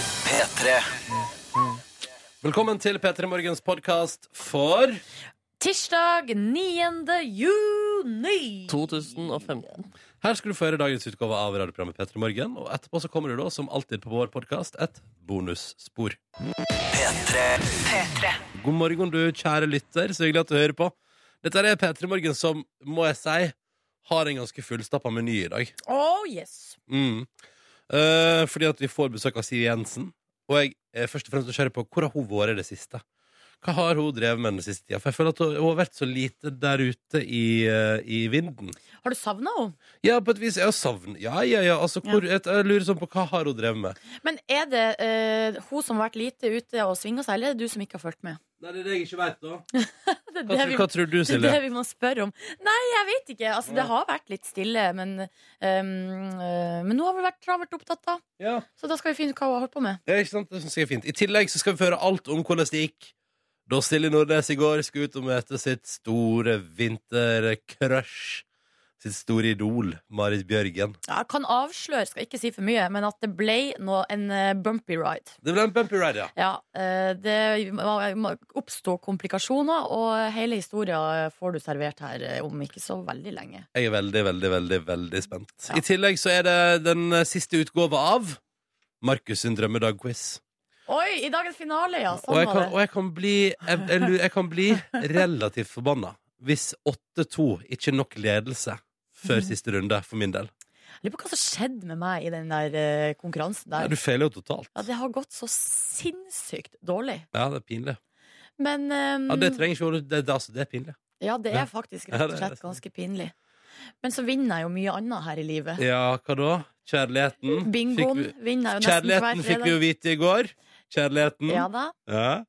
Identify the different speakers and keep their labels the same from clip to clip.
Speaker 1: P3.
Speaker 2: Velkommen til P3 Morgens podkast for
Speaker 3: Tirsdag 9. juni.
Speaker 4: 2015.
Speaker 2: Her skal du få høre dagens utgave av radioprogrammet P3 Morgen. Og etterpå så kommer det da, som alltid på vår podkast, et bonusspor. God morgen, du kjære lytter. Så hyggelig at du hører på. Dette er P3 Morgen som, må jeg si, har en ganske fullstappa meny i dag.
Speaker 3: Oh yes.
Speaker 2: Mm. Eh, fordi at vi får besøk av Siv Jensen. Og jeg er først og fremst nysgjerrig på hvor har hun vært i det siste. Hva har hun drevet med den siste tida? For jeg føler at hun hun har vært så lite der ute i, eh, i vinden.
Speaker 3: Har du savna henne?
Speaker 2: Ja, på et vis. Jeg har savn. Ja, ja, ja. Altså, hvor, Jeg, jeg lurer sånn på hva har hun drevet med.
Speaker 3: Men er det eh, hun som har vært lite ute og svinga seg, eller er det du som ikke har fulgt med?
Speaker 2: Nei, det er det jeg ikke veit, da.
Speaker 3: Det er
Speaker 2: Hva,
Speaker 3: det
Speaker 2: tror-
Speaker 3: vi,
Speaker 2: hva tror du,
Speaker 3: det, er det
Speaker 2: Silje?
Speaker 3: vi må spørre om. Nei, jeg vet ikke. Altså, det har vært litt stille, men, ehm, eh, men nå har vi vært travelt opptatt, da.
Speaker 2: Ja.
Speaker 3: Så da skal vi finne ut hva hun har holdt på med.
Speaker 2: Ja, ikke sant? Det synes jeg er fint. I tillegg så skal vi føre alt om hvordan det gikk da Silje Nordnes i går skulle ut og møte sitt store vintercrush. Sitt store idol, Marit Bjørgen.
Speaker 3: Ja, jeg kan avsløre, skal ikke si for mye, men at det ble nå en eh, bumpy ride.
Speaker 2: Det ble en bumpy ride, ja.
Speaker 3: Ja, eh, det var- oppstod komplikasjoner, og hele historien får du servert her eh, om ikke så veldig lenge.
Speaker 2: Jeg er veldig, veldig, veldig veldig spent.
Speaker 3: Ja.
Speaker 2: I tillegg så er det den eh, siste utgåva av Markus sin drømmedag-quiz.
Speaker 3: Oi, i dagens finale, ja!
Speaker 2: Og,
Speaker 3: Sånn
Speaker 2: jeg kan-
Speaker 3: var
Speaker 2: og
Speaker 3: det.
Speaker 2: jeg kan bli jeg, jeg, lu- jeg kan bli relativt forbanna hvis 8-2 ikke er nok ledelse
Speaker 3: Mhm.
Speaker 2: før siste runde, for min del.
Speaker 3: Jeg lurer på hva som skjedde med meg i den der eh, konkurransen
Speaker 2: Ja,
Speaker 3: der.
Speaker 2: du feiler jo totalt.
Speaker 3: Ja, det har gått så sinnssykt dårlig.
Speaker 2: Ja, det er pinlig.
Speaker 3: Men ehm,
Speaker 2: Ja, det trenger ikke ordet. Det, det, altså, det er pinlig.
Speaker 3: ja, det
Speaker 2: Ja.
Speaker 3: er faktisk
Speaker 2: Ja, det
Speaker 3: rett og
Speaker 2: er
Speaker 3: slett ganske pinlig. Men så vinner jeg jo mye annet her i livet.
Speaker 2: Ja, hva da? Kjærligheten.
Speaker 3: Bingoen
Speaker 2: Fikk vi,
Speaker 3: vinner jeg jo nesten hver
Speaker 2: kjærligheten fikk vi jo
Speaker 3: fredag.
Speaker 2: vite i går. Kjærligheten.
Speaker 3: Ja da.
Speaker 2: ja.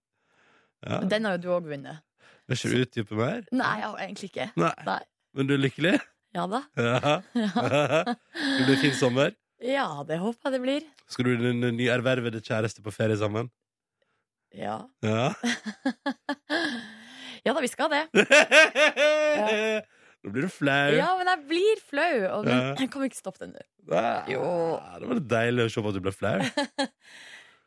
Speaker 2: ja.
Speaker 3: Den har jo du òg vunnet.
Speaker 2: Vil ikke du utdype mer?
Speaker 3: Nei, jeg har egentlig ikke.
Speaker 2: Nei.
Speaker 3: Nei.
Speaker 2: Men du er lykkelig?
Speaker 3: Ja da.
Speaker 2: Ja. Skal du ha fin sommer?
Speaker 3: Ja, det håper jeg det blir.
Speaker 2: Skal du og din nyervervede kjæreste på ferie sammen?
Speaker 3: Ja.
Speaker 2: Ja.
Speaker 3: ja da, vi skal det.
Speaker 2: Nå blir du flau.
Speaker 3: Ja, men jeg blir flau. Og men,
Speaker 2: Ja.
Speaker 3: jeg kan vi ikke stoppe den nå.
Speaker 2: Ah,
Speaker 3: Jo.
Speaker 2: Det var deilig å se på at du ble flau.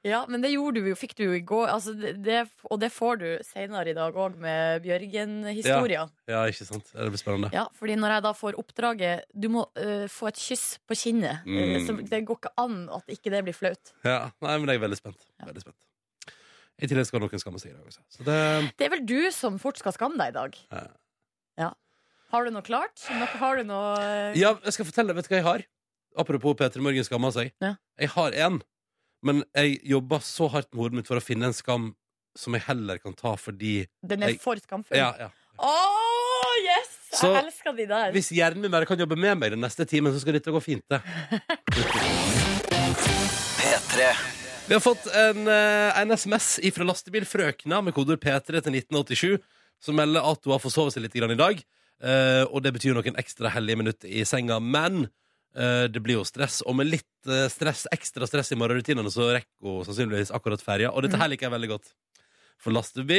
Speaker 3: Ja, men det gjorde du jo, fikk du jo i går, altså det, det, og det får du senere i dag òg med Bjørgen-historia. Ja.
Speaker 2: Ja, ikke sant? Det blir spennende.
Speaker 3: fordi når jeg da får oppdraget Du må øh, få et kyss på kinnet.
Speaker 2: Mm.
Speaker 3: øh, Så det går ikke an at ikke det blir flaut.
Speaker 2: Ja, nei, men jeg er veldig spent.
Speaker 3: Ja.
Speaker 2: Veldig spent. I tillegg skal noen skamme seg i dag også. Så det,
Speaker 3: Det er vel du som fort skal skamme deg i dag.
Speaker 2: Ja.
Speaker 3: Ja. Har du noe klart? Noe, har du noe øh,
Speaker 2: ja, jeg skal fortelle deg, vet du hva jeg har? Apropos Peter Morgen skammer seg.
Speaker 3: Ja.
Speaker 2: Jeg har en, men jeg jobber så hardt med hodet mitt for å finne en skam som jeg heller kan ta fordi
Speaker 3: Den er
Speaker 2: jeg-
Speaker 3: for skamfull?
Speaker 2: ja, ja.
Speaker 3: Å, yes!
Speaker 2: Så-
Speaker 3: jeg elsker de der.
Speaker 2: Hvis hjernen min bare kan jobbe med meg den neste timen, så skal dette gå fint, det.
Speaker 1: P3.
Speaker 2: Vi har fått en, eh, en SMS fra lastebilfrøkna med koder P3 til 1987, som melder at hun har forsovet seg litt grann i dag. Eh, og det betyr noen ekstra hellige minutter i senga, men eh, det blir jo stress. Og med litt eh, stress, ekstra stress i morgenrutinene, så rekker hun sannsynligvis akkurat ferja. Og dette her liker jeg veldig godt. For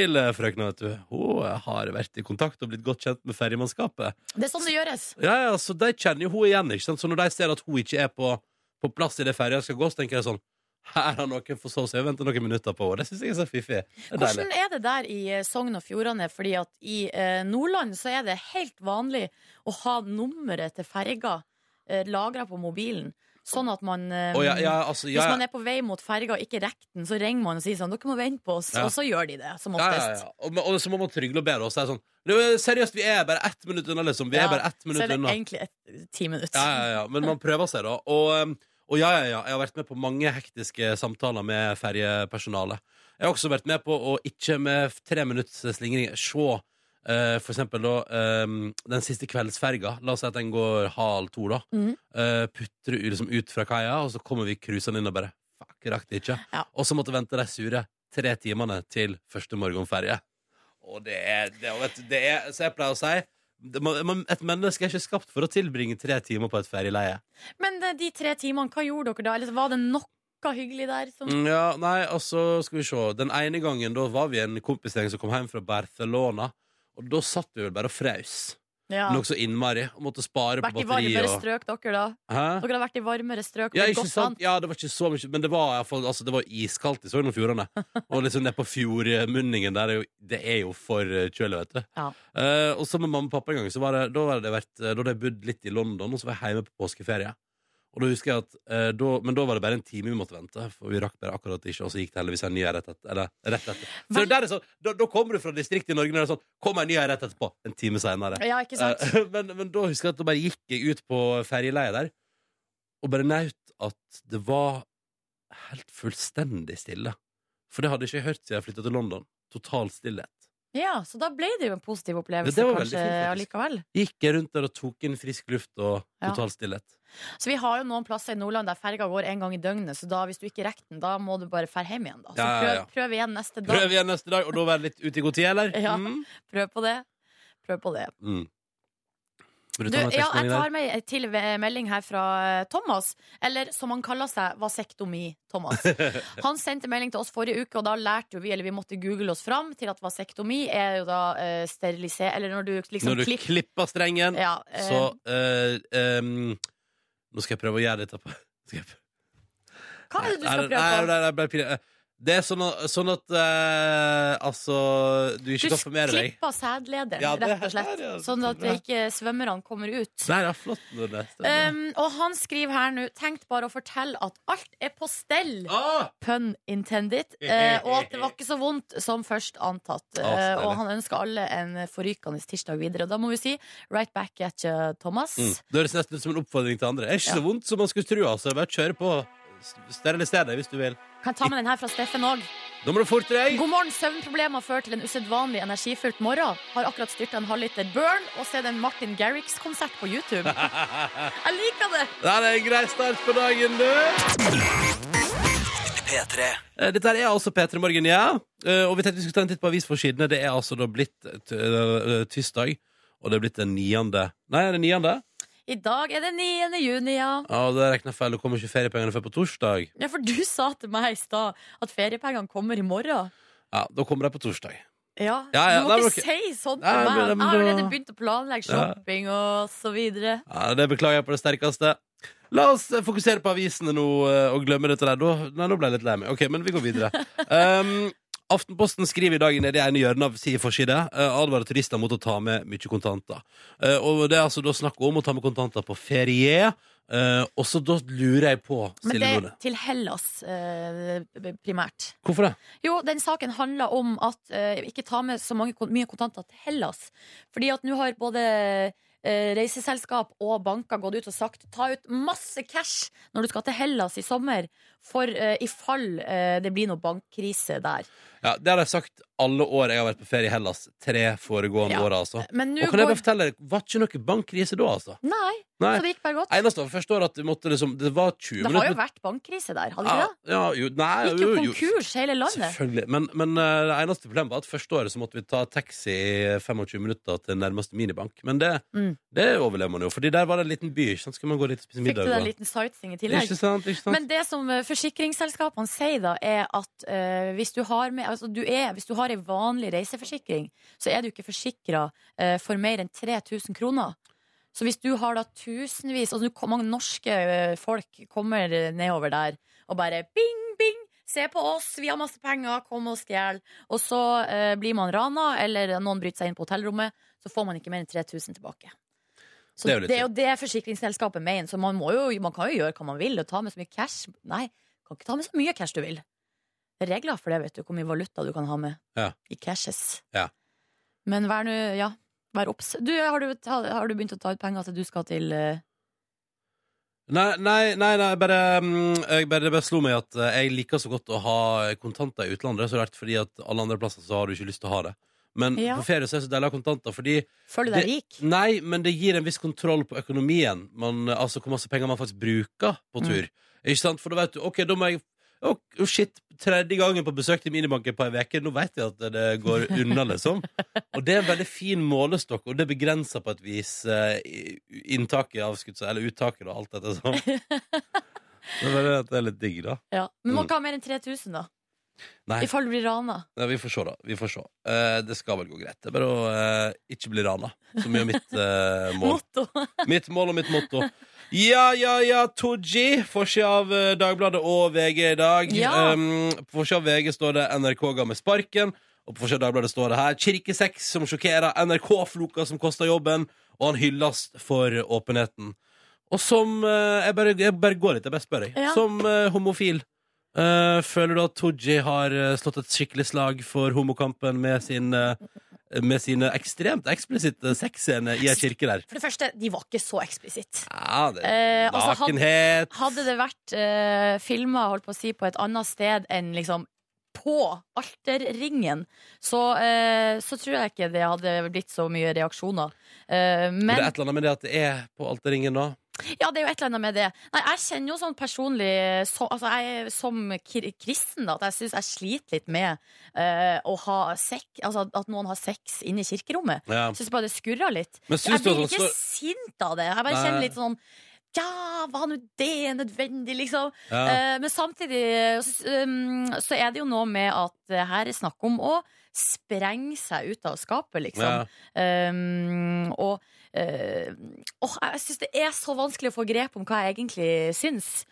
Speaker 2: lastebilfrøkna, vet du, hun har vært i kontakt og blitt godt kjent med ferjemannskapet.
Speaker 3: Det er sånn det gjøres.
Speaker 2: Ja, ja, så De kjenner jo hun igjen, ikke sant? så når de ser at hun ikke er på, på plass i det ferja skal gå, så tenker jeg sånn Her har noen forsov seg og venter noen minutter på henne. Det syns jeg er så fiffig. Det er deilig.
Speaker 3: Hvordan er det der i eh, Sogn og Fjordane? Fordi at i eh, Nordland så er det helt vanlig å ha nummeret til ferga eh, lagra på mobilen. Sånn at man eh,
Speaker 2: Å, ja, ja, altså, ja,
Speaker 3: Hvis man
Speaker 2: ja,
Speaker 3: er på vei mot ferga og ikke rekker den, så ringer man og sier sånn Dere må vente på oss.
Speaker 2: Ja.
Speaker 3: Og så gjør de det, som
Speaker 2: ja,
Speaker 3: oftest.
Speaker 2: ja, ja. Og, men- og så må man trygle og be henne. Og så er det sånn «Du, Seriøst, vi er bare ett minutt unna, liksom. Vi
Speaker 3: Ja,
Speaker 2: er bare ett
Speaker 3: Så er
Speaker 2: minutt
Speaker 3: det
Speaker 2: unna.
Speaker 3: egentlig et, eh, ti minutter.
Speaker 2: Ja, ja, ja. Men man prøver seg, da. Og, um, og ja, ja, ja. Jeg har vært med på mange hektiske samtaler med ferjepersonalet. Jeg har også vært med på å ikke med f- tre minutts slingring se eh, for eksempel da um, den siste kveldsferga. La oss si at den går halv to, da.
Speaker 3: Mhm.
Speaker 2: Eh, putter u- liksom ut fra kaia, og så kommer vi cruisende inn og bare Fuck, rakk det ikke.
Speaker 3: Ja.
Speaker 2: Og så måtte vente de sure tre timene til første morgenferje. Og det er, det, og vet, du, det er Så jeg pleier å si det- man, man, et menneske er ikke skapt for å tilbringe tre timer på et ferieleie.
Speaker 3: Men eh, de tre timene, hva gjorde dere da? Eller var det noe hyggelig der? Som,
Speaker 2: Mm, Ja, nei, altså, skal vi se. Den ene gangen da var vi en kompisgjeng som kom hjem fra Barcelona, og da satt vi vel bare og fraus.
Speaker 3: Ja.
Speaker 2: men også innmari. Og måtte spare på
Speaker 3: Vært i
Speaker 2: batteri
Speaker 3: varmere
Speaker 2: og
Speaker 3: strøk, dere, da.
Speaker 2: Hæ?
Speaker 3: Dere har vært i varmere strøk.
Speaker 2: Ja,
Speaker 3: det er
Speaker 2: ikke
Speaker 3: godt
Speaker 2: sant? ja, det var ikke så mye, men det var, i hvert fall- altså, det var iskaldt i Sogn og Fjordane. Og liksom nede på fjordmunningen der, er jo, det er jo for eh, kjølig, vet du.
Speaker 3: Ja.
Speaker 2: Eh, og så med mamma og pappa en gang, så var det, da hadde jeg, vært, eh, da hadde jeg bodd litt i London, og så var jeg hjemme på påskeferie. Og da husker jeg at, eh, da, Men da var det bare en time vi måtte vente, for vi rakk bare akkurat ikke, og så gikk det heldigvis en ny en rett etter. Eller, rett etter. Så
Speaker 3: Vel-
Speaker 2: det der er sånn, da, da kommer du fra distriktet i Norge, når det er sånn Kom en ny en rett etterpå! En time seinere.
Speaker 3: Ja, ikke sant?
Speaker 2: Eh, men, men da husker jeg at da bare gikk jeg ut på ferjeleiet der og bare naut at det var helt fullstendig stille. For det hadde ikke jeg hørt siden jeg flytta til London. Total stillhet.
Speaker 3: Ja, så da ble det jo en positiv
Speaker 2: Ja,
Speaker 3: opplevelse,
Speaker 2: det var veldig
Speaker 3: kanskje,
Speaker 2: fint, faktisk.
Speaker 3: allikevel.
Speaker 2: Gikk jeg rundt der og tok inn frisk luft og
Speaker 3: Ja.
Speaker 2: total stillhet.
Speaker 3: Så vi har jo noen plasser i Nordland der ferga går en gang i døgnet, så da, hvis du ikke rekker den, da må du bare ferde hjem igjen, da. Så
Speaker 2: Ja, ja, ja.
Speaker 3: Prøv, prøv igjen neste dag.
Speaker 2: Prøv igjen neste dag, og da være litt ute i god tid, eller?
Speaker 3: Ja.
Speaker 2: Mm.
Speaker 3: Prøv på det. Prøv på det.
Speaker 2: Mm. Vil du
Speaker 3: Du,
Speaker 2: ta
Speaker 3: ja,
Speaker 2: med
Speaker 3: jeg
Speaker 2: tekstmelding der?
Speaker 3: tar med en til ve- melding her fra eh, Thomas, eller som han kaller seg, vasektomi-Thomas. Han sendte melding til oss forrige uke, og da lærte jo vi, eller vi måtte google oss fram til at vasektomi er jo da uh, sterilisert, eller når du
Speaker 2: Når
Speaker 3: liksom
Speaker 2: du
Speaker 3: klipper
Speaker 2: klipper strengen,
Speaker 3: ja, eh,
Speaker 2: så eh, em, Nå skal jeg prøve å gjøre dette på skal jeg prøve-
Speaker 3: Hva er det du
Speaker 2: Nei,
Speaker 3: skal
Speaker 2: nei,
Speaker 3: prøve på?
Speaker 2: nei, nei, bare pinlig. Det er sånn at, sånn at eh, Altså, du
Speaker 3: Du
Speaker 2: ikke kan formere deg.
Speaker 3: klipper sædlederen,
Speaker 2: Ja, det-
Speaker 3: rett og slett.
Speaker 2: der, ja,
Speaker 3: Sånn at
Speaker 2: bra. Sånn,
Speaker 3: ikke svømmerne kommer ut.
Speaker 2: Nei, det er flott. når det er stemme.
Speaker 3: Um, og han skriver her nå Tenkt bare å fortelle at alt er på stell.
Speaker 2: Ah!
Speaker 3: Pun intended. eh, og at det var ikke så vondt som først antatt.
Speaker 2: så
Speaker 3: Eh,
Speaker 2: deilig.
Speaker 3: og han ønsker alle en forrykende tirsdag videre. Og da må vi si right back at you, Thomas.
Speaker 2: Mm. Det høres nesten ut som en oppfordring til andre. Det er ikke så vondt som man skulle tro. Altså. Bare kjør på. Steriliser deg hvis du vil.
Speaker 3: Kan jeg ta med den her fra Steffen òg?
Speaker 2: Da må du forte deg.
Speaker 3: God morgen. Søvnproblemer fører til en usedvanlig energifullt morgen. Har akkurat styrta en halvliter Burn og sett en Martin Garrix-konsert på YouTube. Jeg liker det!
Speaker 2: Der er en grei start på dagen, du.
Speaker 1: P3.
Speaker 2: Eh, Dette her er altså P3 Morgen, ja. Eh, Og vi tenkte vi skulle ta en titt på avisforsidene. Det er altså da blitt t- eh, tirsdag, og det er blitt den niende Nei, er det niende?
Speaker 3: I dag er det 9. juni, ja.
Speaker 2: Ja, det regner jeg feil. Det kommer ikke feriepengene før på torsdag.
Speaker 3: Ja, for du sa til meg i stad at feriepengene kommer i morgen.
Speaker 2: Ja, da kommer de på torsdag.
Speaker 3: Ja,
Speaker 2: Ja, ja,
Speaker 3: Du
Speaker 2: nei,
Speaker 3: må
Speaker 2: men
Speaker 3: ikke si sånn til
Speaker 2: Nei,
Speaker 3: meg.
Speaker 2: men-
Speaker 3: Jeg
Speaker 2: men
Speaker 3: har
Speaker 2: da-
Speaker 3: allerede begynt å planlegge
Speaker 2: Ja.
Speaker 3: shopping og så videre.
Speaker 2: Ja, det beklager jeg på det sterkeste. La oss eh, fokusere på avisene nå eh, og glemme dette der. Da- Nei, nå ble jeg litt lei meg. Ok, men vi går videre. Um, Aftenposten skriver i dag nede i ene hjørnet av sin forside eh, advarer turister mot å ta med mye kontanter. Eh, og det er altså da snakk om å ta med kontanter på ferie. eh, og så da lurer jeg på,
Speaker 3: Men
Speaker 2: Silje
Speaker 3: det er
Speaker 2: Nordnes
Speaker 3: til Hellas eh, primært.
Speaker 2: Hvorfor det?
Speaker 3: Jo, den saken handler om at eh, ikke ta med så mange, kon- mye kontanter til Hellas. Fordi at nå har både eh, reiseselskap og banker gått ut og sagt ta ut masse cash når du skal til Hellas i sommer, for eh, i fall eh, det blir noe bankkrise der.
Speaker 2: Ja, Det har jeg sagt alle år jeg har vært på ferie i Hellas. Tre foregående
Speaker 3: Ja.
Speaker 2: år, altså.
Speaker 3: Men nå
Speaker 2: Og kan jeg
Speaker 3: går
Speaker 2: bare fortelle, dere, var ikke noe bankkrise da, altså?
Speaker 3: Nei,
Speaker 2: Nei.
Speaker 3: så det gikk bare godt.
Speaker 2: Eneste var første året at vi måtte liksom Det var 20
Speaker 3: Det har
Speaker 2: minutter
Speaker 3: jo vært bankkrise der, hadde det
Speaker 2: ja,
Speaker 3: ikke det?
Speaker 2: ja, jo, nei,
Speaker 3: Gikk jo
Speaker 2: jo, jo,
Speaker 3: konkurs hele landet.
Speaker 2: Selvfølgelig. Men, men eh, det eneste problemet var at første året så måtte vi ta taxi i 25 minutter til nærmeste minibank. Men det,
Speaker 3: Mm.
Speaker 2: det overlever man jo, Fordi der var det en liten by. Ikke sant? Skal man gå dit og spise
Speaker 3: Fikk du
Speaker 2: middag?
Speaker 3: deg en
Speaker 2: og-
Speaker 3: liten sightseeing i tillegg?
Speaker 2: Ikke sant? Ikke sant?
Speaker 3: Men det som eh, forsikringsselskapene sier da, er at eh, hvis, du har med, altså du er, hvis du har en vanlig reiseforsikring, så er du ikke forsikra for mer enn 3000 kroner. Så hvis du har da tusenvis altså, Hvor mange norske eh, folk kommer eh, nedover der og bare bing, bing, se på oss, vi har masse penger, kom og stjel. Og så eh, blir man rana, eller noen bryter seg inn på hotellrommet, så får man ikke mer enn 3000 tilbake. Så
Speaker 2: Det
Speaker 3: det
Speaker 2: er jo
Speaker 3: er jo
Speaker 2: litt
Speaker 3: det forsikringsselskapet mener, så man, må jo, man kan jo gjøre hva man vil og ta med så mye cash. Nei, kan ikke ta med så mye cash du vil. Det er regler for det, vet du, hvor mye valuta du kan ha med
Speaker 2: Ja.
Speaker 3: i cashes.
Speaker 2: Ja.
Speaker 3: Men vær nå, ja, vær obs. Du, har du, ta, har du begynt å ta ut penger til du skal til eh,
Speaker 2: Nei, nei, nei, nei bare, mm, jeg bare, det bare slo meg at eh, jeg liker så godt å ha kontanter i utlandet. Det er så rart, fordi at alle andre plasser så har du ikke lyst til å ha det. Men
Speaker 3: Ja.
Speaker 2: på ferie så er det så deilig å ha kontanter, fordi
Speaker 3: Føler du deg
Speaker 2: Det-
Speaker 3: rik?
Speaker 2: Nei, men det gir en viss kontroll på økonomien. Man, eh, altså hvor masse penger man faktisk bruker på
Speaker 3: Mm.
Speaker 2: tur. Ikke sant? For da vet du OK, da må jeg å, å, shit, tredje gangen på besøk til minibanken på ei uke. Nå vet jeg at det- det går unna, liksom. Og det er en veldig fin målestokk, og det begrenser på et vis eh, i- inntaket av skutt, eller uttaket og alt dette sånn. Det er bare at det er litt digg, da.
Speaker 3: Ja. Men
Speaker 2: Mm.
Speaker 3: man kan ha mer enn 3000, da.
Speaker 2: Nei.
Speaker 3: I fall du blir rana.
Speaker 2: Nei, vi får se, da. Vi får se. Eh, det skal vel gå greit. Det er bare å eh, ikke bli rana, som er mitt eh, mål.
Speaker 3: Motto.
Speaker 2: Mitt mål og mitt motto. Ja, ja, ja, Tooji. Forsida av eh, Dagbladet og VG i dag.
Speaker 3: Ja.
Speaker 2: Um, på forsida av VG står det 'NRK ga meg sparken'. Og på forsida av Dagbladet står det her 'Kirkesex som sjokkerer', 'NRK-floka som koster jobben', og han hylles for åpenheten. Og som eh, jeg, bare, jeg bare går litt, jeg bare spør, jeg.
Speaker 3: Ja.
Speaker 2: Som eh, homofil, eh, føler du at Tooji har eh, slått et skikkelig slag for homokampen med sin eh, med sine ekstremt eksplisitte sexscener i ei kirke der.
Speaker 3: For det første, de var ikke så eksplisitt.
Speaker 2: Ja, det
Speaker 3: Eh, altså, had-
Speaker 2: Nakenhet
Speaker 3: Hadde det vært uh, filma holdt på å si, på et annet sted enn liksom på alterringen, så, eh, så tror jeg ikke det hadde blitt så mye reaksjoner. Eh,
Speaker 2: Men Det er
Speaker 3: men
Speaker 2: et eller annet med det at det er på alterringen nå.
Speaker 3: ja, det er jo et eller annet med det. Nei, jeg kjenner jo sånn personlig så, altså jeg, er Som kir- kristen, da, at jeg syns jeg sliter litt med eh, å ha sek, altså, at noen har sex inne i kirkerommet.
Speaker 2: Ja.
Speaker 3: Jeg syns bare det skurrer litt.
Speaker 2: Men syns du at
Speaker 3: jeg blir
Speaker 2: han
Speaker 3: ikke
Speaker 2: står
Speaker 3: sint av det. Jeg bare
Speaker 2: Nei.
Speaker 3: kjenner litt sånn ja, var nå det nødvendig, liksom?
Speaker 2: ja.
Speaker 3: Eh, men samtidig eh, s- um, så er det jo noe med at eh, her er snakk om å sprenge seg ut av skapet,
Speaker 2: Ja.
Speaker 3: liksom. Um, og eh, åh, jeg syns det er så vanskelig å få grep om hva jeg egentlig syns.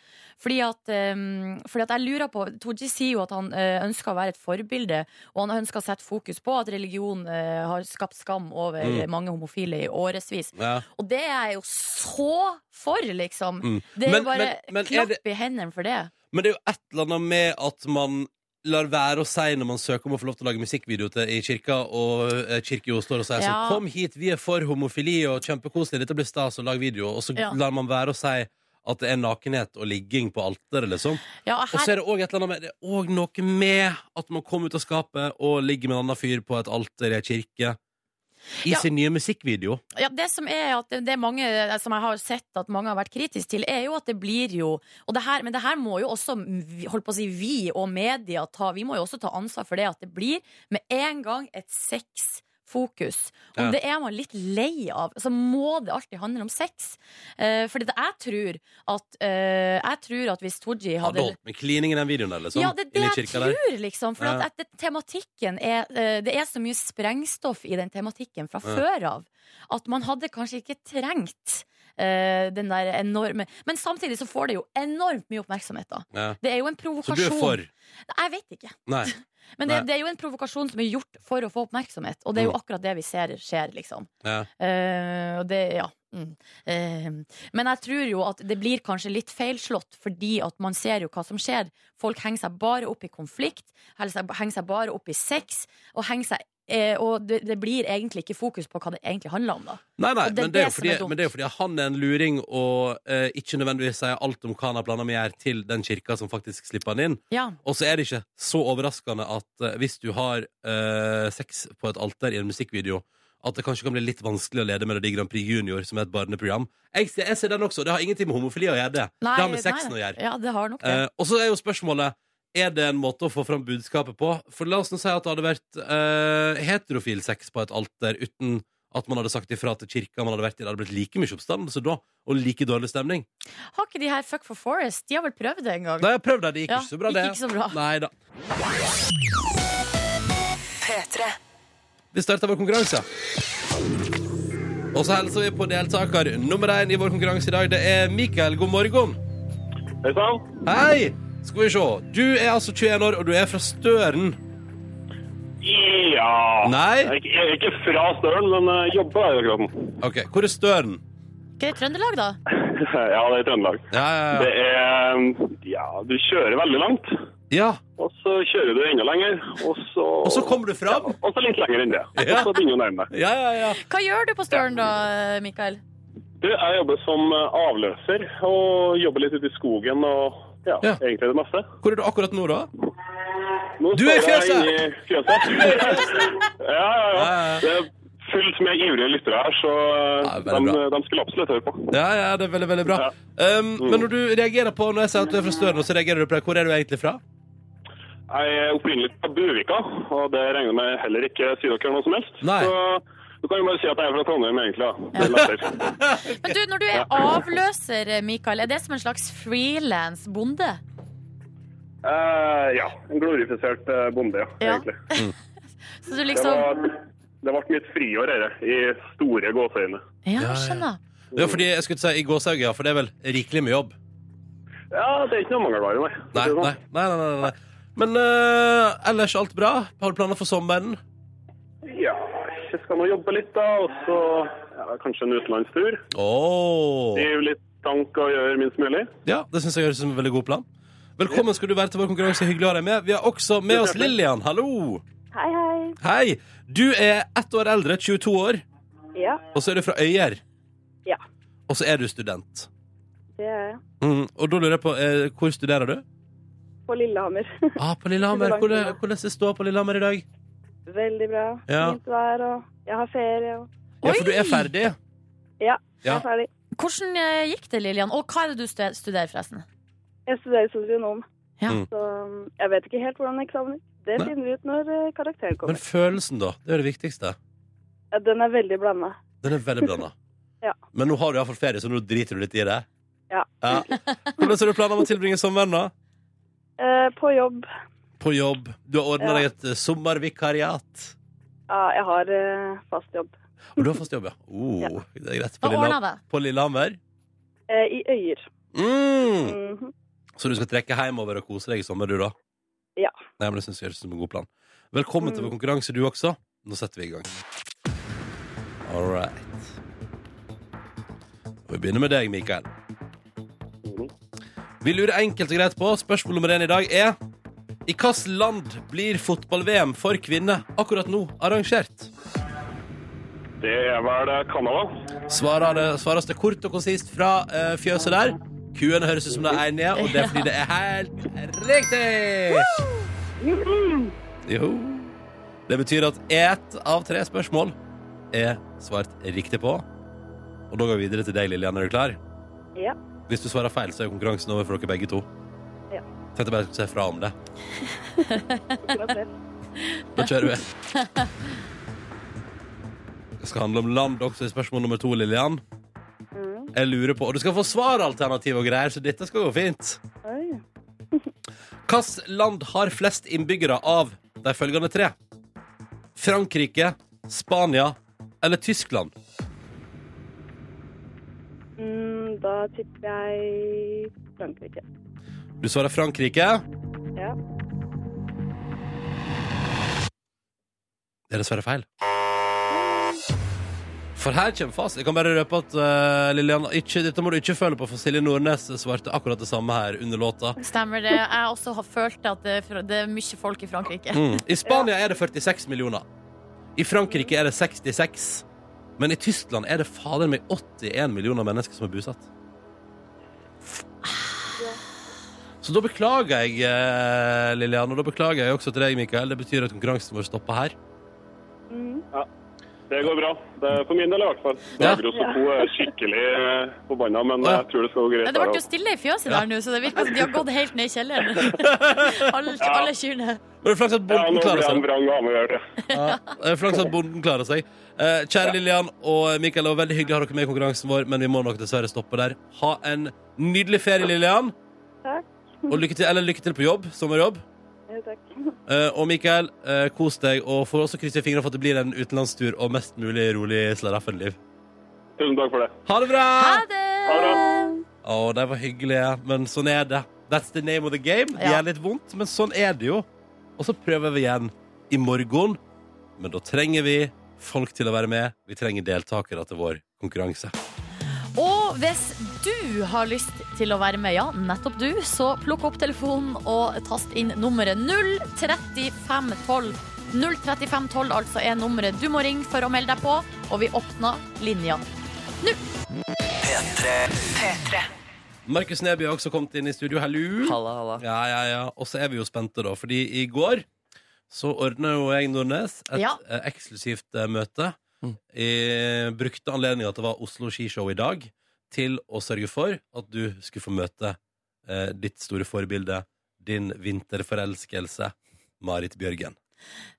Speaker 3: Fordi at, um, fordi at jeg lurer på Tooji sier jo at han eh, ønsker å være et forbilde, og han ønsker å sette fokus på at religion eh, har skapt skam over
Speaker 2: Mm.
Speaker 3: mange homofile i årevis.
Speaker 2: Ja.
Speaker 3: Og det er jeg jo så for, liksom.
Speaker 2: Mm.
Speaker 3: Det er
Speaker 2: Men-
Speaker 3: jo bare
Speaker 2: men- men er
Speaker 3: klapp
Speaker 2: det-
Speaker 3: i hendene for det.
Speaker 2: Men det er jo et eller annet med at man lar være å si når man søker om å få lov til å lage musikkvideo til i kirka, og eh, kirka jo står og sier
Speaker 3: Ja.
Speaker 2: sånn 'Kom hit, vi er for homofili og kjempekoselig, dette blir stas, og lag video', og så
Speaker 3: Ja.
Speaker 2: lar man være å si at det er nakenhet og ligging på alteret, liksom.
Speaker 3: Ja,
Speaker 2: Og så
Speaker 3: her,
Speaker 2: er det òg et eller annet med Det er òg noe med at man kommer ut av skapet og ligger med en annen fyr på et alter i ei kirke. I
Speaker 3: Ja.
Speaker 2: sin nye musikkvideo.
Speaker 3: ja, det som er at det er mange eh, som jeg har sett at mange har vært kritiske til, er jo at det blir jo og det her, Men det her må jo også vi- holdt på å si, vi og media ta Vi må jo også ta ansvar for det at det blir med en gang et sexfokus. Om
Speaker 2: Ja.
Speaker 3: det er man litt lei av, så må det alltid handle om sex. Uh, fordi det, jeg, tror at, eh, jeg tror at hvis Tooji
Speaker 2: Hadde
Speaker 3: hadde
Speaker 2: holdt med klining i den videoen der, liksom.
Speaker 3: Ja, det er
Speaker 2: Inni
Speaker 3: det jeg
Speaker 2: kirka der.
Speaker 3: tror, liksom. For
Speaker 2: Ja.
Speaker 3: at, at det- tematikken er eh, Det er så mye sprengstoff i den tematikken fra
Speaker 2: Ja.
Speaker 3: før av at man hadde kanskje ikke trengt eh, den der enorme Men samtidig så får det jo enormt mye oppmerksomhet, da.
Speaker 2: Ja.
Speaker 3: Det er jo en
Speaker 2: Så
Speaker 3: provokasjon.
Speaker 2: du er for?
Speaker 3: Jeg vet ikke.
Speaker 2: Nei.
Speaker 3: Men det,
Speaker 2: Nei. Mm.
Speaker 3: det er jo en provokasjon som er gjort for å få oppmerksomhet, og det er jo akkurat det vi ser skjer, liksom.
Speaker 2: Ja.
Speaker 3: Eh, og det, ja. Mm. Eh, men jeg tror jo at det blir kanskje litt feilslått, fordi at man ser jo hva som skjer. Folk henger seg bare opp i konflikt, henger seg- henger seg bare opp i sex, og, henger seg, eh, og det, det blir egentlig ikke fokus på hva det egentlig handler om, da.
Speaker 2: Nei, nei,
Speaker 3: Og det er
Speaker 2: men det, er
Speaker 3: det
Speaker 2: jo
Speaker 3: som
Speaker 2: fordi,
Speaker 3: er dumt.
Speaker 2: men det er jo fordi han er en luring og eh, ikke nødvendigvis sier alt om hva han har planer med å gjøre til den kirka som faktisk slipper han inn.
Speaker 3: Ja.
Speaker 2: Og så er det ikke så overraskende at eh, hvis du har eh, sex på et alter i en musikkvideo, at det kanskje kan bli litt vanskelig å lede Melodi Grand Prix Junior, som er et barneprogram. Jeg, ser- jeg ser den også, det har ingenting med homofili å gjøre det.
Speaker 3: Nei,
Speaker 2: det har med sexen
Speaker 3: nei.
Speaker 2: å gjøre.
Speaker 3: Ja, det har nok det.
Speaker 2: Eh, og så er jo spørsmålet Er det en måte å få fram budskapet på? For la oss nå si at det hadde vært eh, heterofil sex på et alter uten at man hadde sagt ifra til kirka man hadde vært i. Det hadde blitt like mye oppstandelse da, og like dårlig stemning.
Speaker 3: Mm. Har ikke de her Fuck for Forest? De har vel prøvd det en gang?
Speaker 2: Da jeg prøvde det, det gikk
Speaker 3: Ja,
Speaker 2: ikke så bra,
Speaker 3: gikk
Speaker 2: det.
Speaker 3: ikke så bra.
Speaker 2: Neida. Vi starter vår konkurranse. Og så hilser vi på deltaker nummer én i vår konkurranse i dag. Det er Mikael. God morgen.
Speaker 1: Hei sann.
Speaker 2: Hei! Skal vi se. Du er altså 21 år, og du er fra Støren.
Speaker 1: Ja
Speaker 2: Nei.
Speaker 1: Jeg er ikke- Jeg er ikke fra Støren, men eh, jobber der i akkurat nå.
Speaker 2: Ok, Hvor er Støren?
Speaker 3: Ikke det Trøndelag, da?
Speaker 1: Ja, det er i Trøndelag.
Speaker 2: Ja, ja, ja.
Speaker 1: Det er Ja, du kjører veldig langt.
Speaker 2: ja.
Speaker 1: Og så kjører du enda lenger, og så
Speaker 2: Og så kommer du fram?
Speaker 1: Og så litt lenger enn det.
Speaker 2: Ja.
Speaker 1: Og så begynner du å nærme deg.
Speaker 2: Ja, ja, ja.
Speaker 3: Hva gjør du på Støren da, Mikael?
Speaker 1: Du, jeg jobber som eh, avløser og jobber litt ute i skogen og ja,
Speaker 2: Ja.
Speaker 1: egentlig det meste.
Speaker 2: Hvor er du akkurat nå, da?
Speaker 1: Nå
Speaker 2: Du er i
Speaker 1: står jeg
Speaker 2: fjøset!
Speaker 1: inne i fjøset. ja, ja, ja.
Speaker 2: Ja, ja.
Speaker 1: Det er fullt med ivrige lyttere her, så eh,
Speaker 2: Ja, veldig
Speaker 1: de,
Speaker 2: bra.
Speaker 1: de skulle absolutt høre på.
Speaker 2: Ja, ja, det er veldig, veldig bra.
Speaker 1: Ja.
Speaker 2: Um, men når du reagerer på når jeg sier at du er fra Støren, så reagerer du på det. Hvor er du egentlig fra?
Speaker 1: Jeg er opprinnelig fra Buvika, og det regner jeg med heller ikke sier dere noe som helst.
Speaker 2: Nei.
Speaker 1: Så du kan jo bare si at jeg er fra Trondheim, egentlig. da. Det er lettere.
Speaker 3: Men du, når du er avløser, Mikael, er det som en slags frilans bonde?
Speaker 1: Eh, ja. En glorifisert eh, bonde, ja.
Speaker 3: Ja.
Speaker 1: Egentlig.
Speaker 3: Så du
Speaker 1: Det,
Speaker 3: liksom
Speaker 1: var, det ble mitt friår, dette. I store gåseøyne.
Speaker 2: ja.
Speaker 3: Ja, skjønner.
Speaker 2: Det var fordi jeg skulle si i gåsehauget, ja, for det er vel rikelig med jobb.
Speaker 1: Ja, det er ikke noe mangelvare, nei.
Speaker 2: Nei,
Speaker 1: Det er
Speaker 2: nei,
Speaker 1: sånn.
Speaker 2: nei, nei, nei, nei. Men eh, ellers alt bra? Har du planer for sommeren?
Speaker 1: Ja, jeg skal nå jobbe litt, da. Og så ja, kanskje en utenlandstur.
Speaker 2: Åh
Speaker 1: Drive litt tank og gjøre minst mulig.
Speaker 2: Ja, det synes jeg høres ut som en veldig god plan. Velkommen skal du være til vår konkurranse. Hyggelig å ha deg med. Vi har også med oss Lillian. Hallo!
Speaker 4: Hei, hei.
Speaker 2: Hei! Du er ett år eldre, 22 år,
Speaker 4: Ja,
Speaker 2: og så er du fra Øyer.
Speaker 4: Ja.
Speaker 2: Og så er du student.
Speaker 4: det er jeg.
Speaker 2: Mm, og da lurer jeg på, eh, hvor studerer du?
Speaker 4: På Lillehammer.
Speaker 2: Ah, på Lillehammer. Hvordan, hvordan det står på Lillehammer i dag?
Speaker 4: Veldig bra.
Speaker 2: Ja.
Speaker 4: Fint vær, og jeg har ferie. Og
Speaker 2: Ja, for du er
Speaker 3: Oi!
Speaker 2: ferdig.
Speaker 4: jeg
Speaker 2: Ja.
Speaker 4: er ferdig.
Speaker 3: Hvordan eh, gikk det, Lillian? Og hva er det du stu- studerer, forresten?
Speaker 4: Jeg studerer sosionom,
Speaker 3: Ja.
Speaker 2: Mm.
Speaker 4: så um, jeg vet ikke helt hvordan eksamen gikk. Det
Speaker 2: Nei.
Speaker 4: finner vi ut når eh, karakteren
Speaker 2: Men
Speaker 4: kommer.
Speaker 2: følelsen, da? Det er jo det viktigste.
Speaker 4: Ja, Den er veldig blanda.
Speaker 2: Den er veldig blanda.
Speaker 4: Ja.
Speaker 2: Men nå har du iallfall ferie, så nå driter du litt i det.
Speaker 4: Ja.
Speaker 2: Hvordan har du planer om å tilbringe sommeren, da?
Speaker 4: Eh, på jobb
Speaker 2: På jobb. Du har ordna
Speaker 4: Ja.
Speaker 2: deg et eh, sommervikariat.
Speaker 4: Ja, jeg har eh, fast jobb.
Speaker 2: Og du har fast jobb, ja. Oh, Det er greit. På,
Speaker 3: Hva ordna
Speaker 2: Lilla,
Speaker 3: det?
Speaker 2: på Lillehammer.
Speaker 4: Eh, I Øyer.
Speaker 2: Mm.
Speaker 4: Mhm.
Speaker 2: Så du skal trekke hjemover og kose deg i sommer, du, da?
Speaker 4: Ja.
Speaker 2: Nei, men det synes jeg høres ut som en god plan. Velkommen til vår konkurranse, du også. Nå setter vi i gang. All right. Og vi begynner med deg, Mikael. Vi lurer enkelt og greit på Spørsmål nummer én i dag er I hvilket land blir fotball-VM for kvinner akkurat nå arrangert?
Speaker 1: Det er vel eh, Canada.
Speaker 2: Svarer det, svares det kort og konsist fra eh, fjøset der. Kuene høres ut som de er nede, og det er fordi det er helt riktig! Jo. Det betyr at ett av tre spørsmål er svart riktig på. Og da går vi videre til deg, Lillian. Er du klar?
Speaker 4: Ja.
Speaker 2: Hvis du svarer feil, så er jo konkurransen over for dere begge to.
Speaker 4: Ja.
Speaker 2: Tenkte bare jeg skulle si fra om det.
Speaker 4: ikke noe stress.
Speaker 2: Da kjører vi. Det skal handle om land også i spørsmål nummer to, Lillian.
Speaker 4: Mhm.
Speaker 2: Jeg lurer på, og Du skal få svaralternativ og greier, så dette skal gå fint.
Speaker 4: Oi.
Speaker 2: Hvilket land har flest innbyggere av de følgende tre? Frankrike, Spania eller Tyskland?
Speaker 4: Mm, da tipper jeg Frankrike.
Speaker 2: Du svarer Frankrike.
Speaker 4: Ja.
Speaker 2: Det er dessverre feil. For her kommer fast. Jeg kan bare røpe at eh, Lillian, ikke, dette må du ikke føle på, for Silje Nordnes svarte akkurat det samme her under låta.
Speaker 3: Stemmer det. Jeg også har følt at det, er fra- det er mye folk i Frankrike.
Speaker 2: Mm. I Spania er det 46 millioner. I Frankrike er det 66. Men i Tyskland er det fader meg 81 millioner mennesker som er bosatt. Så da beklager jeg, eh, Lillian, og da beklager jeg også til deg, Mikael. Det betyr at konkurransen vår stopper her.
Speaker 4: Mhm.
Speaker 1: Det går bra. Det er for min del i hvert fall.
Speaker 2: Ja.
Speaker 1: Dagros og co. er skikkelig eh, forbanna, men
Speaker 2: Å, ja.
Speaker 1: jeg tror det skal gå
Speaker 3: Ja,
Speaker 1: greit.
Speaker 3: Det ble
Speaker 1: her,
Speaker 3: jo
Speaker 1: altså.
Speaker 3: stille i fjøset
Speaker 2: Ja.
Speaker 3: der nå, så det virker som de har gått helt ned i kjelleren. Alle, alle kyrne.
Speaker 2: Men det er flaks at
Speaker 1: Ja,
Speaker 2: bonden
Speaker 1: nå
Speaker 2: klarer
Speaker 1: blir
Speaker 2: seg.
Speaker 1: han vrang av med å gjøre det.
Speaker 2: Ja, det er Flaks at bonden klarer seg. Eh, kjære Lillian og eh, Mikael, det var veldig hyggelig å ha dere med i konkurransen vår, men vi må nok dessverre stoppe der. Ha en nydelig ferie, Lillian.
Speaker 4: Takk.
Speaker 2: Og lykke til, eller lykke til på jobb. Sommerjobb.
Speaker 4: Ja, takk.
Speaker 2: Eh, og Mikael, eh, kos deg, og får også krysse fingrene for at det blir en utenlandstur og mest mulig rolig slaraffenliv.
Speaker 1: Tusen takk for det.
Speaker 2: Ha det bra!
Speaker 3: Ha
Speaker 1: Ha
Speaker 3: det!
Speaker 1: det.
Speaker 2: Å, de var hyggelige, men sånn er det. That's the name of the game. Det
Speaker 3: Ja.
Speaker 2: gjør litt vondt, men sånn er det jo. Og så prøver vi igjen i morgen, men da trenger vi folk til å være med. Vi trenger deltakere til vår konkurranse.
Speaker 3: Og hvis du har lyst til å være med, ja, nettopp du, så plukk opp telefonen og tast inn nummeret 03512. 03512 altså er nummeret du må ringe for å melde deg på, og vi åpner linja.
Speaker 2: Markus Neby har også kommet inn i studio. Hallo.
Speaker 5: Halla, halla.
Speaker 2: Ja, ja, ja. Og så er vi jo spente, da, fordi i går så ordna jo jeg Nordnes et
Speaker 3: Ja.
Speaker 2: eh, eksklusivt eh, møte.
Speaker 5: Mm.
Speaker 2: Jeg brukte anledningen at det var Oslo Skishow i dag, til å sørge for at du skulle få møte eh, ditt store forbilde, din vinterforelskelse, Marit Bjørgen.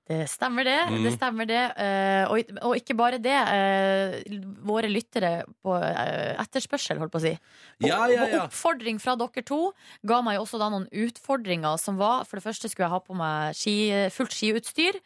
Speaker 3: Det stemmer, det.
Speaker 2: Mm.
Speaker 3: det, stemmer det. Eh, og, og ikke bare det. eh, våre lyttere på eh, etterspørsel, holdt på å si. På,
Speaker 2: Ja, ja, ja.
Speaker 3: på oppfordring fra dere to ga meg jo også da noen utfordringer som var For det første skulle jeg ha på meg ski, fullt skiutstyr.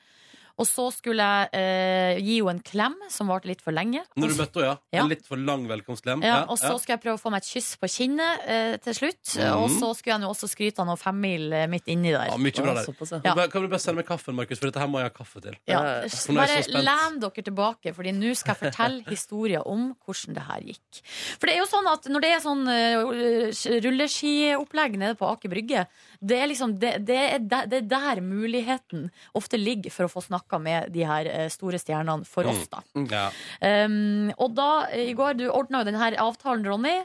Speaker 3: Og så skulle jeg eh, gi henne en klem som varte litt for lenge.
Speaker 2: Når
Speaker 3: Og
Speaker 2: du møtte henne, ja.
Speaker 3: Ja.
Speaker 2: En litt for lang velkomstklem.
Speaker 3: ja, og så skulle jeg prøve å få meg et kyss på kinnet eh, til slutt.
Speaker 2: Mhm.
Speaker 3: Og så skulle jeg nå også skryte av noen femmil eh, midt inni der.
Speaker 2: Ja, mye bra der.
Speaker 5: Såpass,
Speaker 3: Ja.
Speaker 2: Kan du bare sende meg kaffen, Markus, for dette her må jeg ha kaffe til.
Speaker 3: Ja.
Speaker 5: Ja,
Speaker 2: for nå er jeg
Speaker 3: Bare
Speaker 2: så spent.
Speaker 3: len dere tilbake, Fordi nå skal jeg fortelle historier om hvordan det her gikk. For det er jo sånn at når det er sånn eh, rulleskiopplegg nede på Aker Brygge, det er liksom det, det, er der, det er der muligheten ofte ligger for å få snakka med de her eh, store stjernene
Speaker 2: Mm.
Speaker 3: for oss, da.
Speaker 2: Ja.
Speaker 3: Um, og da, eh, i går, du ordna jo denne avtalen, Ronny.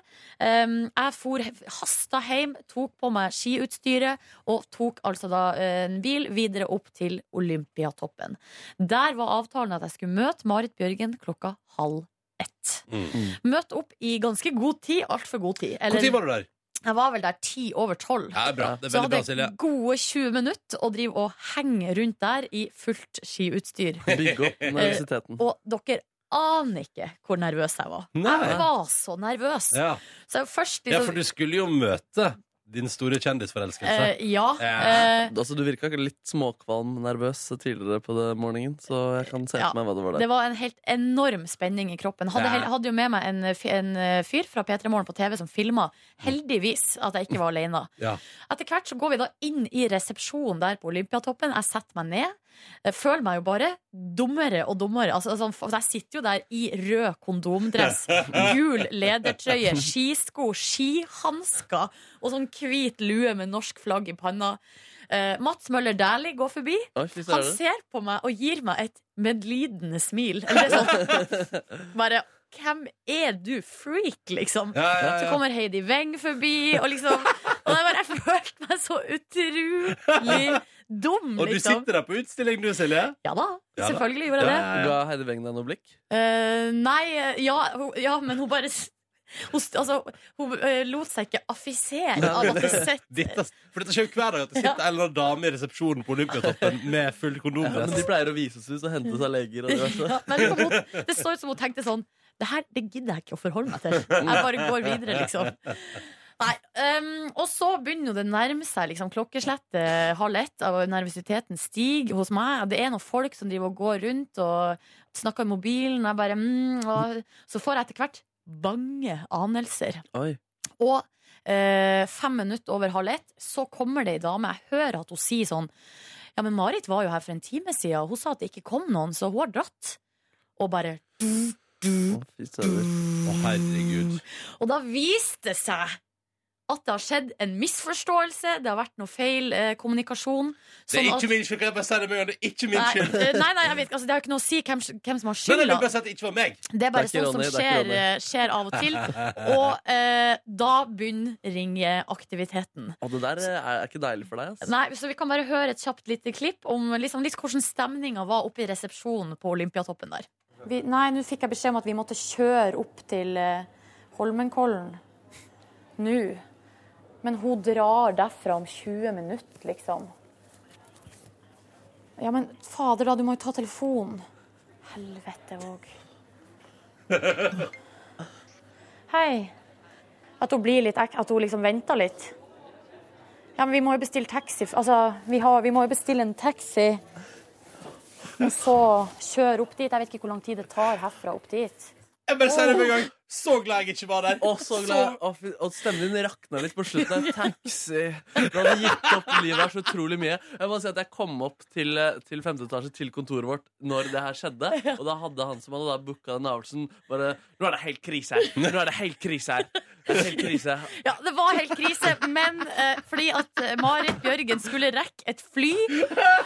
Speaker 3: Um, jeg for hasta hjem, tok på meg skiutstyret og tok altså da eh, en bil videre opp til Olympiatoppen. Der var avtalen at jeg skulle møte Marit Bjørgen klokka halv ett.
Speaker 2: Mm.
Speaker 3: Møte opp i ganske god tid. Altfor god tid. Eller,
Speaker 2: Når var du der?
Speaker 3: jeg var vel der ti over tolv.
Speaker 2: Ja, bra. Det er
Speaker 3: Så
Speaker 2: veldig
Speaker 3: hadde
Speaker 2: bra, Silje.
Speaker 3: jeg gode 20 minutter å drive og henge rundt der i fullt skiutstyr.
Speaker 5: Bygge opp nervøsiteten.
Speaker 3: Og dere aner ikke hvor nervøs jeg var. Jeg
Speaker 2: Nei.
Speaker 3: var så nervøs.
Speaker 2: Ja.
Speaker 3: Så jeg først
Speaker 2: ja,
Speaker 3: liksom,
Speaker 2: for du skulle jo møte din store kjendisforelskelse.
Speaker 3: eh, ja,
Speaker 2: Ja.
Speaker 3: eh,
Speaker 5: Altså, du virka litt småkvalm nervøs tidligere på det morgenen, så jeg kan se
Speaker 3: Ja,
Speaker 5: for meg hva det var
Speaker 3: det
Speaker 5: der.
Speaker 3: var en helt enorm spenning i kroppen. Hadde,
Speaker 2: Ja.
Speaker 3: hel- hadde jo med meg en, f- en eh, fyr fra P3 Morgen på TV som filma. Heldigvis at jeg ikke var alene.
Speaker 2: Ja.
Speaker 3: Etter hvert så går vi da inn i resepsjonen der på Olympiatoppen. Jeg setter meg ned. Jeg føler meg jo bare dummere og dummere. Altså, sånn, for jeg sitter jo der i rød kondomdress, gul ledertrøye, skisko, skihansker og sånn hvit lue med norsk flagg i panna. Eh, Mats Møller Dæhlie går forbi.
Speaker 5: Oi, fy
Speaker 3: Han
Speaker 5: søren.
Speaker 3: ser på meg og gir meg et medlidende smil. Eller sånn Bare Hvem er du, freak, liksom?
Speaker 2: Ja, ja,
Speaker 3: Så
Speaker 2: ja.
Speaker 3: kommer Heidi Weng forbi, og liksom Og jeg bare jeg følte meg så utrolig dum,
Speaker 2: Og du
Speaker 3: liksom.
Speaker 2: sitter der på utstilling, du, Silje.
Speaker 3: Ja da,
Speaker 2: Ja da.
Speaker 3: selvfølgelig gjorde jeg det.
Speaker 5: Ga Heidi Weng deg noe blikk?
Speaker 3: Eh, nei, ja, hun, ja, men hun bare s- hun, st- altså, hun eh, lot seg ikke affisere av at det sett
Speaker 2: Dette, for dette skjer jo hver dag at det sitter en eller annen dame i resepsjonen på Olympiatoppen med full
Speaker 5: Men de
Speaker 2: kondomdress.
Speaker 5: pleier å vise seg ut og hente seg leger og diverse.
Speaker 3: ja, men hun, Det så ut som hun tenkte sånn Det her det gidder jeg ikke å forholde meg til. Jeg bare går videre, liksom. Nei, ehm, Og så begynner jo det å nærme seg liksom, klokkeslettet eh, halv ett. Og nervøsiteten stiger hos meg. Det er noen folk som driver og går rundt og snakker i mobilen. Jeg bare, mm, og, så får jeg etter hvert bange anelser.
Speaker 5: Oi.
Speaker 3: Og eh, fem minutter over halv ett så kommer det ei dame. Jeg hører at hun sier sånn Ja, men Marit var jo her for en time siden, og hun sa at det ikke kom noen, så hun har dratt. Og bare
Speaker 5: Å, fy søren.
Speaker 2: Å, herregud.
Speaker 3: Og da viste det seg at det har skjedd en misforståelse, det har vært noe feil eh, kommunikasjon.
Speaker 2: Det er
Speaker 3: sånn
Speaker 2: ikke min skyld. Kan jeg bare si det med en gang? Det er ikke min
Speaker 3: Nei,
Speaker 2: skyld.
Speaker 3: eh, nei, nei, jeg vet ikke. Altså, det har jo ikke noe å si hvem, hvem som har
Speaker 2: Nei, nei, du
Speaker 3: skylda.
Speaker 2: bare si at det ikke var meg.
Speaker 3: Det er bare
Speaker 5: Det er ikke
Speaker 3: sånt som
Speaker 5: Ronny, det er ikke
Speaker 3: skjer,
Speaker 5: Ronny.
Speaker 3: eh, skjer av og til. Og eh, da begynner ringeaktiviteten.
Speaker 5: Å, det der er, er ikke deilig for deg, altså. ass.
Speaker 3: Nei, så Vi kan bare høre et kjapt lite klipp om liksom, litt hvordan stemninga var oppe i resepsjonen på Olympiatoppen der. nei, nå fikk jeg beskjed om at vi måtte kjøre opp til eh, Holmenkollen nå. Men hun drar derfra om 20 minutter, liksom. Ja, men fader, da. Du må jo ta telefonen. Helvete òg. Hei. At hun blir litt ek- At hun liksom venter litt. Ja, men vi må jo bestille taxi. Altså, vi, har, vi må jo bestille en taxi. Og så kjøre opp dit. Jeg vet ikke hvor lang tid det tar herfra opp dit.
Speaker 2: Jeg bare sier det med en gang. Så glad jeg ikke var der.
Speaker 5: Å, så glad. Å, fy- Og stemmen din rakna litt på slutten. der. Taxi. Du hadde gitt opp livet her så utrolig mye. Jeg må si at jeg kom opp til, eh, til femte etasje til kontoret vårt når det her skjedde. Og da hadde han som hadde da booka den avelsen, bare Nå er det helt krise her. Nå er det helt krise her. Det er helt krise.
Speaker 3: Ja, det var helt krise, men eh, fordi at eh, Marit Bjørgen skulle rekke et fly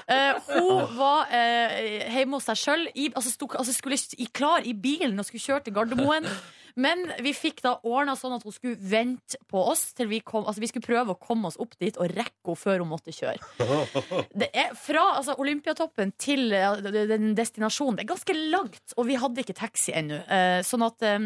Speaker 3: eh, Hun var eh, hjemme hos seg sjøl, altså, sto- altså skulle i, klar i bilen og skulle kjøre til Gardermoen. Men vi fikk da ordna sånn at hun skulle vente på oss til vi kom Altså vi skulle prøve å komme oss opp dit og rekke henne før hun måtte kjøre. Det er fra altså, Olympiatoppen til eh, den destinasjonen. Det er ganske langt, og vi hadde ikke taxi ennå. Eh, sånn at eh,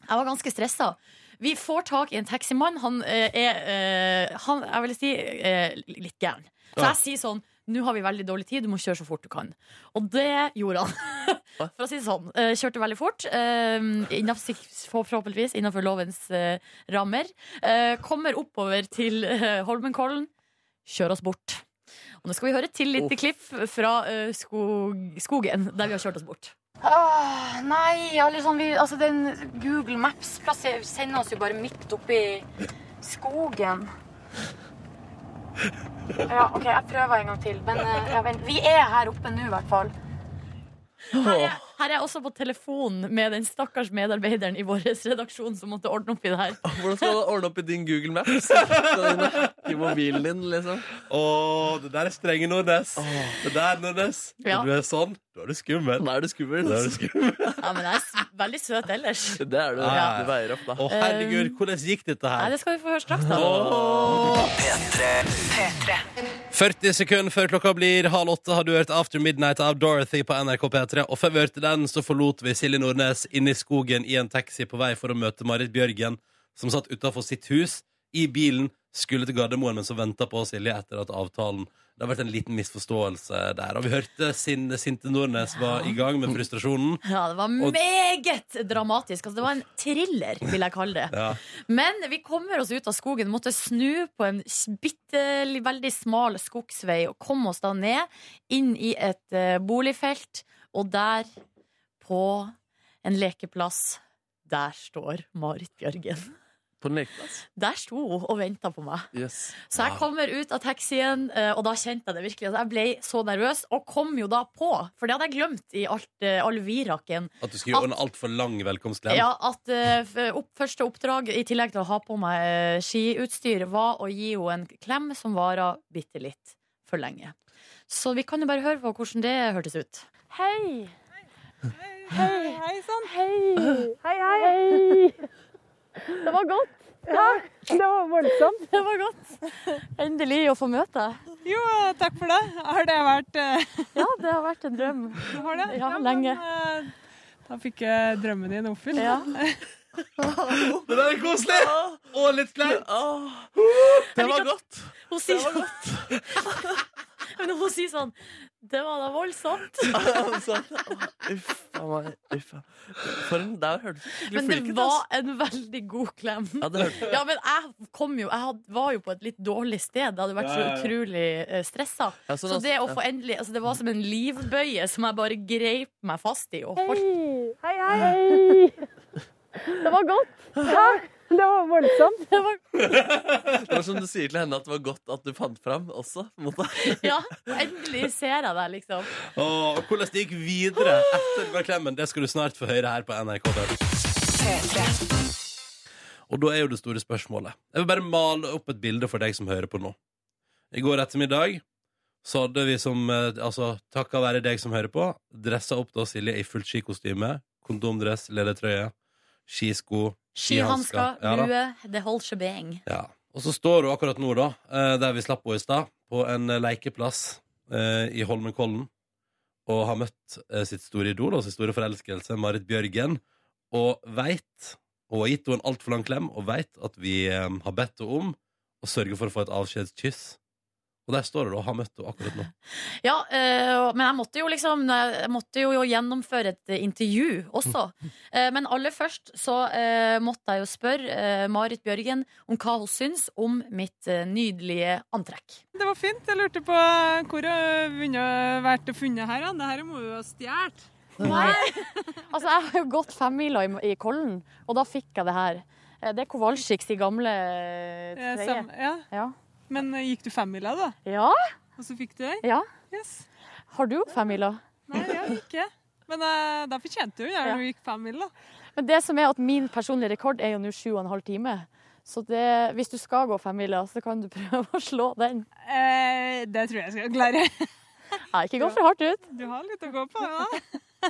Speaker 3: jeg var ganske stressa. Vi får tak i en taximann. Han eh, er eh, han, jeg vil si, eh, litt gæren. Så
Speaker 2: Ja.
Speaker 3: jeg sier sånn nå har vi veldig dårlig tid, du må kjøre så fort du kan. Og det gjorde han. For å si det sånn. eh, Kjørte veldig fort. eh, innenfor, forhåpentligvis innenfor lovens eh, rammer. Eh, kommer oppover til eh, Holmenkollen. Kjør oss bort. Og nå skal vi høre et til lite klipp fra eh, skog, skogen der vi har kjørt oss bort. Ah, nei, eller sånn vi, altså den Google Maps plasser, sender oss jo bare midt oppi skogen. Ja, ok, jeg prøver en gang til. Men eh, ja, vent, vi er her oppe nå, i hvert fall. Her er, her er jeg også på telefon med den stakkars medarbeideren i vår redaksjon som måtte ordne opp i det her.
Speaker 5: Hvordan skal du ordne opp i din Google Maps? Skal du hacke mobilen din, liksom?
Speaker 2: Å, det der er strenge Nordnes. Det der, Nordnes.
Speaker 3: Ja.
Speaker 2: Når du er sånn, da er du skummel.
Speaker 5: Da er du skummel.
Speaker 2: Da er du skummel.
Speaker 3: Ja, men jeg er s- veldig søt ellers.
Speaker 5: Det er du.
Speaker 2: Ja.
Speaker 5: Du veier opp,
Speaker 2: Å,
Speaker 5: da.
Speaker 2: herregud, hvordan gikk dette
Speaker 3: Um, Nei,
Speaker 2: her?
Speaker 3: det skal vi få høre straks, da.
Speaker 2: Åh. 40 sekunder før klokka blir halv åtte har du hørt After Midnight av Dorothy på NRK P3. Og før vi hørte den, så forlot vi Silje Nordnes inne i skogen i en taxi på vei for å møte Marit Bjørgen, som satt utafor sitt hus i bilen, skulle til Gardermoen, men så venta på Silje etter at avtalen Det har vært en liten misforståelse der. Og vi hørte sin, sinte Nordnes var i gang med frustrasjonen.
Speaker 3: Ja, det var
Speaker 2: Og-
Speaker 3: meget dramatisk. Altså, det var en thriller, vil jeg kalle det.
Speaker 2: Ja.
Speaker 3: Men vi kommer oss ut av skogen, måtte snu på en s- bitte li- veldig smal skogsvei og kom oss da ned, inn i et eh, boligfelt, og der, på en lekeplass, der står Marit Bjørgen.
Speaker 5: På en lekeplass.
Speaker 3: Der sto hun og venta på meg.
Speaker 5: Yes.
Speaker 3: Så
Speaker 2: Wow.
Speaker 3: jeg kommer ut av taxien, eh, og da kjente jeg det virkelig. Altså, jeg ble så nervøs, og kom jo da på, for det hadde jeg glemt i alt, eh, all viraken.
Speaker 2: At du skulle
Speaker 3: At-
Speaker 2: gjøre en altfor lang velkomstklem.
Speaker 3: Ja, at eh, f- opp, første oppdrag, i tillegg til å ha på meg eh, skiutstyr, var å gi henne en klem som varer bitte litt for lenge. Så vi kan jo bare høre på hvordan det hørtes ut. Hei!
Speaker 6: Hei, hei sånn. sann.
Speaker 4: Hei, hei.
Speaker 3: Det var godt!
Speaker 4: Det var voldsomt.
Speaker 3: Det var godt! Endelig å få møte deg.
Speaker 6: Jo, takk for det. Har det vært eh,
Speaker 3: Ja, det har vært en drøm.
Speaker 6: Har det?
Speaker 3: Ja, lenge.
Speaker 6: Men, eh, da fikk jeg drømmen din oppfylt.
Speaker 3: Ja.
Speaker 2: Det der er koselig! Og litt kleint.
Speaker 5: Det var godt.
Speaker 3: Hun sier sånn Men hun sier sånn Det var da voldsomt.
Speaker 5: Sånn. Uff a meg. Uff a For en Der hørtes det skikkelig
Speaker 3: Men det
Speaker 5: flink ut.
Speaker 3: var
Speaker 5: ass.
Speaker 3: en veldig god klem.
Speaker 5: Ja, det hørte
Speaker 3: Ja, men jeg kom jo Jeg had, var jo på et litt dårlig sted. Det hadde vært så utrolig uh, stressa.
Speaker 5: Ja, sånn,
Speaker 3: Så det å
Speaker 5: altså.
Speaker 3: få endelig altså Det var som en livbøye som jeg bare greip meg fast i og holdt.
Speaker 5: Mm.
Speaker 4: Hei, hei. Det var godt. Ja, det var voldsomt.
Speaker 3: Det var,
Speaker 5: Det var som du sier til henne at det var godt at du fant fram også. på en måte.
Speaker 3: ja, endelig ser jeg deg, liksom.
Speaker 2: Åh, og hvordan det gikk videre etter den klemmen, det skal du snart få høre her på NRK. Og da er jo det store spørsmålet. Jeg vil bare male opp et bilde for deg som hører på nå. I går ettermiddag så hadde vi som eh, Altså, takka være deg som hører på, dressa opp da Silje i fullt skikostyme, kondomdress, ledertrøye, skisko,
Speaker 3: Skihansker,
Speaker 2: Ja da.
Speaker 3: lue, det holder shebang.
Speaker 2: Ja. Og så står hun akkurat nå, da, eh, der vi slapp henne i stad, på en eh, lekeplass eh, i Holmenkollen, og har møtt eh, sitt store idol og sin store forelskelse, Marit Bjørgen, og veit og har gitt henne en altfor lang klem, og veit at vi eh, har bedt henne om å sørge for å få et avskjedskyss. Og der står hun da, og har møtt henne akkurat nå.
Speaker 3: Ja, øh, men jeg måtte jo liksom Jeg måtte jo gjennomføre et eh, intervju også. Eh, men aller først så eh, måtte jeg jo spørre eh, Marit Bjørgen om hva hun syns om mitt eh, nydelige antrekk.
Speaker 6: Det var fint. Jeg lurte på eh, hvor har vunnet- vært og funnet her. da? Det her må du ha stjålet.
Speaker 3: Nei. altså, jeg har jo gått femmila i, i Kollen, og da fikk jeg det her. Eh, Det er Kowalskiks i gamle eh,
Speaker 6: Eh,
Speaker 3: trøye.
Speaker 6: sam- Ja.
Speaker 3: Ja.
Speaker 6: Men eh, gikk du femmila, da?
Speaker 3: ja,
Speaker 6: Og så fikk du den?
Speaker 3: ja.
Speaker 6: Yes.
Speaker 3: Har du femmila?
Speaker 6: Nei, jeg ikke. Men eh, da fortjente du det
Speaker 3: Ja.
Speaker 6: når du gikk femmil, da.
Speaker 3: Men det som er at min personlige rekord er jo nå sju og en halv time. Så det, hvis du skal gå femmila, så kan du prøve å slå den.
Speaker 6: Eh, det tror jeg jeg skal klare.
Speaker 3: Nei, ikke gå for hardt ut.
Speaker 6: Du har litt å gå på. Ja.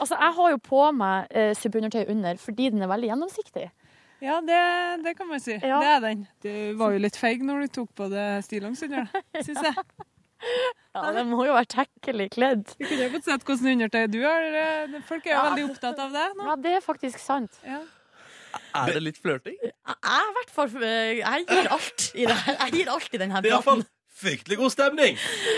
Speaker 3: Altså, jeg har jo på meg eh, subundertøy under fordi den er veldig gjennomsiktig.
Speaker 6: Ja, det, det kan man si.
Speaker 3: Ja.
Speaker 6: Det er den. Du var jo litt feig når du tok på deg stillongs under, da, syns jeg.
Speaker 3: Ja, den må jo være tekkelig kledd.
Speaker 6: Du kunne jo fått sett hvordan undertøy du har. eh, Folk er jo
Speaker 3: Ja.
Speaker 6: veldig opptatt av det nå.
Speaker 3: Ja, det er faktisk sant.
Speaker 6: Ja.
Speaker 5: Er det litt flørting?
Speaker 3: Jeg, jeg, er i hvert fall, eh, jeg gir alt i det her. Jeg gir alt i den her
Speaker 2: Det er iallfall fryktelig god stemning!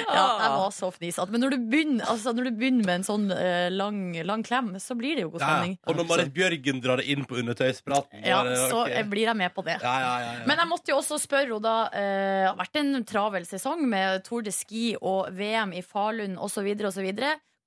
Speaker 3: Ja, jeg var så fnisete. Men når du begynner, altså, når du begynner med en sånn eh, lang, lang klem, så blir det jo god
Speaker 2: Ja,
Speaker 3: stemning.
Speaker 2: og når Marit Bjørgen drar det inn på undertøyspraten
Speaker 3: Ja,
Speaker 2: da er det-
Speaker 3: så
Speaker 2: ok.
Speaker 3: eh, blir jeg med på det.
Speaker 2: ja, ja, ja, ja.
Speaker 3: Men jeg måtte jo også spørre henne, da. eh, Det har vært en travel sesong med Tour de Ski og VM i Falun osv. osv.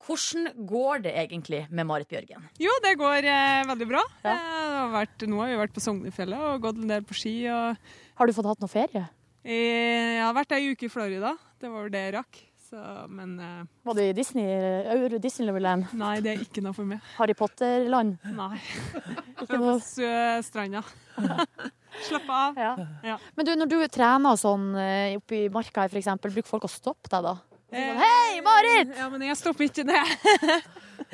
Speaker 3: Hvordan går det egentlig med Marit Bjørgen?
Speaker 6: Jo, det går eh, veldig bra.
Speaker 3: Ja.
Speaker 6: Eh, det har vært, nå har vi vært på Sognefjellet og gått en del på ski. Og,
Speaker 3: Har du fått hatt noe ferie?
Speaker 6: eh, jeg har vært ei uke i Florida. Det var vel det jeg rakk. Så, men eh,
Speaker 7: Var du i Disney, eh, Euro Disneyland?
Speaker 6: nei, det er ikke noe for meg.
Speaker 7: Harry Potter-land?
Speaker 6: Nei.
Speaker 7: Ikke noe-
Speaker 6: Sø stranda. Slapp av.
Speaker 7: Ja.
Speaker 6: Ja.
Speaker 7: Men du, når du trener sånn eh, oppe i marka her, for eksempel, bruker folk å stoppe deg da?
Speaker 6: Eh,
Speaker 7: Hei, Marit!
Speaker 6: Ja, men jeg stopper ikke det.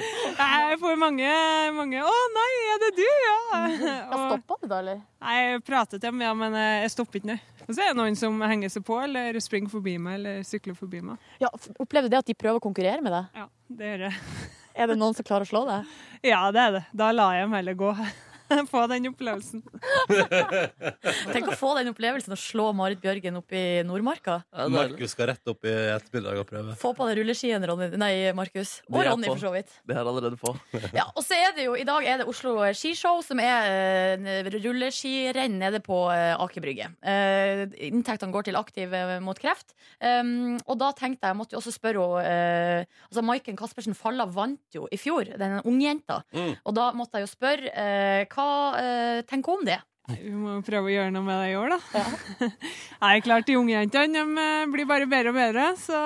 Speaker 6: Jeg får mange, mange 'Å nei, er det du?' Ja.
Speaker 7: Ja,
Speaker 6: Og,
Speaker 7: stoppa du da, eller?
Speaker 6: nei, jeg prater til dem, ja, men eh, jeg stopper ikke, nei. Og så er det noen som henger seg på, eller springer forbi meg, eller sykler forbi meg.
Speaker 7: Ja, f- Opplever du det at de prøver å konkurrere med deg?
Speaker 6: Ja, det gjør jeg.
Speaker 7: Er det noen som klarer å slå deg?
Speaker 6: Ja, det er det. Da lar jeg dem heller gå. Få den opplevelsen.
Speaker 3: Tenk å få den opplevelsen å slå Marit Bjørgen opp i Nordmarka.
Speaker 5: Ja, det er deilig.
Speaker 2: Markus skal rett opp i ettermiddag og prøve.
Speaker 3: Få på deg rulleskien, Ronny. Nei, Markus. Og
Speaker 5: Det er
Speaker 3: Ronny,
Speaker 5: på.
Speaker 3: for så vidt.
Speaker 5: Det er allerede på.
Speaker 3: Ja, og så er det jo, I dag er det Oslo Skishow, som er eh, rulleskirenn nede på eh, Aker Brygge. Eh, inntektene går til Aktiv eh, mot kreft. Um, og da tenkte jeg, måtte jo også spørre henne eh, altså Maiken Caspersen Falla vant jo i fjor, den ungjenta.
Speaker 2: Mm.
Speaker 3: Og da måtte jeg jo spørre eh, hva eh, tenker hun om det?
Speaker 6: Vi må jo prøve å gjøre noe med det i år, da. Nei, klart de unge jentene de eh, blir bare bedre og bedre, så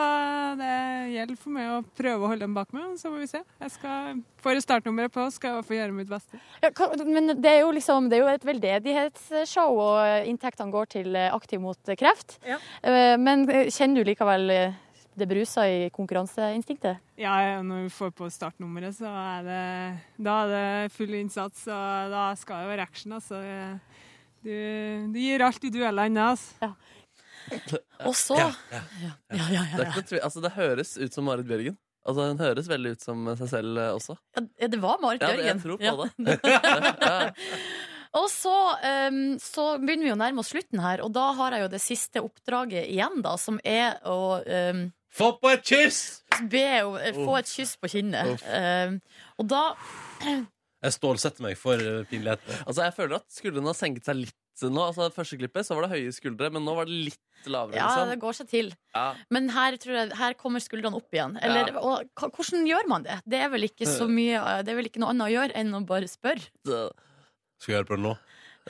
Speaker 6: det gjelder for meg å prøve å holde dem bak meg, og så får vi se. Jeg skal, får jeg startnummeret på, skal jeg få gjøre mitt beste.
Speaker 7: Ja, hva- men det er jo liksom Det er jo et veldedighetsshow, og inntektene går til eh, Aktiv mot eh, kreft.
Speaker 6: Ja.
Speaker 7: Eh, Men eh, kjenner du likevel eh, det bruser i konkurranseinstinktet?
Speaker 6: Ja, når vi får på startnummeret, så er det, da er det full innsats, og da skal det være action, altså. Du, du gir alt i duellene, altså.
Speaker 3: Og så
Speaker 2: Ja,
Speaker 3: ja, ja,
Speaker 5: Det, er
Speaker 3: ja,
Speaker 5: ikke noe tvil- altså, det høres ut som Marit Bjørgen. Altså, hun høres veldig ut som seg selv eh, også.
Speaker 3: ja, det var Marit
Speaker 5: Ja, det,
Speaker 3: Bjørgen.
Speaker 5: jeg tror
Speaker 3: Ja.
Speaker 5: på det. Ja, ja.
Speaker 3: Og så, ehm, så begynner vi jo nærme oss slutten her, og da har jeg jo det siste oppdraget igjen, da, som er å ehm,
Speaker 2: Få på et kyss!
Speaker 3: be å eh, få et kyss på kinnet.
Speaker 5: Oh. Uff.
Speaker 3: Ehm, og da
Speaker 2: Jeg stålsetter meg for eh, pinligheten.
Speaker 5: Altså, jeg føler at skuldrene har senket seg litt nå. Altså, Første klippet så var det høye skuldre, men nå var det litt lavere.
Speaker 3: Ja, det
Speaker 5: Liksom.
Speaker 3: går seg til.
Speaker 5: Ja.
Speaker 3: Men her, tror jeg, her kommer skuldrene opp igjen. Eller,
Speaker 5: Ja.
Speaker 3: og, hva- hvordan gjør man det? Det er vel ikke så mye eh, Det er vel ikke noe annet å gjøre enn å bare spørre.
Speaker 5: det-
Speaker 2: Skal vi gjøre på det nå?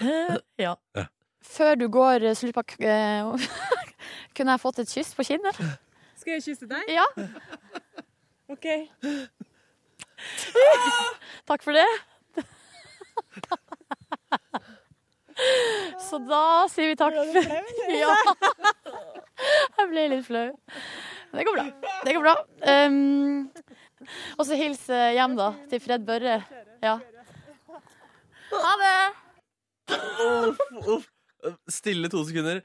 Speaker 3: Eh, Ja.
Speaker 7: Før du går, eh, slutt på k- eh, Kunne jeg fått et kyss på kinnet?
Speaker 6: Skal jeg kysse deg?
Speaker 7: Ja,
Speaker 6: Ok.
Speaker 7: takk for det. Så da sier vi takk. Ja. Jeg ble litt flau. Men det går bra. Det går bra. Um, og så hils eh, hjem, da, til Fred Børre. Ja. Ha det!
Speaker 5: Uff, uff. Stille to sekunder.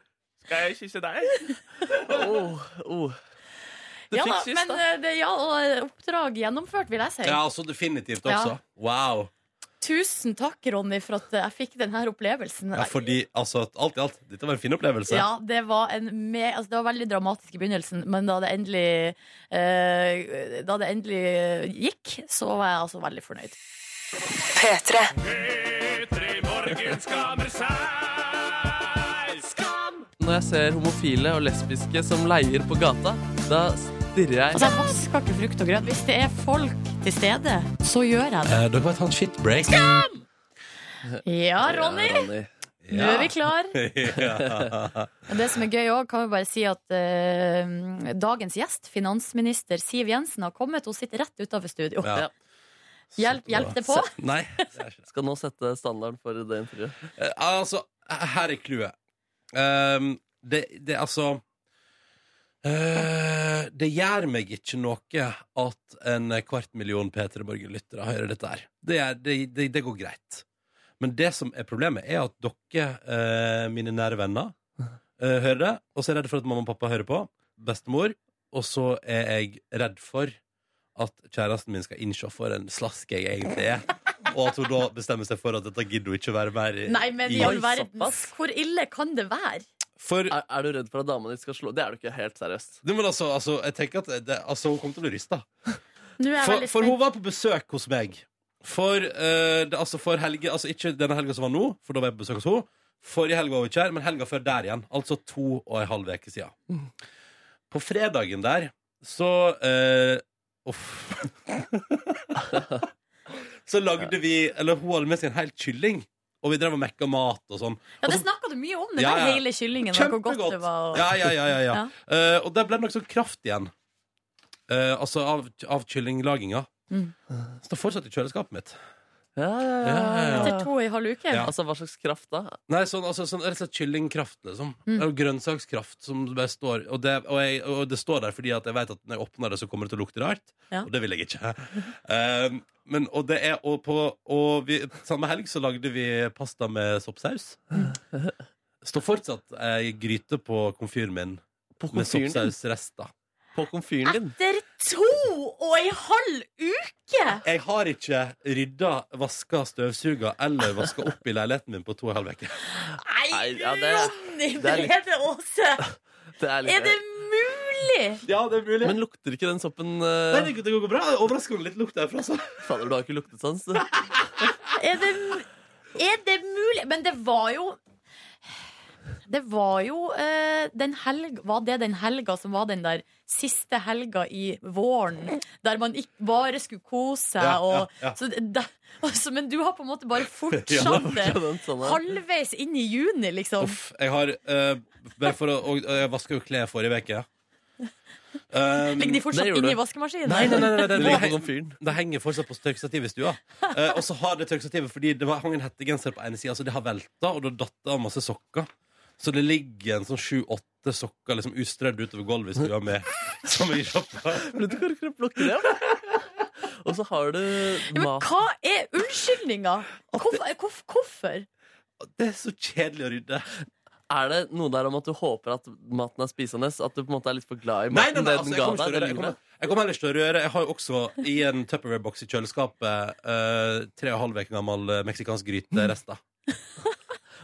Speaker 5: Skal jeg kysse deg? Åh, åh. Du
Speaker 3: ja
Speaker 5: fikk
Speaker 3: da,
Speaker 5: kyss,
Speaker 3: men
Speaker 5: da.
Speaker 3: eh, det, ja, og eh, oppdrag gjennomført, vil jeg si.
Speaker 2: Ja, så definitivt også.
Speaker 3: Ja.
Speaker 2: Wow.
Speaker 3: Tusen takk, Ronny, for at
Speaker 7: eh,
Speaker 3: jeg fikk denne opplevelsen.
Speaker 2: Ja, fordi altså, alt i alt, dette var en fin opplevelse.
Speaker 3: Ja, det var, en me altså, det var veldig dramatisk i begynnelsen, men da det endelig, eh, da det endelig eh, gikk, så var jeg altså veldig fornøyd.
Speaker 5: Når jeg ser homofile og lesbiske som leier på gata, da stirrer jeg
Speaker 3: Altså, jeg vasker ikke frukt og grønt. Hvis det er folk til stede, så gjør jeg det.
Speaker 2: Eh, dere må ta en shitbreak.
Speaker 3: Eh, Ja, Ronny,
Speaker 5: Ja, Ronny.
Speaker 3: nå er vi klar.
Speaker 2: ja.
Speaker 3: Og Det som er gøy òg, kan vi bare si at eh, dagens gjest, finansminister Siv Jensen, har kommet. Hun sitter rett utenfor studio.
Speaker 2: Ja.
Speaker 3: Hjelp- hjelp det på?
Speaker 2: Se- Nei. det er ikke det.
Speaker 5: Skal nå sette standarden for det intervjuet.
Speaker 2: Eh, altså, her er clouet. Ehm, det, det altså eh, Det gjør meg ikke noe at en kvart million P3 Borgen-lyttere hører dette her. Det, er, det, det, det går greit. Men det som er problemet, er at dere, eh, mine nære venner, eh, hører det. Og så er jeg redd for at mamma og pappa hører på. Bestemor. Og så er jeg redd for at kjæresten min skal innse for en slask jeg egentlig er. Og at hun da bestemmer seg for at dette gidder hun ikke å være mer i.
Speaker 3: Nei, men i
Speaker 2: i-
Speaker 3: all
Speaker 5: Oi,
Speaker 3: verdens,
Speaker 5: såpass.
Speaker 3: hvor ille kan det være?
Speaker 2: For
Speaker 7: Er, er du redd for at dama di skal slå Det er du ikke helt seriøst.
Speaker 2: Nei, men altså, altså, jeg tenker at det, altså, hun kommer til å bli rysta.
Speaker 3: Nå er jeg
Speaker 2: For, for
Speaker 3: veldig spent.
Speaker 2: hun var på besøk hos meg. For, eh, det, altså for helge, altså Ikke denne helga som var nå, for da var jeg på besøk hos henne. Forrige helg var hun ikke her, men helga før der igjen. Altså to og en halv uke siden.
Speaker 3: Mm.
Speaker 2: På fredagen der så eh, Uff. så lagde vi Eller hun hadde med seg en hel kylling, og vi drev og mekka mat og sånn.
Speaker 3: Ja, det snakka du mye om, den
Speaker 2: Ja,
Speaker 3: der
Speaker 2: ja.
Speaker 3: hele kyllingen. og Hvor godt
Speaker 2: Kjempegodt!
Speaker 3: det var. og-
Speaker 2: Ja, ja, ja, ja, ja.
Speaker 3: Ja.
Speaker 2: Eh, og der ble det nok sånn kraft igjen. Eh, altså av, av kylllinglaginga.
Speaker 3: Mm.
Speaker 2: Står fortsatt i kjøleskapet mitt.
Speaker 7: Ja, ja,
Speaker 2: Ja,
Speaker 3: Etter to og en halv uke.
Speaker 2: Ja.
Speaker 7: Altså, hva slags kraft da?
Speaker 2: Nei, sånn, altså, sånn rett og slett kyllingkraft, liksom.
Speaker 3: Mm.
Speaker 2: Eller grønnsakskraft som bare står og det, og, jeg, og det står der fordi at jeg vet at når jeg åpner det, så kommer det til å lukte rart.
Speaker 3: Ja.
Speaker 2: Og det vil jeg ikke. Ehm, men, og det er og på Og vi, samme helg så lagde vi pasta med soppsaus.
Speaker 3: Mm.
Speaker 2: Står fortsatt ei gryte på komfyren min
Speaker 7: På
Speaker 2: med
Speaker 7: komfyren din?
Speaker 2: soppsausrester.
Speaker 7: På komfyren din?
Speaker 3: Etter to og en halv uke!
Speaker 2: Jeg har ikke rydda, vaska støvsuga eller vaska opp i leiligheten min på to og en halv uke.
Speaker 3: Nei,
Speaker 7: Nei, ja, det er-
Speaker 3: Ronny
Speaker 7: det er litt-
Speaker 3: Brede Aase!
Speaker 7: Det er litt-
Speaker 3: Er det mulig?
Speaker 2: Ja, det er Ah, mulig.
Speaker 7: Men lukter ikke den soppen
Speaker 2: Nei,
Speaker 7: eh,
Speaker 2: det det går bra. Overraskende litt lukt derfra. Så.
Speaker 7: Fader, du har ikke sånn, luktesans, du.
Speaker 3: Er det, er det mulig? Men det var jo Det var jo eh, den helg, Var det den helga som var den der siste helga i våren? Der man ikke bare skulle kose seg
Speaker 2: Ja, ja,
Speaker 3: og
Speaker 2: ja.
Speaker 3: Så, det- det- altså, Men du har på en måte bare
Speaker 2: Ja,
Speaker 3: fortsatt det.
Speaker 7: Den sånn, ja.
Speaker 3: Halvveis inn i juni, liksom.
Speaker 2: Uff, jeg har eh, Bare for å og, og Jeg vaska jo klær forrige uke. Um,
Speaker 3: Ligger de
Speaker 7: Det
Speaker 3: fortsatt
Speaker 7: gjorde
Speaker 3: inne i
Speaker 7: du.
Speaker 3: vaskemaskinen?
Speaker 2: Nei, nei, nei, nei,
Speaker 7: Det
Speaker 2: det,
Speaker 7: ligger på
Speaker 2: det,
Speaker 7: komfyren.
Speaker 2: det henger fortsatt på tørkestativet i stua. Eh, og så har det tørkestativet fordi det var, hang en hettegenser på ene sida, så det har velta, og da datt det av masse sokker. Så det ligger en sånn sju-åtte sokker liksom ustrødd utover gulvet i stua med som vi kjøpte.
Speaker 7: Men du kan ikke plukke det opp. Og så har du
Speaker 3: Ja, men
Speaker 7: mat
Speaker 3: hva er unnskyldninga? Hvorfor? hvorf- hvorfor?
Speaker 2: Det er så kjedelig å rydde.
Speaker 7: Er det noe der om at du håper at maten er spisende? At du på en måte er litt for glad i
Speaker 2: Nei, nei, nei,
Speaker 7: maten? det
Speaker 2: altså,
Speaker 7: den
Speaker 2: jeg
Speaker 7: ga
Speaker 2: kommer ikke til
Speaker 7: deg,
Speaker 2: å
Speaker 7: det
Speaker 2: røre. Jeg
Speaker 7: ligner.
Speaker 2: kommer, jeg kommer ellers til å røre. Jeg har jo også i en Tupperware-boks i kjøleskapet eh, tre og en halv uke gammel eh, meksikansk gryterester.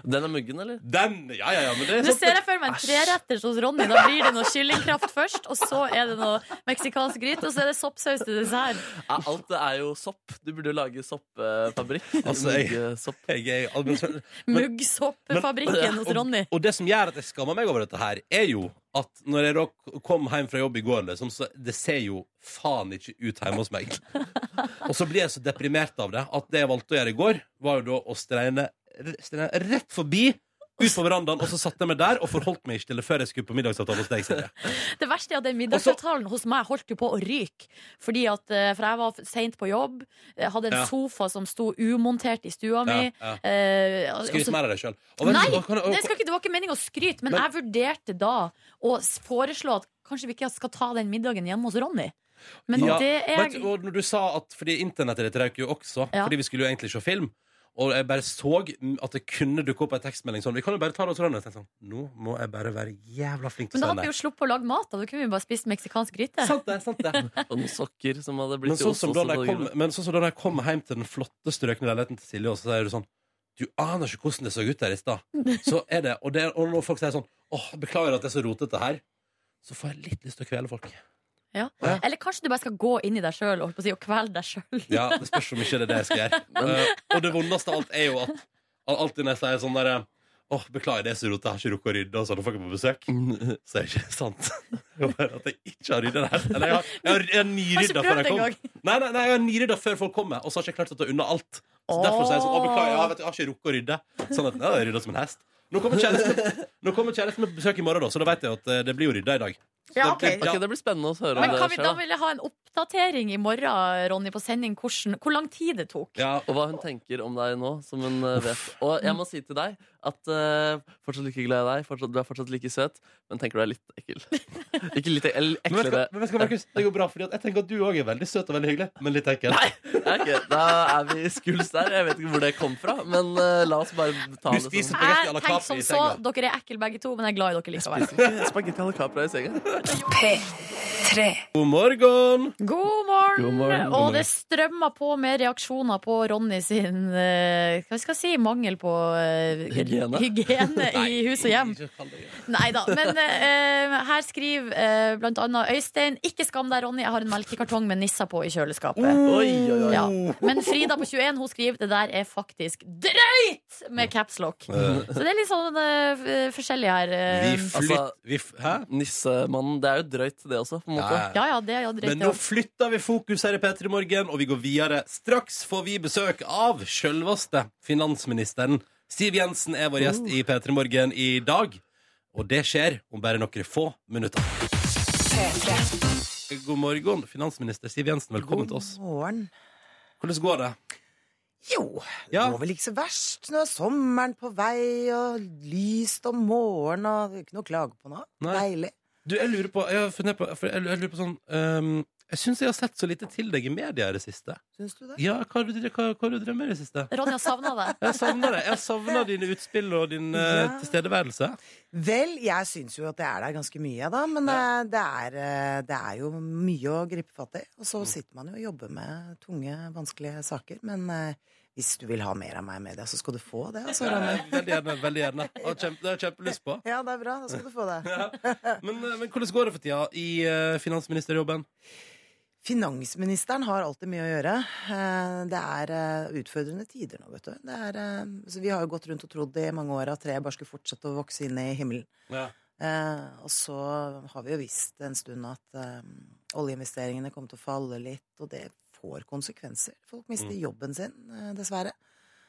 Speaker 7: Den er muggen, eller?
Speaker 2: Den! Ja, ja, ja, men det er
Speaker 3: Nå
Speaker 2: sånn
Speaker 3: ser jeg for meg en treretters hos Ronny. Da blir det noe kyllingkraft først, og så er det noe meksikansk gryte, og så er det soppsaus til dessert.
Speaker 7: Ja, Alt det er jo sopp. Du burde jo lage soppfabrikk.
Speaker 2: Altså, jeg-
Speaker 7: Muggesopp.
Speaker 2: jeg er allmenn-
Speaker 3: Muggsoppfabrikken hos Ronny.
Speaker 2: og det som gjør at jeg skammer meg over dette her, er jo at når jeg da kom hjem fra jobb i går, liksom, så det ser jo faen ikke ut hjemme hos meg. Og så blir jeg så deprimert av det at det jeg valgte å gjøre i går, var jo da å streine, streine rett forbi. Ut på verandaen, og så satte jeg meg der og forholdt meg ikke til det før jeg skulle på middagsavtale hos deg. Silje.
Speaker 3: Det verste er at den middagsavtalen hos meg holdt jo på å ryke. Fordi at, eh, For jeg var seint på jobb, jeg hadde en
Speaker 2: Ja.
Speaker 3: sofa som sto umontert i stua mi.
Speaker 2: Ja, ja.
Speaker 3: eh, og-
Speaker 2: Skryt mer av deg sjøl.
Speaker 3: Nei, det, skal ikke, det var ikke meningen å skryte, men,
Speaker 2: Men-
Speaker 3: jeg vurderte da å s- foreslå at kanskje vi ikke skal ta den middagen hjemme hos Ronny. Men
Speaker 2: Ja,
Speaker 3: det er
Speaker 2: Vet du, og når du sa at Fordi internettet ditt røk jo også,
Speaker 3: Ja.
Speaker 2: fordi vi skulle jo egentlig se film. Og jeg bare så mm, at det kunne dukke opp en tekstmelding sånn. Vi kan jo bare ta det hos Ronny. Og tenkte sånn, Nå må jeg bare være jævla flink til
Speaker 3: Men da
Speaker 2: å si
Speaker 3: hadde
Speaker 2: nei.
Speaker 3: vi jo sluppet å lage mat, da. Da kunne vi bare spist meksikansk gryte.
Speaker 2: Sant det, sant det.
Speaker 7: Og noen sokker som hadde blitt
Speaker 2: Men sånn som da
Speaker 7: så
Speaker 2: når jeg
Speaker 7: hadde
Speaker 2: kom, men sånn som da når jeg kom hjem til den flotte strøkne leiligheten til Silje, og så sier du sånn Du aner ikke hvordan det så ut der i stad. Så er det, og, det, er- og når folk sier sånn Åh, beklager at det er så rotete her, så får jeg litt lyst til å kvele folk.
Speaker 3: Ja.
Speaker 2: Ja.
Speaker 3: Eller kanskje du bare skal gå inn i deg sjøl og, holdt på å si, og kvele deg sjøl.
Speaker 2: Ja, det spørs om ikke det er det jeg skal gjøre. Eh, og det vondeste av alt er jo at al- alltid når jeg sier sånn derre Åh, beklager, det er så rotete, jeg har ikke rukket å rydde, og så når folk er på besøk,
Speaker 3: Mm.
Speaker 7: jeg
Speaker 2: så er det ikke sant. Det er bare at jeg ikke har rydda det her. Eller jeg har, jeg har, jeg har
Speaker 3: Har ikke
Speaker 2: nyrydda før
Speaker 3: prøvd
Speaker 2: jeg kom.
Speaker 3: engang.
Speaker 2: Nei, nei, nei, jeg har nyrydda før folk kommer, og så har jeg ikke klart å ta unna alt. Så derfor sier jeg sånn, åh, beklager, jeg, vet, du, jeg har ikke rukket å rydde. Sånn at, ja, jeg har rydda som en hest. Nå kommer kjæresten nå kommer kjæresten med besøk i morgen, da, så da vet jeg at eh, det blir jo rydda i dag. Så
Speaker 3: Ja,
Speaker 2: det blir-
Speaker 3: ok.
Speaker 7: Ok, Det blir spennende å høre om
Speaker 3: Men
Speaker 7: det
Speaker 3: kan vi,
Speaker 7: skjer.
Speaker 3: da
Speaker 7: Da.
Speaker 3: vil jeg ha en oppdatering i morgen, Ronny, på sending hvordan, hvor lang tid det tok.
Speaker 2: Ja,
Speaker 7: Og hva hun tenker om deg nå, som hun eh, vet. Og jeg må si til deg at eh, fortsatt like glad i deg, fortsatt, du er fortsatt like søt, men tenker du er litt ekkel. Ikke litt ekkel, eller
Speaker 2: Men vet du hva,
Speaker 7: eklere.
Speaker 2: men vet du hva, Markus? Det går bra, fordi at jeg tenker at du òg er veldig søt og veldig hyggelig, men litt ekkel.
Speaker 7: Ja, ok, da er vi skuls der. Jeg vet ikke hvor det kom fra, men eh, la oss bare ta
Speaker 2: Du
Speaker 7: det
Speaker 2: spiser
Speaker 7: som
Speaker 2: spagetti à
Speaker 3: Jeg
Speaker 2: la
Speaker 3: tenker
Speaker 2: Capri
Speaker 3: som
Speaker 2: i
Speaker 3: så,
Speaker 2: senga.
Speaker 3: dere er ekle begge to, men jeg er glad i dere likevel.
Speaker 7: Spiser ikke spagetti à la Capra i senga.
Speaker 2: God morgen!
Speaker 3: God morgen!
Speaker 5: God morgen.
Speaker 3: Og det strømmer på med reaksjoner på Ronny sin eh, hva skal jeg si, mangel på eh,
Speaker 5: Hygiene.
Speaker 3: hygiene i hus og hjem.
Speaker 2: Ikke kall det det.
Speaker 3: Nei da. Men eh, her skriver eh, blant annet Øystein Ikke skam deg, Ronny. Jeg har en melkekartong med nisser på i kjøleskapet.
Speaker 5: Oi, oi, oi.
Speaker 3: Ja.
Speaker 2: Oh.
Speaker 3: Men Frida på 21 hun skriver det der er faktisk drøyt med caps lock. Så det er litt sånn eh, f- forskjellig her. eh.
Speaker 2: Vi flytter
Speaker 5: Altså-
Speaker 2: vi f Hæ?
Speaker 5: Nissemannen. Det er jo drøyt, det også. på en måte
Speaker 2: Ja, ja.
Speaker 3: Ja, ja, det er jo drøyt.
Speaker 2: Men
Speaker 3: det
Speaker 2: nå
Speaker 3: også.
Speaker 2: flytter vi fokus her i P3 Morgen, og vi går videre. Straks får vi besøk av sjølveste finansministeren. Siv Jensen er vår gjest i
Speaker 3: Oh.
Speaker 2: P3 Morgen i dag. Og det skjer om bare noen få minutter. God morgen, finansminister Siv Jensen. Velkommen til oss.
Speaker 8: Morgen.
Speaker 2: Hvordan går det?
Speaker 8: Jo, det
Speaker 2: Ja.
Speaker 8: går vel ikke så verst. Nå er sommeren på vei, og lyst om morgenen, og det er ikke noe å klage på nå.
Speaker 2: Nei.
Speaker 8: Deilig.
Speaker 2: Du, jeg lurer på Jeg, har funnet på, for jeg, jeg lurer på sånn ehm, Jeg syns jeg har sett så lite til deg i media i det siste.
Speaker 8: Syns du det?
Speaker 2: Ja, hva har du, dre- hva, hva har du drevet med i det siste?
Speaker 3: Ronny har savna deg.
Speaker 2: Jeg savner det. Jeg savner dine utspill og din eh,
Speaker 8: Ja.
Speaker 2: tilstedeværelse.
Speaker 8: Vel, jeg syns jo at jeg er der ganske mye, da, men eh, det, er, eh, det er jo mye å gripe fatt i. Og
Speaker 2: Mm.
Speaker 8: så sitter man jo og jobber med tunge, vanskelige saker. Men eh, hvis du vil ha mer av meg i media, så skal du få det. Altså,
Speaker 2: Ja,
Speaker 8: Ronny.
Speaker 2: Veldig gjerne. veldig gjerne Jeg har kjempe, Det har jeg kjempelyst på.
Speaker 8: Ja, det er bra. Da skal du få det.
Speaker 2: Men, eh, men hvordan går det for tida i eh, finansministerjobben?
Speaker 8: Finansministeren har alltid mye å gjøre. Eh, Det er eh, utfordrende tider nå, vet du. Det er, eh, så vi har jo gått rundt og trodd i mange år at treet bare skulle fortsette å vokse inn i himmelen.
Speaker 2: Ja.
Speaker 8: Eh, Og så har vi jo visst en stund at eh, oljeinvesteringene kommer til å falle litt, og det får konsekvenser. Folk mister jobben sin, eh, dessverre.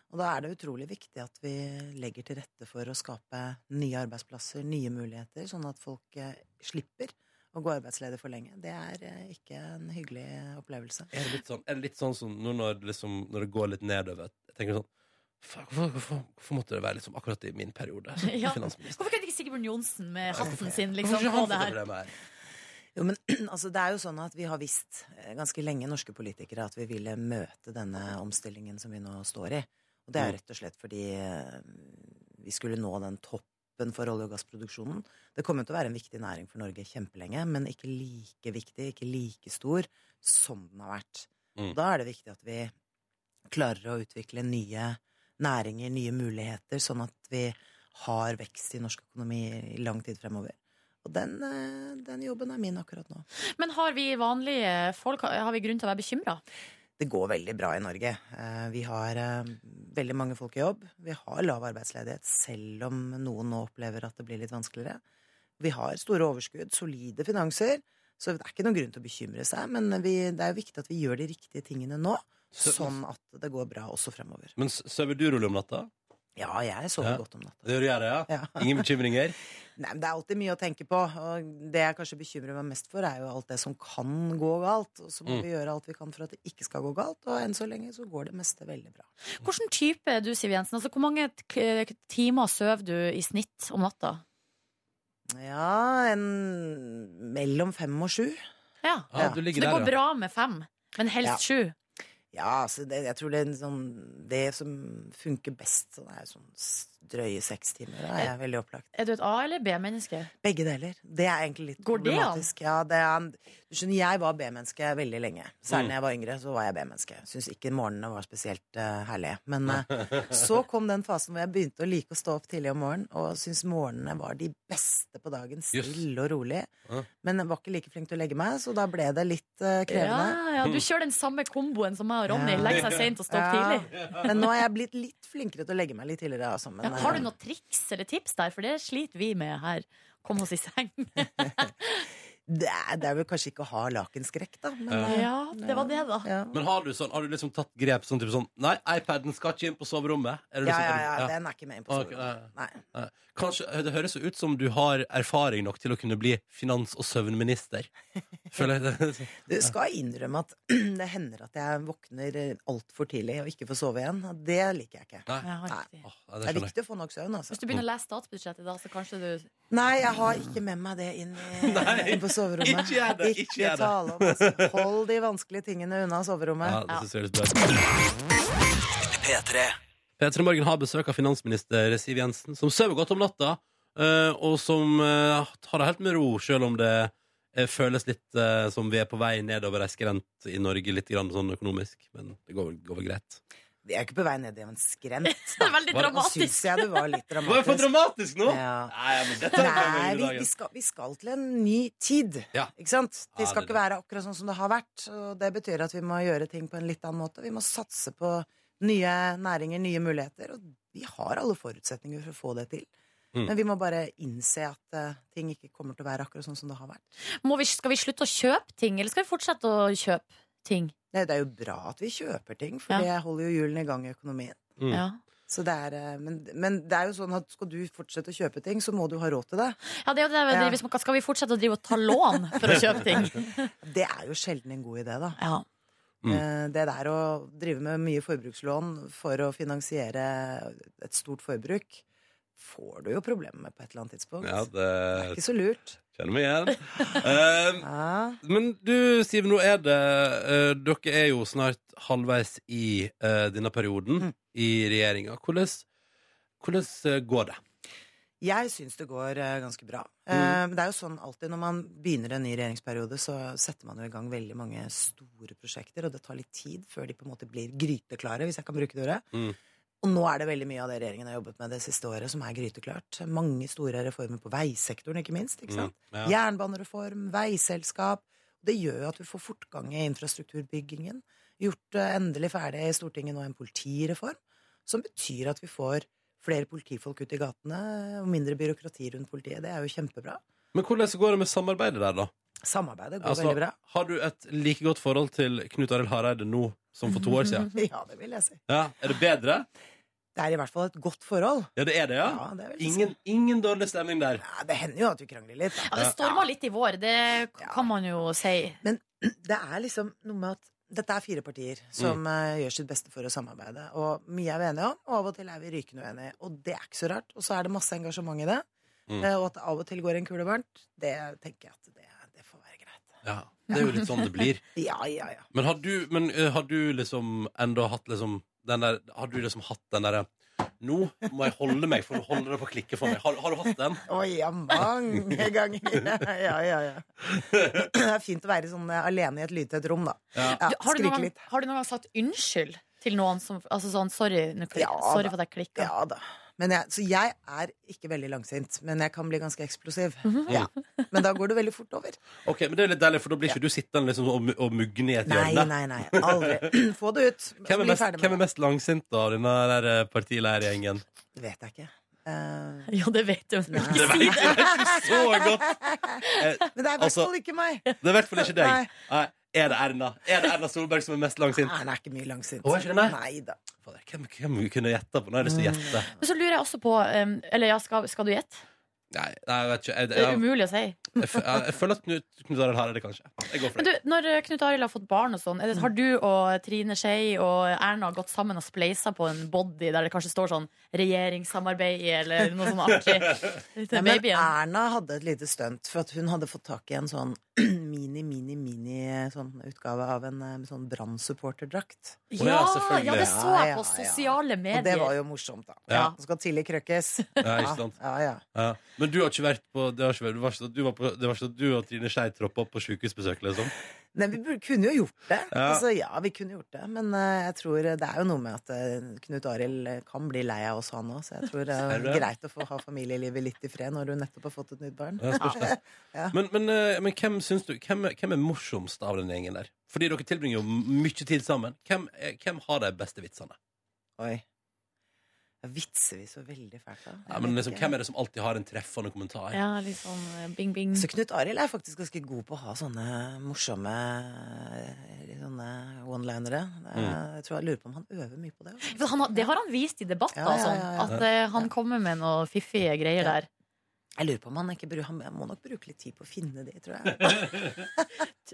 Speaker 8: Og da er det utrolig viktig at vi legger til rette for å skape nye arbeidsplasser, nye muligheter, sånn at folk eh, slipper å gå arbeidsledig for lenge. Det er eh, ikke en hyggelig opplevelse.
Speaker 2: Er det litt sånn, er det litt sånn som nå når, det liksom, når det går litt nedover Jeg tenker sånn Faen, hvorfor, hvorfor, hvorfor måtte det være liksom akkurat i min periode som
Speaker 3: Ja.
Speaker 2: finansminister?
Speaker 3: Hvorfor kunne ikke Sigbjørn Johnsen med hatten sin
Speaker 2: Hvorfor
Speaker 3: liksom,
Speaker 2: ikke
Speaker 3: på
Speaker 2: han fått
Speaker 3: det her?
Speaker 2: oppleve det her?
Speaker 8: Jo, men altså, det er jo sånn at Vi har visst eh, ganske lenge, norske politikere, at vi ville møte denne omstillingen som vi nå står i. Og det er jo rett og slett fordi eh, vi skulle nå den toppen for olje- og gassproduksjonen. Det kommer til å være en viktig næring for Norge kjempelenge, men ikke like viktig, ikke like stor som den har vært.
Speaker 2: Mm.
Speaker 8: Og Da er det viktig at vi klarer å utvikle nye næringer, nye muligheter, sånn at vi har vekst i norsk økonomi i lang tid fremover. Og den, eh, den jobben er min akkurat nå.
Speaker 3: Men har vi vanlige folk Har vi grunn til å være bekymra?
Speaker 8: Det går veldig bra i Norge. Eh, Vi har eh, veldig mange folk i jobb. Vi har lav arbeidsledighet, selv om noen nå opplever at det blir litt vanskeligere. Vi har store overskudd, solide finanser, så det er ikke noen grunn til å bekymre seg. Men vi, det er jo viktig at vi gjør de riktige tingene nå,
Speaker 2: Så-
Speaker 8: sånn at det går bra også fremover.
Speaker 2: Men s- sover du rolig om natta?
Speaker 8: Ja, jeg sover
Speaker 2: Ja.
Speaker 8: godt om natta.
Speaker 2: Det gjør jeg, ja.
Speaker 8: Ja.
Speaker 2: Ingen bekymringer?
Speaker 8: Nei, men Det er alltid mye å tenke på. og Det jeg kanskje bekymrer meg mest for, er jo alt det som kan gå galt. Og så må
Speaker 2: Mm.
Speaker 8: vi gjøre alt vi kan for at det ikke skal gå galt. Og enn så lenge så går det meste veldig bra.
Speaker 3: Hvilken type er du, Siv Jensen? Altså, hvor mange k- timer sover du i snitt om natta?
Speaker 8: Ja, en mellom fem og sju.
Speaker 3: Ja.
Speaker 2: Ja,
Speaker 8: Ja.
Speaker 2: du
Speaker 3: Så
Speaker 2: ligger
Speaker 3: det går
Speaker 2: der, ja.
Speaker 3: bra med fem, men
Speaker 8: Ja.
Speaker 3: helst sju?
Speaker 8: Ja, altså det, jeg tror det er en sånn Det som funker best, sånn er sånn s- drøye seks timer. Da er jeg veldig opplagt.
Speaker 3: Er du et A- eller B-menneske?
Speaker 8: Begge deler. Det er egentlig litt
Speaker 3: Går det an?
Speaker 8: problematisk. Ja, det er, du skjønner, jeg var B-menneske veldig lenge. Særlig
Speaker 2: Mm.
Speaker 8: da jeg var yngre, så var jeg B-menneske. Syns ikke morgenene var spesielt eh, herlige. Men eh, så kom den fasen hvor jeg begynte å like å stå opp tidlig om morgenen, og syntes morgenene var de beste på dagen.
Speaker 2: Jøss.
Speaker 8: Stille og rolig.
Speaker 2: Ja.
Speaker 8: Men jeg var ikke like flink til å legge meg, så da ble det litt eh,
Speaker 3: Ja,
Speaker 8: krevende.
Speaker 3: ja, du kjører den samme komboen som meg og Ronny.
Speaker 8: Ja.
Speaker 3: Legg seg seint og stå
Speaker 8: Ja.
Speaker 3: opp tidlig.
Speaker 8: Men nå er jeg blitt litt flinkere til å legge meg litt tidligere. Altså. Men,
Speaker 3: Ja, har du noen triks eller tips der? For det sliter vi med her. Kom oss i seng.
Speaker 8: det, er, det er vel kanskje ikke å ha lakenskrekk, da. Men, eh,
Speaker 3: Ja, det var det, da.
Speaker 8: ja.
Speaker 2: Men har du, sånn, har du liksom tatt grep sånn type sånn Nei, iPaden skal ikke inn på soverommet. Er du
Speaker 8: Ja,
Speaker 2: liksom-
Speaker 8: ja,
Speaker 2: er du-
Speaker 8: ja,
Speaker 2: ja.
Speaker 8: den er ikke med inn på
Speaker 2: Ok,
Speaker 8: soverommet. Nei.
Speaker 2: Nei. Kanskje, Det høres jo ut som du har erfaring nok til å kunne bli finans- og søvnminister. Føler jeg det.
Speaker 8: Du skal innrømme at det hender at jeg våkner altfor tidlig og ikke får sove igjen. og Det liker jeg ikke.
Speaker 2: Nei.
Speaker 3: Ja, riktig.
Speaker 8: Det
Speaker 2: Åh, nei, det
Speaker 8: er
Speaker 2: skjønner jeg.
Speaker 8: viktig å få nok søvn, altså.
Speaker 3: Hvis du begynner å lese statsbudsjettet, da, så kanskje du
Speaker 8: Nei, jeg har ikke med meg det inn, i,
Speaker 2: Nei,
Speaker 8: inn på soverommet.
Speaker 2: ikke gjør det, ikke gjør det.
Speaker 8: tale om altså. Hold de vanskelige tingene unna soverommet.
Speaker 2: Ja, det synes jeg er litt bra. P3 Morgen har besøk av finansminister Siv Jensen, som sover godt om natta. eh, og som eh, tar det helt med ro, selv om det eh, føles litt eh, som vi er på vei nedover ei skrent i Norge, litt grann sånn økonomisk. Men det går, går vel greit.
Speaker 8: Vi er jo ikke på vei ned i en skrent.
Speaker 3: Det er veldig
Speaker 2: Hva-
Speaker 8: Nå syns
Speaker 3: dramatisk.
Speaker 8: jeg det var litt
Speaker 2: Var jeg
Speaker 8: dramatisk.
Speaker 2: for dramatisk nå?
Speaker 8: Ja.
Speaker 2: Nei, ja, men dette er
Speaker 8: Nei,
Speaker 2: jo
Speaker 8: vi,
Speaker 2: dagen.
Speaker 8: vi, skal, vi skal til en ny tid.
Speaker 2: Ja.
Speaker 8: Ikke sant?
Speaker 2: Ja,
Speaker 8: Det skal
Speaker 2: det-
Speaker 8: ikke være akkurat sånn som det har vært. Og det betyr at vi må gjøre ting på en litt annen måte. Vi må satse på nye næringer, nye muligheter. Og vi har alle forutsetninger for å få det til.
Speaker 2: Mm.
Speaker 8: Men vi må bare innse at eh, ting ikke kommer til å være akkurat sånn som det har vært.
Speaker 3: Må vi, skal vi slutte å kjøpe ting, eller skal vi fortsette å kjøpe ting?
Speaker 8: Nei, det er jo bra at vi kjøper ting, for det holder jo hjulene i gang i økonomien.
Speaker 2: Mm.
Speaker 3: Ja.
Speaker 8: Så det er, eh, men, men det er jo sånn at skal du fortsette å kjøpe ting, så må du ha råd til det.
Speaker 3: ja, det er jo det. vi
Speaker 8: Ja.
Speaker 3: driver med. Skal vi fortsette å drive og ta lån for å kjøpe ting?
Speaker 8: Det er jo sjelden en god idé, da.
Speaker 3: Ja.
Speaker 2: Mm.
Speaker 8: Eh, Det der å drive med mye forbrukslån for å finansiere et stort forbruk, får du jo problemer med på et eller annet tidspunkt.
Speaker 2: Ja,
Speaker 8: Det er
Speaker 2: det
Speaker 8: ikke så lurt.
Speaker 2: kjenner vi igjen. Eh,
Speaker 8: Ja.
Speaker 2: Men du, Siv, nå er det eh, Dere er jo snart halvveis i eh, denne perioden
Speaker 8: Mm.
Speaker 2: i regjeringa. Hvordan, hvordan eh, går det?
Speaker 8: Jeg syns det går eh, ganske bra.
Speaker 2: Mm.
Speaker 8: Eh, men Det er jo sånn alltid når man begynner en ny regjeringsperiode, så setter man jo i gang veldig mange store prosjekter, og det tar litt tid før de på en måte blir gryteklare, hvis jeg kan bruke det ordet.
Speaker 2: Mm.
Speaker 8: Og nå er det veldig mye av det regjeringen har jobbet med det siste året, som er gryteklart. Mange store reformer på veisektoren, ikke minst. ikke sant?
Speaker 2: Mm, ja.
Speaker 8: Jernbanereform, veiselskap. Det gjør jo at du får fortgang i infrastrukturbyggingen. Gjort eh, endelig ferdig i Stortinget nå en politireform, som betyr at vi får flere politifolk ut i gatene og mindre byråkrati rundt politiet. Det er jo kjempebra.
Speaker 2: Men hvordan går det med samarbeidet der, da?
Speaker 8: Samarbeidet går
Speaker 2: Altså,
Speaker 8: veldig bra.
Speaker 2: har du et like godt forhold til Knut Arild Hareide nå som for to år siden?
Speaker 8: Ja, det vil jeg si.
Speaker 2: Ja, Er det bedre?
Speaker 8: Det er i hvert fall et godt forhold.
Speaker 2: Ja, det er det, ja?
Speaker 8: det vil jeg si.
Speaker 2: Ingen, ingen dårlig stemning der.
Speaker 8: Ja, det hender jo at vi krangler litt.
Speaker 3: Ja,
Speaker 8: Da.
Speaker 3: det storma litt i vår, det
Speaker 8: Ja.
Speaker 3: kan man jo si.
Speaker 8: Det er liksom noe med at dette er fire partier som
Speaker 2: Mm.
Speaker 8: eh, gjør sitt beste for å samarbeide. Og mye er vi enige om, og av og til er vi rykende uenige. Og det er ikke så rart. Og så er det masse engasjement i det.
Speaker 2: Mm.
Speaker 8: Eh, og at det av og til går en kule varmt, det tenker jeg at det, det får være greit.
Speaker 2: Ja, Det er jo litt sånn det blir.
Speaker 8: Ja, ja, ja.
Speaker 2: Men har du, men, eh, har du liksom enda hatt liksom den der Har du liksom hatt den derre Nå må jeg holde meg, for nå holder det på å klikke for meg. Har, har du hatt den?
Speaker 8: Oi, ja, mange ganger. Ja, ja, ja. Det er fint å være sånn eh, alene i et lydtett rom, da.
Speaker 2: Ja.
Speaker 8: Ja,
Speaker 3: Du, har, du
Speaker 8: skrike
Speaker 3: noen gang,
Speaker 8: litt.
Speaker 3: har du noen gang sagt unnskyld til noen som Altså sånn, sorry, nå klik,
Speaker 8: Ja,
Speaker 3: sorry
Speaker 8: da.
Speaker 3: for at jeg klikka.
Speaker 8: Ja da. Men jeg, så jeg er ikke veldig langsint, men jeg kan bli ganske eksplosiv.
Speaker 3: Mhm.
Speaker 8: Ja. Men da går det veldig fort over.
Speaker 2: Ok, men Det er litt deilig, for da blir ikke du sittende liksom og, mu- og mugne i et
Speaker 8: Nei,
Speaker 2: hjørne.
Speaker 8: nei, nei. Aldri. Få det ut.
Speaker 2: Hvem er
Speaker 8: Bli
Speaker 2: mest,
Speaker 8: ferdig med
Speaker 2: hvem er
Speaker 8: det.
Speaker 2: mest langsint av denne der eh, partileiergjengen?
Speaker 8: Det vet jeg ikke. Eh,
Speaker 3: Ja, det vet du. men
Speaker 8: nei.
Speaker 3: Ikke si det.
Speaker 2: Så godt!
Speaker 8: Men det er i hvert
Speaker 2: Altså-
Speaker 8: fall ikke meg.
Speaker 2: Det er i hvert fall ikke
Speaker 8: Nei.
Speaker 2: deg. Nei. Er det Erna Er det Erna Solberg som er mest langsint?
Speaker 8: Erna er ikke mye langsint.
Speaker 2: Å, er ikke det, nei?
Speaker 8: Nei da.
Speaker 2: Fader, Hvem, hvem kunne gjette på? Nå har jeg lyst til å gjette.
Speaker 8: Mm.
Speaker 3: Men så lurer jeg også på um, Eller ja, skal, skal du gjette?
Speaker 2: Nei, nei, jeg vet ikke. Jeg,
Speaker 3: Det er
Speaker 2: jeg, jeg,
Speaker 3: umulig å si.
Speaker 2: jeg, jeg føler at Knut, Knut Arild Hareide, kanskje. Jeg går for det.
Speaker 3: Men du, når eh, Knut Arild har fått barn og sånn,
Speaker 8: Mm.
Speaker 3: er det- har du og Trine Skei og Erna gått sammen og spleisa på en body der det kanskje står sånn 'regjeringssamarbeid' i, eller noe sånn artig
Speaker 8: Nei,
Speaker 3: til
Speaker 8: men
Speaker 3: babyen?
Speaker 8: Erna hadde et lite stunt, for at hun hadde fått tak i en sånn mini-mini-mini sånn utgave av en eh, sånn Brann-supporterdrakt.
Speaker 2: Å
Speaker 3: Ja,
Speaker 2: ja, selvfølgelig.
Speaker 3: ja, det så jeg på
Speaker 8: Ja, ja, ja.
Speaker 3: sosiale medier.
Speaker 8: Og det var jo morsomt, da.
Speaker 2: Ja.
Speaker 8: Det Skal tidlig krøkkes.
Speaker 2: Ja, ikke sant.
Speaker 8: Ja, ja.
Speaker 2: Ja. Men du har ikke vært på Det, har ikke vært, det var ikke sånn at du, var på, det var ikke sånn at du og Trine Skei troppa opp på sykehusbesøk, liksom?
Speaker 8: Nei, vi burde- kunne jo gjort det.
Speaker 2: Ja.
Speaker 8: Altså, ja, vi kunne gjort det. Men eh, jeg tror det er jo noe med at eh, Knut Arild eh, kan bli lei av oss, han òg. Så jeg tror det
Speaker 2: Er
Speaker 8: er
Speaker 2: det?
Speaker 8: greit å få ha familielivet litt i fred når du nettopp har fått et nytt barn.
Speaker 2: Ja, spørs det. Men, men, eh, men hvem syns du hvem, er- hvem er morsomst av den gjengen der? Fordi dere tilbringer jo m- mye tid sammen. Hvem, er- hvem har de beste vitsene?
Speaker 8: Oi. Da vitser vi så veldig fælt, da.
Speaker 2: Ja, men liksom, hvem er det som alltid har en treffende kommentar?
Speaker 3: Ja, litt sånn eh, bing, bing.
Speaker 8: Så Knut Arild er faktisk ganske god på å ha sånne morsomme eh, sånne one-linere. Det er-
Speaker 2: Mm.
Speaker 8: Jeg tror jeg lurer på om han øver mye på det. altså.
Speaker 3: For Han, har- det har han vist i debatter.
Speaker 8: Ja, ja, ja,
Speaker 3: og
Speaker 8: ja.
Speaker 3: sånn, At eh, han kommer med noe fiffige
Speaker 8: Ja.
Speaker 3: greier der.
Speaker 8: Jeg lurer på om han ikke bru- Han må nok bruke litt tid på å finne de, tror jeg.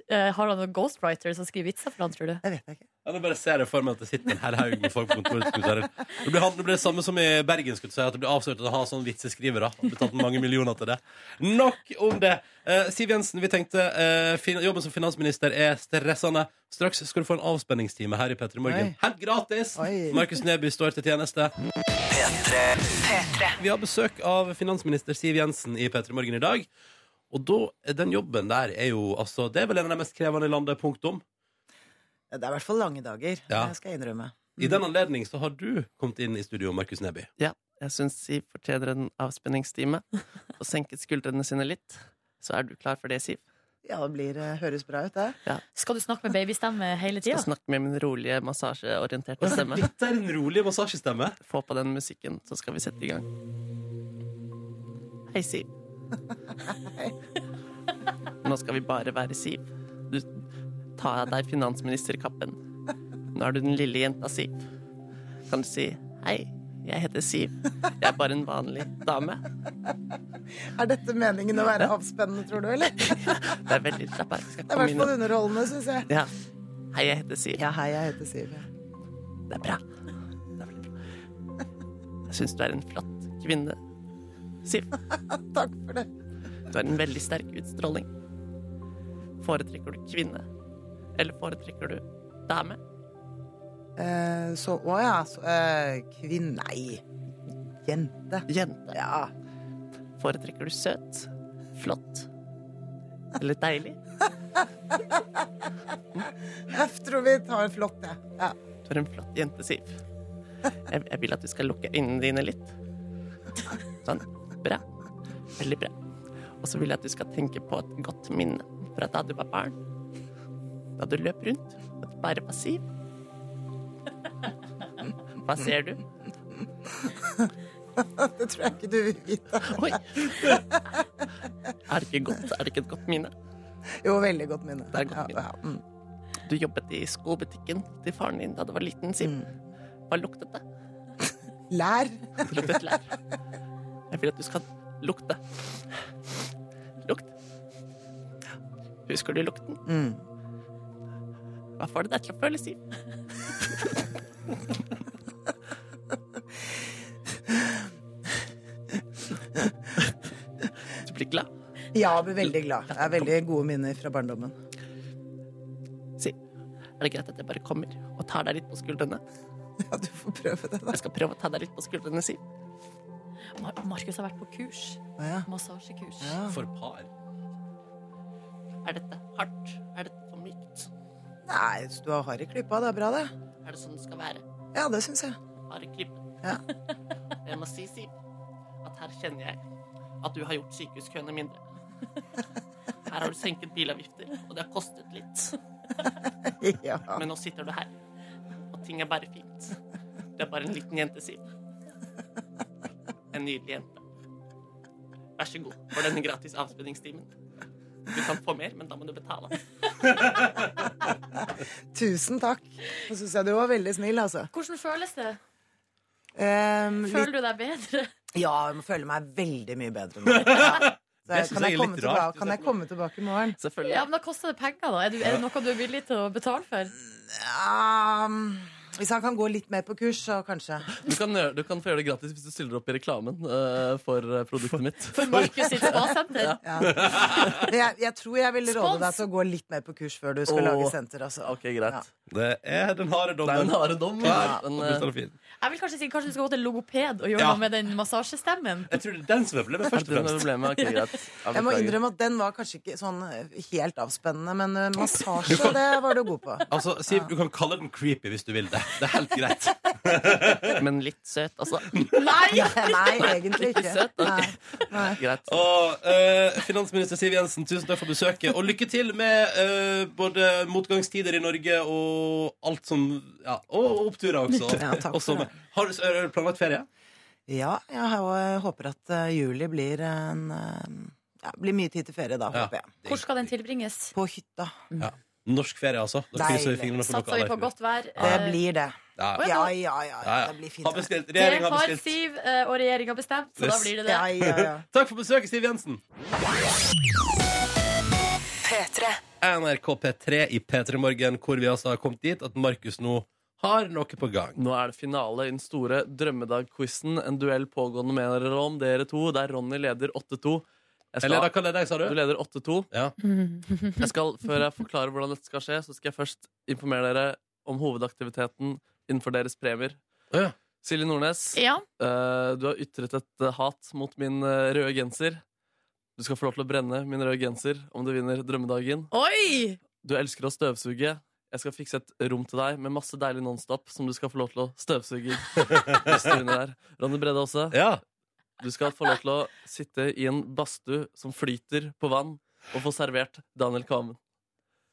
Speaker 3: Eh, har han noen ghostwriter som skriver vitser for han, tror du?
Speaker 8: Det vet jeg ikke.
Speaker 2: Eller bare ser jeg for meg at det sitter en hel haug med folk på kontoret. skulle jeg si. Det blir, han, det blir det samme som i Bergen, skulle jeg si, at det blir avslørt at han har sånn vitseskrivere. Han har betalt mange millioner til det. Nok om det. Eh, Siv Jensen, vi tenkte eh, fin jobben som finansminister er stressende. Straks skal du få en avspenningstime her i P3 Morgen.
Speaker 8: Oi.
Speaker 2: Helt gratis!
Speaker 8: Oi.
Speaker 2: Markus Neby står til tjeneste. Vi har besøk av finansminister Siv Jensen i P3 Morgen i dag. Og da, den jobben der er jo altså Det er vel en av de mest krevende i landet, punktum.
Speaker 8: Det er i hvert fall lange dager,
Speaker 2: Ja.
Speaker 8: det skal jeg innrømme.
Speaker 2: I den anledning så har du kommet inn i studio, Markus Neby.
Speaker 7: Jeg syns Siv fortjener en avspenningstime. Og senket skuldrene sine litt. Så er du klar for det, Siv?
Speaker 8: Ja, det blir, eh, høres bra ut, det.
Speaker 3: Skal du snakke med babystemme hele
Speaker 7: Skal
Speaker 3: tida?
Speaker 7: snakke med min rolige, massasjeorienterte stemme.
Speaker 2: Dette er en rolig massasjestemme.
Speaker 7: Få på den musikken, så skal vi sette i gang. Hei, Siv. Nå skal vi bare være Siv. Du, ta av deg finansministerkappen. Nå er du den lille jenta Siv. Kan du si hei, jeg heter Siv. Jeg er bare en vanlig dame.
Speaker 8: Er dette meningen å være avspennende, tror du, eller? Det
Speaker 7: Det er veldig slapp her.
Speaker 8: er i
Speaker 7: Skal komme
Speaker 8: hvert
Speaker 7: inn
Speaker 8: fall
Speaker 7: og
Speaker 8: underholdende, syns jeg.
Speaker 7: ja. Hei, jeg heter Siv.
Speaker 8: Ja, hei, jeg heter Siv.
Speaker 7: Det er bra. Det er veldig bra. Jeg syns du er en flott kvinne, Siv.
Speaker 8: Takk for det.
Speaker 7: Du har en veldig sterk utstråling. Foretrekker du kvinne? Eller foretrekker du dame?
Speaker 8: Eh, så Å ja. Så, eh, kvinne Nei. Jente.
Speaker 7: Jente?
Speaker 8: Ja.
Speaker 7: Foretrekker du søt? Flott? Eller deilig?
Speaker 8: Jeg tror vi tar flott, jeg. Ja.
Speaker 7: Du er en flott jente, Siv. Jeg, jeg vil at du skal lukke øynene dine litt. Sånn. Bra. Veldig bra. Og så vil jeg at du skal tenke på et godt minne fra da du var barn. Da du løp rundt og du bare var Siv. Hva ser du?
Speaker 8: Det tror jeg ikke du vil vite.
Speaker 7: Oi! Er det ikke godt? Er det ikke et godt minne?
Speaker 8: Jo, veldig godt minne.
Speaker 7: Det er godt
Speaker 8: Ja,
Speaker 7: minne.
Speaker 8: ja. Mm.
Speaker 7: Du jobbet i skobutikken til faren din da du var liten, Siv. Hva luktet det?
Speaker 8: Lær.
Speaker 7: Det luktet lær. Jeg vil at du skal lukte. Lukt. Husker du lukten?
Speaker 8: Mm.
Speaker 7: Hva får det deg til å føle, Siv? Du blir glad.
Speaker 8: Ja, jeg blir veldig glad. Det er veldig gode minner fra barndommen.
Speaker 7: Siv, er det greit at jeg bare kommer og tar deg litt på skuldrene?
Speaker 8: Ja, du får prøve det, da.
Speaker 7: Jeg skal prøve å ta deg litt på skuldrene, Siv.
Speaker 3: Mar Markus har vært på kurs.
Speaker 8: Å, ja.
Speaker 3: Massasjekurs.
Speaker 8: Ja.
Speaker 2: For par.
Speaker 7: Er dette hardt? Er dette for mykt?
Speaker 8: Nei, så du har hard i klypa. Det er bra, det.
Speaker 7: Er det sånn det skal være?
Speaker 8: Ja, det syns jeg.
Speaker 7: Bare klipp.
Speaker 8: Ja.
Speaker 7: Jeg må si, Siv, at her kjenner jeg at du har gjort sykehuskøene mindre. Her har du senket bilavgifter, og det har kostet litt.
Speaker 8: Ja.
Speaker 7: Men nå sitter du her, og ting er bare fint. Du er bare en liten jente, Siv. En nydelig jente. Vær så god for denne gratis avspenningstimen. Du kan få mer, men da må du betale.
Speaker 8: Tusen takk. Nå syns jeg du var veldig snill, altså.
Speaker 3: Hvordan føles det?
Speaker 8: Ehm, litt,
Speaker 3: Føler du deg bedre?
Speaker 8: ja, jeg føler meg veldig mye bedre nå. Ja. Så
Speaker 2: Det
Speaker 8: jeg,
Speaker 2: synes
Speaker 8: kan,
Speaker 2: jeg er
Speaker 8: jeg komme
Speaker 2: litt rart.
Speaker 8: tilbake, kan jeg komme tilbake i morgen?
Speaker 7: Selvfølgelig.
Speaker 3: Ja, men Da koster det penger, da. Er, du, er det noe du er villig til å betale for?
Speaker 8: Ja, hvis han kan gå litt mer på kurs, så kanskje.
Speaker 7: Du kan, gjøre, du kan få gjøre det gratis hvis du stiller opp i reklamen eh, for eh, produktet mitt.
Speaker 3: For Markus sitt spasenter?
Speaker 8: Ja. Men Jeg, jeg tror jeg vil råde
Speaker 3: Spons!
Speaker 8: deg til å gå litt mer på kurs før du skal
Speaker 7: Åh.
Speaker 8: lage senter. Altså.
Speaker 7: Ok, greit.
Speaker 8: Ja.
Speaker 2: Det er den harde
Speaker 7: Det er
Speaker 2: dommen.
Speaker 7: en harde dom.
Speaker 2: Ja,
Speaker 7: men,
Speaker 2: og
Speaker 7: eh,
Speaker 2: brutalt fin.
Speaker 3: Jeg vil kanskje si kanskje du skal gå til logoped og gjøre
Speaker 2: Ja.
Speaker 3: noe med den massasjestemmen.
Speaker 2: Jeg tror det er den som er problemet,
Speaker 7: er
Speaker 2: først
Speaker 7: det
Speaker 2: og
Speaker 7: noe
Speaker 2: fremst.
Speaker 7: problem? Ok, greit. Ja,
Speaker 8: Jeg må
Speaker 7: beklager.
Speaker 8: innrømme at den var kanskje ikke sånn helt avspennende, men eh, massasje, det var du god på.
Speaker 2: Altså, Siv, du kan kalle den creepy hvis du vil det. Det er helt greit.
Speaker 7: Men litt søt, altså.
Speaker 3: Nei!
Speaker 8: Nei, egentlig ikke.
Speaker 7: Søt, ok.
Speaker 8: Nei.
Speaker 7: Greit.
Speaker 2: Og, eh, finansminister Siv Jensen, tusen takk for besøket. Og lykke til med eh, både motgangstider i Norge og alt som ja, Og oppturer også.
Speaker 8: Ja, takk for
Speaker 2: Og sommer.
Speaker 8: det.
Speaker 2: Har du har du planlagt ferie?
Speaker 8: Ja, jeg har- jeg håper at eh, juli blir en eh, ja, blir mye tid til ferie da, håper jeg.
Speaker 3: Hvor skal den tilbringes?
Speaker 8: På hytta.
Speaker 2: Norsk ferie, altså. Da krysser vi
Speaker 8: Deilig.
Speaker 2: fingrene for noe
Speaker 3: Satser vi på
Speaker 2: annet.
Speaker 3: godt vær?
Speaker 8: Det
Speaker 3: eh,
Speaker 8: blir det.
Speaker 2: Ja.
Speaker 3: Oi,
Speaker 8: Ja, ja, ja.
Speaker 2: Ja, ja.
Speaker 8: Det blir fint.
Speaker 2: Har bestilt.
Speaker 3: Det
Speaker 2: Regjeringen har
Speaker 3: har
Speaker 2: bestilt.
Speaker 3: Siv eh, og regjeringa bestemt, så da
Speaker 2: Yes.
Speaker 3: blir det det.
Speaker 8: Ja, ja, ja.
Speaker 2: Takk for besøket, Siv Jensen. NRK P3 i P3 Morgen, hvor vi altså har kommet dit at Markus nå har noe på gang.
Speaker 5: Nå er det finale i den store drømmedag-quizen. En duell pågående med dere om dere to, der Ronny leder 8-2. Jeg skal-
Speaker 2: Eller da kan det deg, sa
Speaker 5: Du
Speaker 2: du?
Speaker 5: leder 8-2.
Speaker 2: Ja.
Speaker 5: Jeg skal, Før jeg forklarer hvordan dette skal skje, så skal jeg først informere dere om hovedaktiviteten innenfor deres premier.
Speaker 2: Å ja.
Speaker 5: Silje Nordnes,
Speaker 3: Ja.
Speaker 5: eh, du har ytret et eh, hat mot min eh, røde genser. Du skal få lov til å brenne min røde genser om du vinner drømmedagen.
Speaker 3: Oi!
Speaker 5: Du elsker å støvsuge. Jeg skal fikse et rom til deg med masse deilig Nonstop som du skal få lov til å støvsuge. i. Hvis du vinner der. Ronny Brede også.
Speaker 2: ja.
Speaker 5: Du skal få lov til å sitte i en badstue som flyter på vann, og få servert Daniel Kvammen.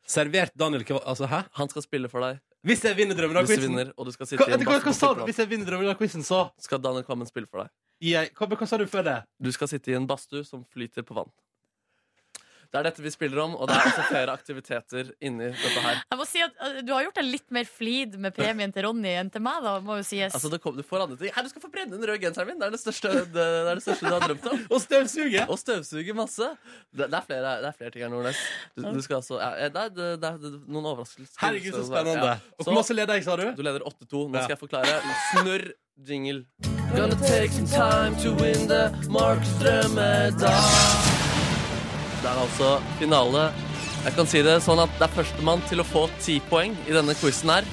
Speaker 2: Servert Daniel Kva- Altså, hæ?
Speaker 5: Han skal spille for deg
Speaker 2: Hvis jeg vinner
Speaker 5: hvis du
Speaker 2: Drømmedag-quizen
Speaker 5: vinner, og du skal sitte
Speaker 2: hva,
Speaker 5: i en
Speaker 2: hva, hva
Speaker 5: badstue
Speaker 2: sa
Speaker 5: som
Speaker 2: du?
Speaker 5: flyter på vann.
Speaker 2: Hvis jeg vinner Drømmedag-quizen, så
Speaker 5: Skal Daniel Kvammen spille for deg?
Speaker 2: gir jeg hva, hva sa du før det?
Speaker 5: Du skal sitte i en badstue som flyter på vann. Det er dette vi spiller om, og det er også flere aktiviteter inni dette her.
Speaker 3: Jeg må si at eh, Du har gjort deg litt mer flid med premien til Ronny enn til meg, da, må jo sies.
Speaker 5: Altså, det kom, du får andre ting. Her, du skal få brenne den røde genseren min! Det er det største, det, det er det største du har drømt om.
Speaker 2: Å støvsuge!
Speaker 5: Og støvsuge masse. Det, det, er flere, det er flere ting her, Nordnes. Du, du skal altså, ja, det, er- det, det er noen overraskelser.
Speaker 2: Herregud, så spennende.
Speaker 5: Ja.
Speaker 2: Og
Speaker 5: Så-
Speaker 2: hvor masse leder jeg, sa du?
Speaker 5: Du leder 8-2. Nå
Speaker 2: Ja.
Speaker 5: skal jeg forklare. Snurr jingle. Gonna take some time to win the Marks drømmedag. Det er altså finale. Jeg kan si det sånn at det er førstemann til å få ti poeng i denne quizen her.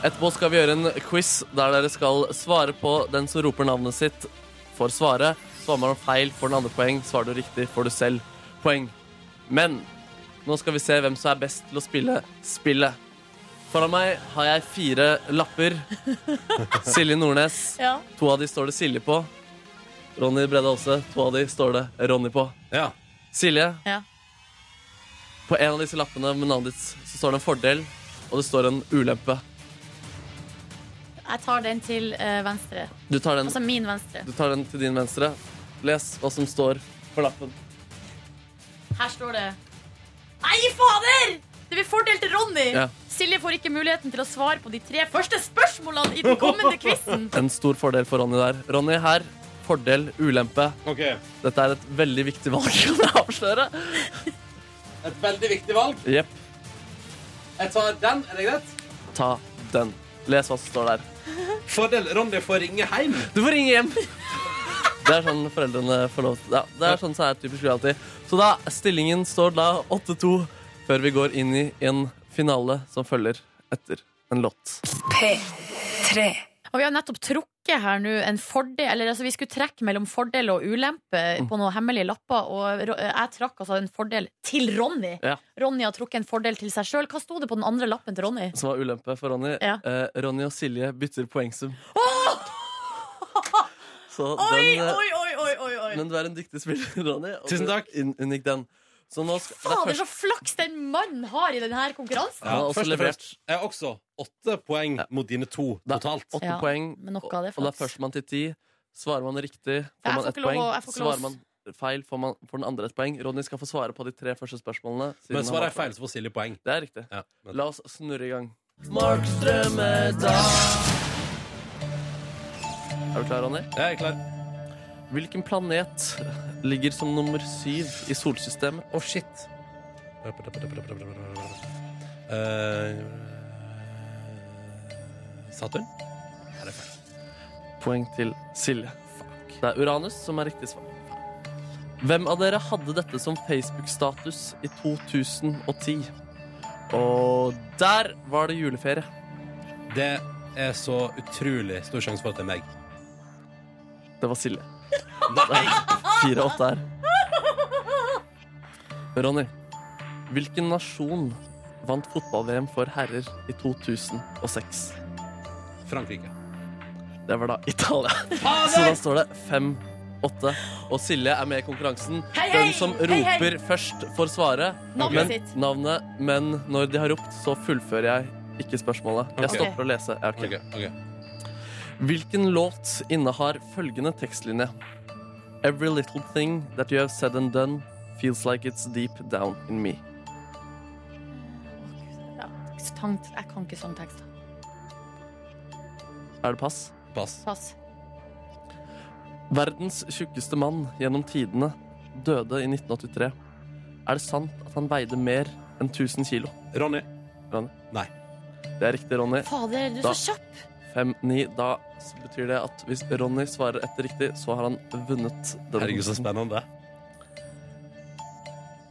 Speaker 5: Etterpå skal vi gjøre en quiz der dere skal svare på den som roper navnet sitt, får svare. Svarer man feil, får den andre poeng. Svarer du riktig, får du selv poeng. Men nå skal vi se hvem som er best til å spille spillet. Foran meg har jeg fire lapper. Silje Nordnes.
Speaker 3: Ja.
Speaker 5: To av de står det Silje på. Ronny Brede Aase. To av de står det Ronny på.
Speaker 2: Ja.
Speaker 5: Silje,
Speaker 3: Ja.
Speaker 5: på en av disse lappene med navnet ditt så står det en fordel, og det står en ulempe.
Speaker 3: Jeg tar den til eh, venstre.
Speaker 5: Du tar den,
Speaker 3: Altså min venstre.
Speaker 5: du tar den til din venstre. Les hva som står på lappen.
Speaker 3: Her står det Nei, fader! Det blir fordel til Ronny.
Speaker 5: Ja.
Speaker 3: Silje får ikke muligheten til å svare på de tre første spørsmålene i den kommende quizen.
Speaker 5: En stor fordel for Ronny der. Ronny her. Fordel, ulempe.
Speaker 2: Ok.
Speaker 5: Dette er et veldig viktig valg, kan jeg avsløre.
Speaker 2: Et veldig viktig valg.
Speaker 5: Jepp.
Speaker 2: Jeg tar den. Er det greit?
Speaker 5: Ta den. Les hva som står der.
Speaker 2: Fordel Ronny får ringe hjem.
Speaker 5: Du får ringe hjem. Det er sånn foreldrene får lov til. Ja, det er sånn som er typisk reality. Så da, stillingen står da 8-2 før vi går inn i en finale som følger etter en låt.
Speaker 3: Og vi har nettopp trukket her nå en fordel Eller altså, vi skulle trekke mellom fordel og ulempe
Speaker 5: Mm.
Speaker 3: på noen hemmelige lapper, og Ro- jeg trakk altså en fordel til Ronny.
Speaker 5: Ja.
Speaker 3: Ronny har trukket en fordel til seg sjøl. Hva sto det på den andre lappen til Ronny?
Speaker 5: Som var ulempe for Ronny.
Speaker 3: Ja.
Speaker 5: Eh, Ronny og Silje bytter poengsum. Så
Speaker 3: Oi,
Speaker 5: den, eh,
Speaker 3: oi, oi, oi, oi, oi.
Speaker 5: Men du er en dyktig spiller, Ronny. og
Speaker 2: Tusen
Speaker 5: du
Speaker 2: takk.
Speaker 5: inn- Unngikk den. Så nå skal, det er
Speaker 3: Fader,
Speaker 5: først-
Speaker 3: så flaks den mannen har i denne konkurransen!
Speaker 5: Han har også
Speaker 2: først og
Speaker 5: levert.
Speaker 2: fremst, Jeg har også åtte poeng mot dine to
Speaker 5: Da-
Speaker 2: totalt.
Speaker 5: åtte
Speaker 3: Ja,
Speaker 5: poeng.
Speaker 3: men nok av det,
Speaker 5: og det er
Speaker 3: flaks.
Speaker 5: førstemann til ti. Svarer man riktig, får
Speaker 3: jeg
Speaker 5: man
Speaker 3: får
Speaker 5: ett
Speaker 3: ikke lov
Speaker 5: poeng.
Speaker 3: å- jeg får ikke lov å
Speaker 5: Svarer man feil, får, man, får den andre et poeng. Ronny skal få svare på de tre første spørsmålene. siden
Speaker 2: Men
Speaker 5: han
Speaker 2: svarer
Speaker 5: har-
Speaker 2: jeg feil, så får Silje poeng.
Speaker 5: Det er riktig.
Speaker 2: Ja, men-
Speaker 5: La oss snurre i gang. Marks drømmedag. Er du klar, Ronny?
Speaker 2: Jeg er klar.
Speaker 5: Hvilken planet ligger som nummer syv i solsystemet?
Speaker 2: Å, shit. Eh, Saturn? Er det feil?
Speaker 5: Poeng til Silje. Det er Uranus som er riktig svar. Hvem av dere hadde dette som Facebook-status i 2010? Og der var det juleferie.
Speaker 2: Det er så utrolig stor sjanse for at det er meg.
Speaker 5: Det var Silje. Fire åtte her. Ronny, hvilken nasjon vant fotball-VM for herrer i 2006?
Speaker 2: Frankrike.
Speaker 5: Det var da Italia. Så da står det 5-8. Og Silje er med i konkurransen.
Speaker 3: Hei, hei!
Speaker 5: Den som
Speaker 3: Hei, hei!
Speaker 5: roper først, får svare.
Speaker 3: Navnet
Speaker 5: men,
Speaker 3: sitt.
Speaker 5: navnet, men når de har ropt, så fullfører jeg ikke spørsmålet. Jeg
Speaker 2: Ok.
Speaker 5: stopper å lese. Ja, ok.
Speaker 2: Ok, ok.
Speaker 5: Hvilken låt innehar følgende tekstlinje? Every little thing that you have said and done feels like it's deep down in me.
Speaker 3: Sang- Jeg kan ikke sånn tekst.
Speaker 5: Er det pass?
Speaker 2: Pass.
Speaker 3: Pass.
Speaker 5: Verdens tjukkeste mann gjennom tidene døde i 1983. Er det sant at han veide mer enn 1000 kilo?
Speaker 2: Ronny.
Speaker 5: Det er riktig, Ronny.
Speaker 3: Fader, du er
Speaker 5: Da-
Speaker 3: så kjapp!
Speaker 5: 5-9. Da s- betyr det at hvis Ronny svarer ett riktig, så har han vunnet denne
Speaker 2: Herregud, så
Speaker 5: posen.
Speaker 2: spennende.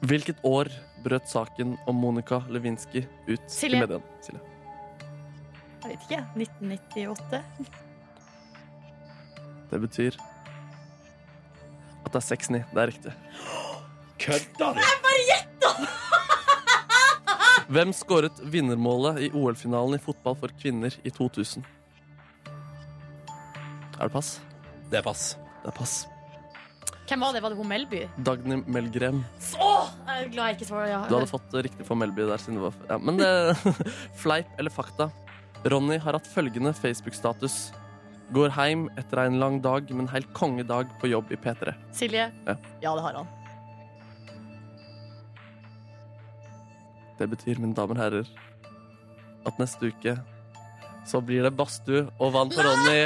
Speaker 5: Hvilket år brøt saken om Monica Lewinsky ut
Speaker 3: Silje.
Speaker 5: i mediene? Silje.
Speaker 3: Jeg vet ikke. 1998.
Speaker 5: Det betyr at det er 6-9. Det er riktig.
Speaker 2: Kødda du?
Speaker 5: Hvem skåret vinnermålet i OL-finalen i fotball for kvinner i 2000? Er det pass?
Speaker 2: Det er pass.
Speaker 5: Det er pass.
Speaker 3: Hvem var det? Var det hun Melby?
Speaker 5: Dagny Melgrem.
Speaker 3: Å, jeg er glad jeg ikke svarer ja.
Speaker 5: Du hadde fått det riktig for Melby der. Siden det var ja, men det, fleip eller fakta. Ronny har hatt følgende Facebook-status. Går heim etter en lang dag, men helt kongedag på jobb i P3.
Speaker 3: Silje?
Speaker 5: Ja.
Speaker 3: ja, det har han.
Speaker 5: Det betyr, mine damer og herrer, at neste uke så blir det badstue og vann på Ronny.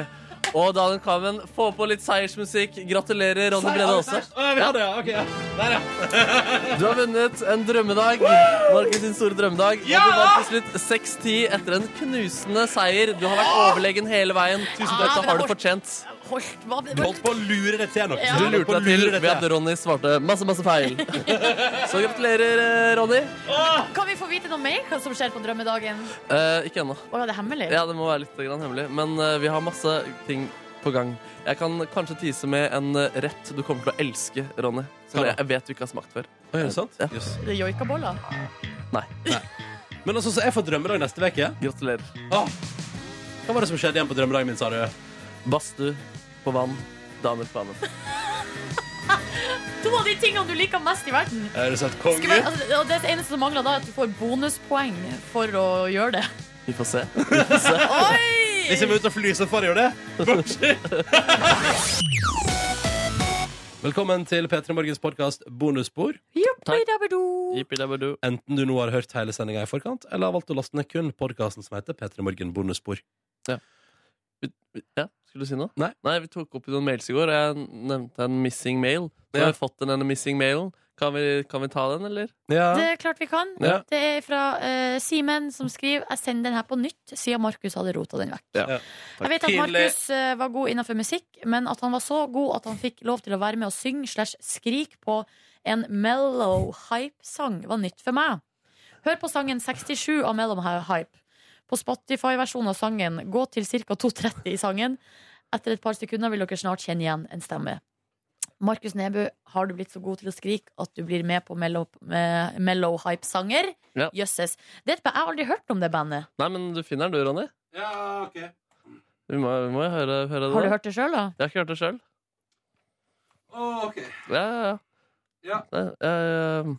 Speaker 5: Og Daniel Kamen, få på litt seiersmusikk. Gratulerer, Ronny Brede også.
Speaker 2: Å, ja, vi har det, ja. Ok, ja. Der, ja.
Speaker 5: Du har vunnet en drømmedag. Markus sin store drømmedag. Og du vant til slutt 6-10 etter en knusende seier. Du har vært overlegen hele veien. Tusen takk, det har du fortjent.
Speaker 3: Holdt, hva,
Speaker 2: Du holdt på å lure det til noe.
Speaker 3: Ja.
Speaker 5: Du
Speaker 2: Du holdt på
Speaker 5: lurte
Speaker 2: å
Speaker 5: deg til
Speaker 2: lure det
Speaker 5: ved at
Speaker 2: til.
Speaker 5: Ronny svarte masse, masse feil. Så gratulerer, eh, Ronny.
Speaker 3: Kan vi få vite noe mer hva som skjer på drømmedagen? Å
Speaker 5: Eh, ikke ennå.
Speaker 3: ja, det er hemmelig?
Speaker 5: Ja, det må være litt grann hemmelig. Men eh, vi har masse ting på gang. Jeg kan kanskje tise med en eh, rett du kommer til å elske, Ronny. Som
Speaker 2: Hva da?
Speaker 5: jeg, jeg vet du ikke har smakt før.
Speaker 2: Å, er det sant?
Speaker 5: Ja.
Speaker 2: Jøss.
Speaker 3: Det er joikaboller?
Speaker 2: Men altså, så jeg får drømmedag neste uke.
Speaker 5: Gratulerer.
Speaker 2: Hva var det som skjedde igjen på drømmedagen min, sa du?
Speaker 5: Badstue på vann. Daniel Kvanen.
Speaker 3: To av de tingene du liker mest i verden.
Speaker 2: Er det sant,
Speaker 3: Skal
Speaker 2: konge?
Speaker 3: være, altså, og det eneste som mangler da, er at du får bonuspoeng for å gjøre det.
Speaker 5: Vi får se.
Speaker 3: Oi!
Speaker 2: Hvis jeg må ut og fly, så får jeg jo det. Velkommen til P3 Morgens podkast Bonusspor.
Speaker 3: Joppi-dabbedo.
Speaker 5: Jippi-dabbedu.
Speaker 2: Enten du nå har hørt hele sendinga i forkant, eller har valgt å laste ned kun podkasten som heter P3 Morgen Bonusspor.
Speaker 5: Ja, skulle du si noe?
Speaker 2: Nei.
Speaker 5: vi tok opp i noen mails i går, og jeg nevnte en missing mail. Nå
Speaker 2: Ja.
Speaker 5: har vi fått den ene missing mailen. Kan vi, kan vi ta den, eller?
Speaker 2: Ja.
Speaker 3: Det er klart vi kan.
Speaker 2: Ja.
Speaker 3: Det er fra eh, Simen som skriver Jeg sender den her på nytt, siden Markus hadde rota den vekk.
Speaker 5: Ja.
Speaker 2: Ja.
Speaker 3: Jeg vet at
Speaker 2: Tidlig.
Speaker 3: Markus eh, var god innenfor musikk, men at han var så god at han fikk lov til å være med og synge slash skrik på en mellow hype-sang, var nytt for meg. Hør på sangen 67 av Mellom Hype. På Spotify-versjonen av sangen gå til ca. 2.30 i sangen. Etter et par sekunder vil dere snart kjenne igjen en stemme. Markus Neby, har du blitt så god til å skrike at du blir med på Mellow, eh, mellow Hype-sanger?
Speaker 5: Ja.
Speaker 3: Jøsses. Det er et band- Jeg har aldri hørt om det bandet.
Speaker 5: Nei, men du finner den du, Ronny.
Speaker 2: Ja, ok.
Speaker 5: Vi må, vi må jo høre, høre det.
Speaker 3: Har du
Speaker 5: da.
Speaker 3: hørt det sjøl, da?
Speaker 5: Jeg har ikke hørt det sjøl.
Speaker 2: Oh, ok.
Speaker 5: Ja, ja, ja.
Speaker 2: Ja.
Speaker 5: Nei, jeg, eh,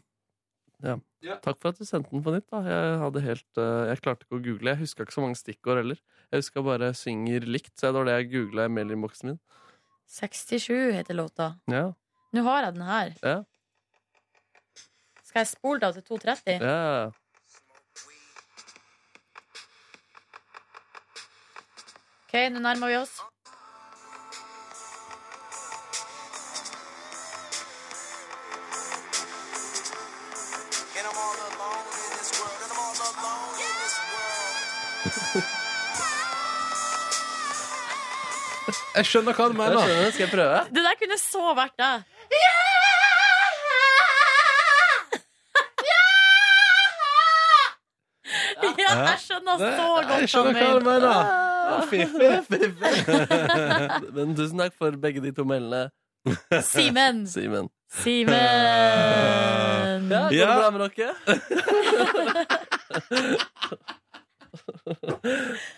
Speaker 5: ja.
Speaker 2: Ja.
Speaker 5: Takk for at du sendte den på nytt. da Jeg, hadde helt, eh, jeg klarte ikke å google. Jeg huska ikke så mange stikkord heller. Jeg huska bare 'synger likt', så det var det jeg googla i mailinnboksen min.
Speaker 3: 67 heter låta.
Speaker 5: Ja,
Speaker 3: Nå har jeg den her.
Speaker 5: ja,
Speaker 3: Skal jeg spole deg til 2.30?
Speaker 5: ja.
Speaker 3: Ok, nå nærmer vi oss.
Speaker 2: Jeg skjønner hva du
Speaker 5: Jeg
Speaker 2: mener.
Speaker 5: skjønner, skal jeg prøve?
Speaker 3: Det der kunne så vært deg. Ja, jeg skjønner så godt
Speaker 2: Jeg skjønner hva du mener. Å, Fiffig.
Speaker 5: Men tusen takk for begge de to mailene,
Speaker 3: Simen.
Speaker 5: Simen.
Speaker 3: Simen.
Speaker 5: Ja, går
Speaker 2: Ja.
Speaker 5: det bra med dere?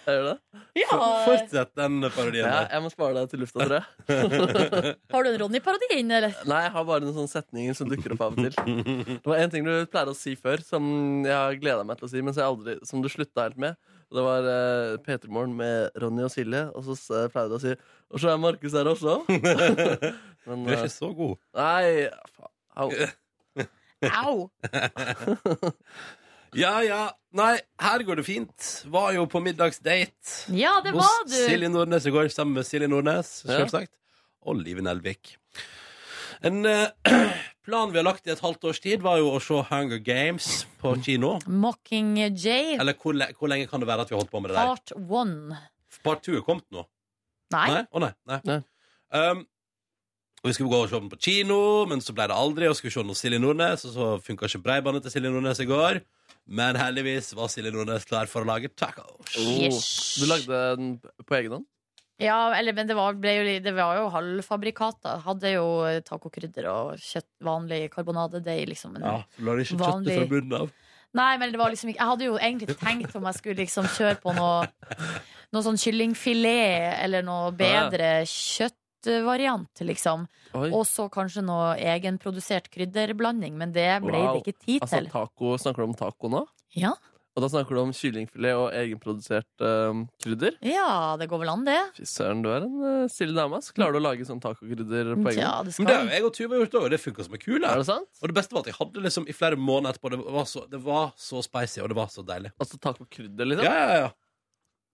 Speaker 5: Er det det?
Speaker 3: Ja.
Speaker 2: Fortsett den parodien
Speaker 5: Ja,
Speaker 2: der.
Speaker 5: jeg må spare deg til lufta, tror jeg.
Speaker 3: Har du en Ronny-parodi inne, eller?
Speaker 5: Nei, jeg har bare noen sånne setninger som dukker opp av og til. Det var en ting du pleier å si før, som jeg har gleda meg til å si, men som, jeg aldri, som du slutta helt med. Og Det var uh, P3 Morgen med Ronny og Silje, og så s- pleide du å si Og så er Markus her også. men
Speaker 2: Du er
Speaker 5: eh,
Speaker 2: ikke så god.
Speaker 5: Nei, faen. Au.
Speaker 3: Au!
Speaker 2: Ja, ja. Nei, her går det fint. Var jo på middagsdate.
Speaker 3: Ja, det
Speaker 2: hos
Speaker 3: var du!
Speaker 2: Silje Nordnes i går, sammen med Silje Nordnes,
Speaker 5: Ja.
Speaker 2: selvsagt. Og Live Nelvik. En eh, plan vi har lagt i et halvt års tid, var jo å se Hunger Games på kino.
Speaker 3: Mockingjay
Speaker 2: Eller hvor, le hvor lenge kan det være at vi har holdt på med det der?
Speaker 3: part one.
Speaker 2: Part 2 er kommet nå.
Speaker 3: Nei.
Speaker 2: Nei? Å, nei. nei.
Speaker 5: Nei.
Speaker 2: Um, og vi skulle gå og se den på kino, men så ble det aldri. Og skulle se noe Silje Nordnes, og så funka ikke breibandet til Silje Nordnes i går. Men heldigvis var Silje Nordnes klar for å lage tacos.
Speaker 3: Yes.
Speaker 5: Du lagde den på egen hånd?
Speaker 3: Ja, eller, men det var, ble jo, det var jo halvfabrikata. Hadde jo tacokrydder og kjøtt, vanlig karbonadedeig, liksom. Men,
Speaker 2: Ja, så la det ikke
Speaker 3: Vanlig.
Speaker 2: kjøttet fra bunnen av.
Speaker 3: Nei, men det var liksom ikke Jeg hadde jo egentlig tenkt om jeg skulle liksom kjøre på noe Noe sånn kyllingfilet eller noe bedre kjøttvariant, liksom.
Speaker 5: Oi.
Speaker 3: Og så kanskje noe egenprodusert krydderblanding, men det ble
Speaker 5: Wow.
Speaker 3: det ikke tid
Speaker 5: Altså
Speaker 3: til.
Speaker 5: taco, Snakker du om taco nå?
Speaker 3: Ja.
Speaker 5: Og da snakker du om kyllingfilet og egenprodusert eh, krydder?
Speaker 3: ja, det går vel an, det.
Speaker 5: Fy søren, du er en eh, stille dame. ass. Klarer du å lage sånn tacokrydder på egen hånd?
Speaker 3: Ja, det
Speaker 2: Men det
Speaker 3: skal
Speaker 2: har jo jeg og Tuva gjort òg, og det funka som en kule.
Speaker 5: Er det sant?
Speaker 2: Og det beste var at jeg hadde liksom i flere måneder etterpå. Det var så, det var så spicy, og det var så deilig.
Speaker 5: Altså tacokrydder, liksom?
Speaker 2: Ja, ja, ja.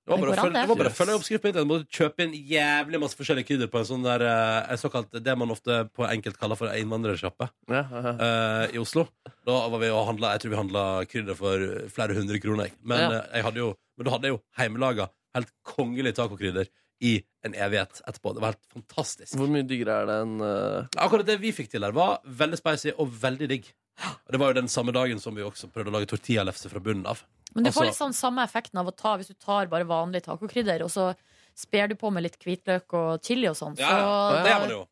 Speaker 2: Det var
Speaker 3: Det
Speaker 2: bare, å
Speaker 3: går an,
Speaker 2: følge- det
Speaker 3: det.
Speaker 2: var bare å
Speaker 5: Yes.
Speaker 2: følge oppskrift på internett. Du måtte kjøpe inn jævlig masse forskjellige krydder på en sånn der eh, en såkalt det man ofte på enkelt kaller for ei innvandrersjappe
Speaker 5: Ja, ja, ja.
Speaker 2: eh, i Oslo. Da var vi og handla Jeg tror vi handla krydder for flere hundre kroner. jeg. Men,
Speaker 5: Ja.
Speaker 2: eh, jeg hadde jo, men da hadde jeg jo heimelaga helt kongelige tacokrydder i en evighet etterpå. Det var helt fantastisk.
Speaker 5: Hvor mye diggere er det enn eh,
Speaker 2: Akkurat det vi fikk til der var veldig spicy og veldig digg. Og Det var jo den samme dagen som vi også prøvde å lage tortillalefse fra bunnen av.
Speaker 3: Men du
Speaker 2: Altså-
Speaker 3: får litt sånn samme effekten av å ta hvis du tar bare vanlig tacokrydder, og så sper du på med litt hvitløk og chili og sånn.
Speaker 2: Ja,
Speaker 3: så,
Speaker 2: det gjør man jo.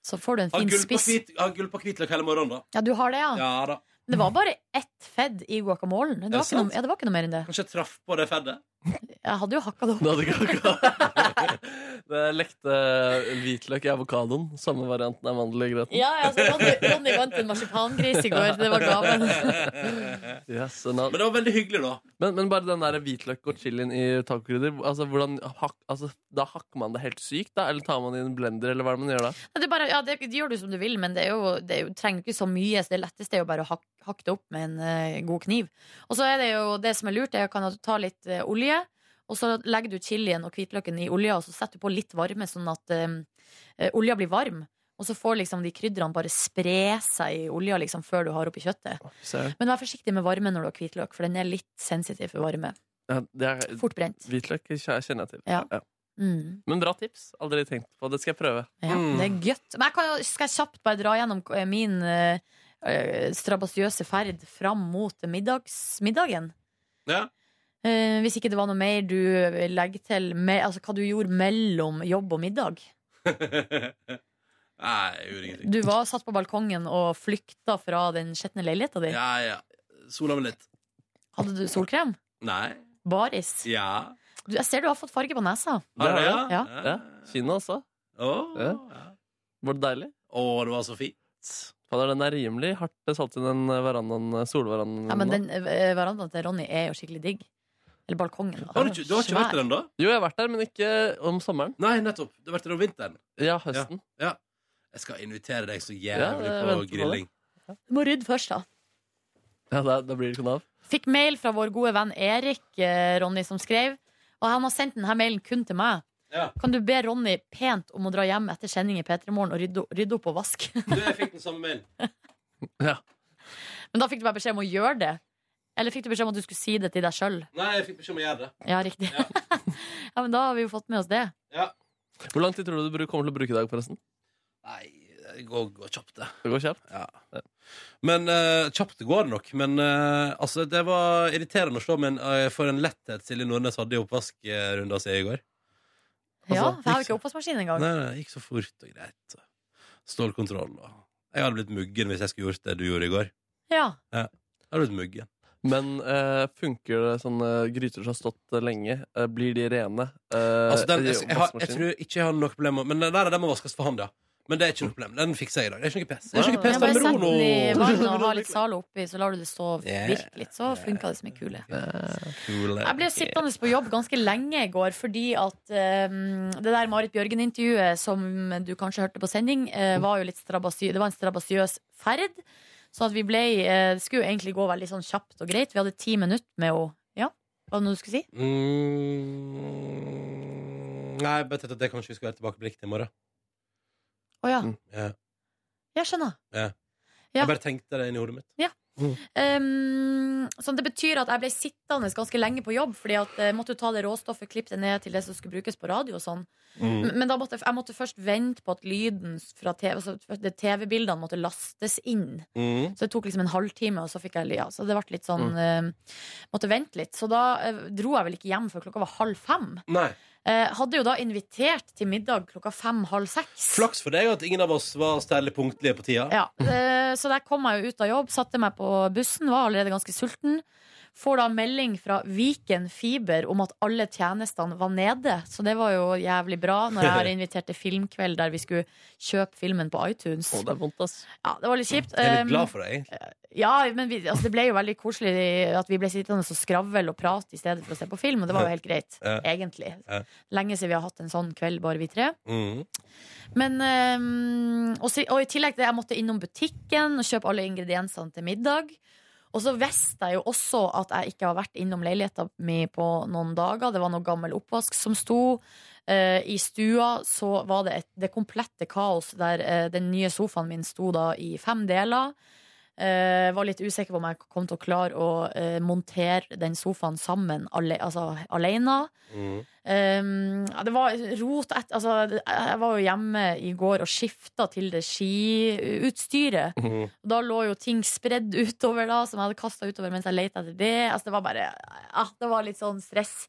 Speaker 3: så får du en
Speaker 2: Ha
Speaker 3: fin
Speaker 2: gull på
Speaker 3: spiss. Ah.
Speaker 2: hvit- ha gull på hvitløk hele morgenen, da.
Speaker 3: Ja, du har det, ja.
Speaker 2: Ja da.
Speaker 3: Men Det var bare ett fedd i guacamolen. Det,
Speaker 2: det
Speaker 3: var ikke noe,
Speaker 2: sant?
Speaker 3: ja, det var ikke noe mer enn det.
Speaker 2: Kanskje jeg traff på det feddet.
Speaker 3: Jeg hadde jo hakka det opp.
Speaker 5: Du hadde ikke avokado? Det lekte hvitløk i avokadoen. Samme varianten av mandel i grøten.
Speaker 3: Ja, ja, så Ronny, Ronny vant en marsipangris i går. Det var gaven.
Speaker 5: Yes, and all-
Speaker 2: Men det var veldig hyggelig, da.
Speaker 5: men, men bare den der hvitløk og chilien i tacokrydder, altså, hvordan hak, altså, da hakker man det helt sykt, da? Eller tar man det i en blender, eller hva er det man gjør da?
Speaker 3: Det, er bare, ja, det, det gjør du som du vil, men det, er jo, det er jo, trenger ikke så mye. Så det letteste er jo bare å hak, hakke det opp med en eh, god kniv. Og så er det jo det som er lurt, er kan at du ta litt eh, olje, og så legger du chilien og hvitløken i olja, og så setter du på litt varme, sånn at eh, eh, olja blir varm. Og så får liksom de krydderne bare spre seg i olja liksom, før du har oppi kjøttet.
Speaker 5: Ser.
Speaker 3: Men vær forsiktig med varme når du har hvitløk, for den er litt sensitiv for varme.
Speaker 5: Ja, det er,
Speaker 3: Fort brent.
Speaker 5: hvitløk kj- kjenner jeg til.
Speaker 3: Ja. Mm.
Speaker 5: Men bra tips. Aldri tenkt på. Det skal jeg prøve. Mm.
Speaker 3: Ja,
Speaker 2: Mm.
Speaker 3: Det er godt. Men jeg kan, jo- skal jeg kjapt bare dra gjennom eh, min eh, eh, strabasiøse ferd fram mot middags, middagen?
Speaker 2: Ja.
Speaker 3: Eh, hvis ikke det var noe mer du legger til me, altså, hva du gjorde mellom jobb og middag?
Speaker 2: Nei, jeg gjorde ingenting.
Speaker 3: Du var satt på balkongen og flykta fra den skjetne leiligheta di.
Speaker 2: Ja, ja. Sola meg litt.
Speaker 3: Hadde du solkrem?
Speaker 2: Nei.
Speaker 3: Baris?
Speaker 2: Ja.
Speaker 3: Du, jeg ser du har fått farge på nesa.
Speaker 2: Har du det?
Speaker 5: Ja.
Speaker 2: Ja.
Speaker 5: Ja. Kina også.
Speaker 2: Å,
Speaker 5: Ja.
Speaker 2: ja.
Speaker 5: Var det deilig?
Speaker 2: Å, det var så fint.
Speaker 5: Fader, den er rimelig hardt satt inn den eh, verandaen, solverandaen.
Speaker 2: Mm.
Speaker 3: Ja, men
Speaker 5: nå.
Speaker 3: den eh, verandaen til Ronny er jo skikkelig digg. Eller balkongen. da.
Speaker 2: Har du, ikke- du har ikke
Speaker 3: Svær.
Speaker 2: vært der ennå?
Speaker 5: Jo, jeg har vært der, men ikke om sommeren.
Speaker 2: Nei, nettopp. Du har vært der om vinteren.
Speaker 5: Ja, høsten.
Speaker 2: Jeg skal invitere deg så
Speaker 5: Ja, jeg
Speaker 2: jævlig
Speaker 5: venter
Speaker 2: på
Speaker 5: på det.
Speaker 2: grilling.
Speaker 3: Du må rydde først, da.
Speaker 5: Ja, da, da blir det ikke noe av.
Speaker 3: Fikk mail fra vår gode venn Erik, eh, Ronny, som skrev. Og han har sendt denne mailen kun til meg.
Speaker 2: Ja.
Speaker 3: Kan du be Ronny pent om å dra hjem etter sending i P3 Morgen og rydde, rydde opp og vaske?
Speaker 2: Du, jeg fikk den samme mailen.
Speaker 3: Men da fikk du bare beskjed om å gjøre det. Eller fikk du beskjed om at du skulle si det til deg sjøl?
Speaker 2: Nei, jeg fikk beskjed om å gjøre det.
Speaker 3: Ja, riktig. Ja. men da har vi jo fått med oss det.
Speaker 5: Hvor lang tid tror du du bru- kommer til å bruke i dag, forresten?
Speaker 2: Nei, det går, går kjapt, det.
Speaker 5: Det går kjapt.
Speaker 2: Men eh, kjapt går det nok. Men eh, altså, det var irriterende å se, men eh, for en letthet Silje Nordnes hadde i oppvaskrunda si i går.
Speaker 3: Ja,
Speaker 2: Altså,
Speaker 3: for jeg har jo
Speaker 2: gikk
Speaker 3: ikke oppvaskmaskin engang.
Speaker 2: Nei, nei, det gikk så fort og greit. Stålkontroll og Jeg hadde blitt muggen hvis jeg skulle gjort det du gjorde i går.
Speaker 3: Ja.
Speaker 2: Jeg hadde blitt muggen.
Speaker 5: Men eh, funker det sånne gryter som har stått eh, lenge? Eh, blir de rene? Eh,
Speaker 2: Altså, den,
Speaker 5: i
Speaker 2: jeg, jeg, har, jeg
Speaker 5: oppvaskmaskinen?
Speaker 2: tror ikke jeg har noe problem med Men nei, nei, den må vaskes for hånd, ja. Men det er ikke noe problem. Den fikser jeg i dag. Det er ikke noe pes. Det er ikke noe
Speaker 3: Jeg
Speaker 2: pes,
Speaker 3: bare
Speaker 2: den ror
Speaker 3: setter den i
Speaker 2: nå.
Speaker 3: vann og har litt Zalo oppi, så lar du det stå
Speaker 2: Yeah.
Speaker 3: virke litt. Så funker det som en kule.
Speaker 2: Kule.
Speaker 3: Jeg ble sittende på jobb ganske lenge i går fordi at ehm, det der Marit Bjørgen-intervjuet som du kanskje hørte på sending, eh, var jo litt strabasy det var en strabasiøs ferd. Så at vi ble, eh, det skulle jo egentlig gå veldig sånn kjapt og greit. Vi hadde ti minutter med å Ja, var det noe du skulle si?
Speaker 2: Mm, nei, jeg bare tenkte at det kanskje vi skulle være tilbakeblikk til i morgen.
Speaker 3: Å ja.
Speaker 5: Mm.
Speaker 2: Ja.
Speaker 3: Jeg skjønner. Ja.
Speaker 2: Jeg bare tenkte det inn i hodet mitt.
Speaker 3: Um, så det betyr at jeg ble sittende ganske lenge på jobb, Fordi at jeg måtte jo ta det råstoffet, klippe det ned til det som skulle brukes på radio og sånn.
Speaker 2: Mm.
Speaker 3: Men men da måtte jeg, jeg måtte først vente på at lyden fra TV, altså det TV-bildene måtte lastes inn.
Speaker 2: Mm.
Speaker 3: Så det tok liksom en halvtime, og så fikk jeg ja, Så det ble litt sånn eh, Måtte vente litt. Så da eh, dro jeg vel ikke hjem før klokka var halv fem.
Speaker 2: Nei.
Speaker 3: Eh, hadde jo da invitert til middag klokka fem-halv seks.
Speaker 2: Flaks for deg at ingen av oss var særlig punktlige på tida.
Speaker 3: Ja, eh, så der kom jeg jo ut av jobb, satte meg på bussen, var allerede ganske sulten. Får da melding fra Viken Fiber om at alle tjenestene var nede. Så det var jo jævlig bra når jeg har invitert til filmkveld der vi skulle kjøpe filmen på iTunes.
Speaker 5: Å, det er vondt, ass.
Speaker 3: Ja, det var litt kjipt.
Speaker 2: Jeg er litt
Speaker 3: Um,
Speaker 2: glad for deg. egentlig.
Speaker 3: ja, men vi, altså, det ble jo veldig koselig at vi ble sittende og skravle og prate i stedet for å se på film, og det var jo helt greit,
Speaker 2: Ja.
Speaker 3: egentlig.
Speaker 2: Ja.
Speaker 3: Lenge siden vi har hatt en sånn kveld, bare vi tre.
Speaker 2: Mm.
Speaker 3: Men, eh, og, så, og i tillegg til det, jeg måtte innom butikken og kjøpe alle ingrediensene til middag. Og så visste jeg jo også at jeg ikke har vært innom leiligheta mi på noen dager. Det var noe gammel oppvask som sto. Eh, I stua så var det et, det komplette kaos der eh, den nye sofaen min sto da i fem deler. Eh, var litt usikker på om jeg kom til å klare å eh, montere den sofaen sammen ale, altså, alene.
Speaker 2: Mm.
Speaker 3: Um, ja, det var rot et, altså, det- Jeg var jo hjemme i går og skifta til det skiutstyret.
Speaker 2: Mhm.
Speaker 3: Da lå jo ting spredd utover, da som jeg hadde kasta utover mens jeg leita etter det. Altså, det var bare ja, Det var litt sånn stress.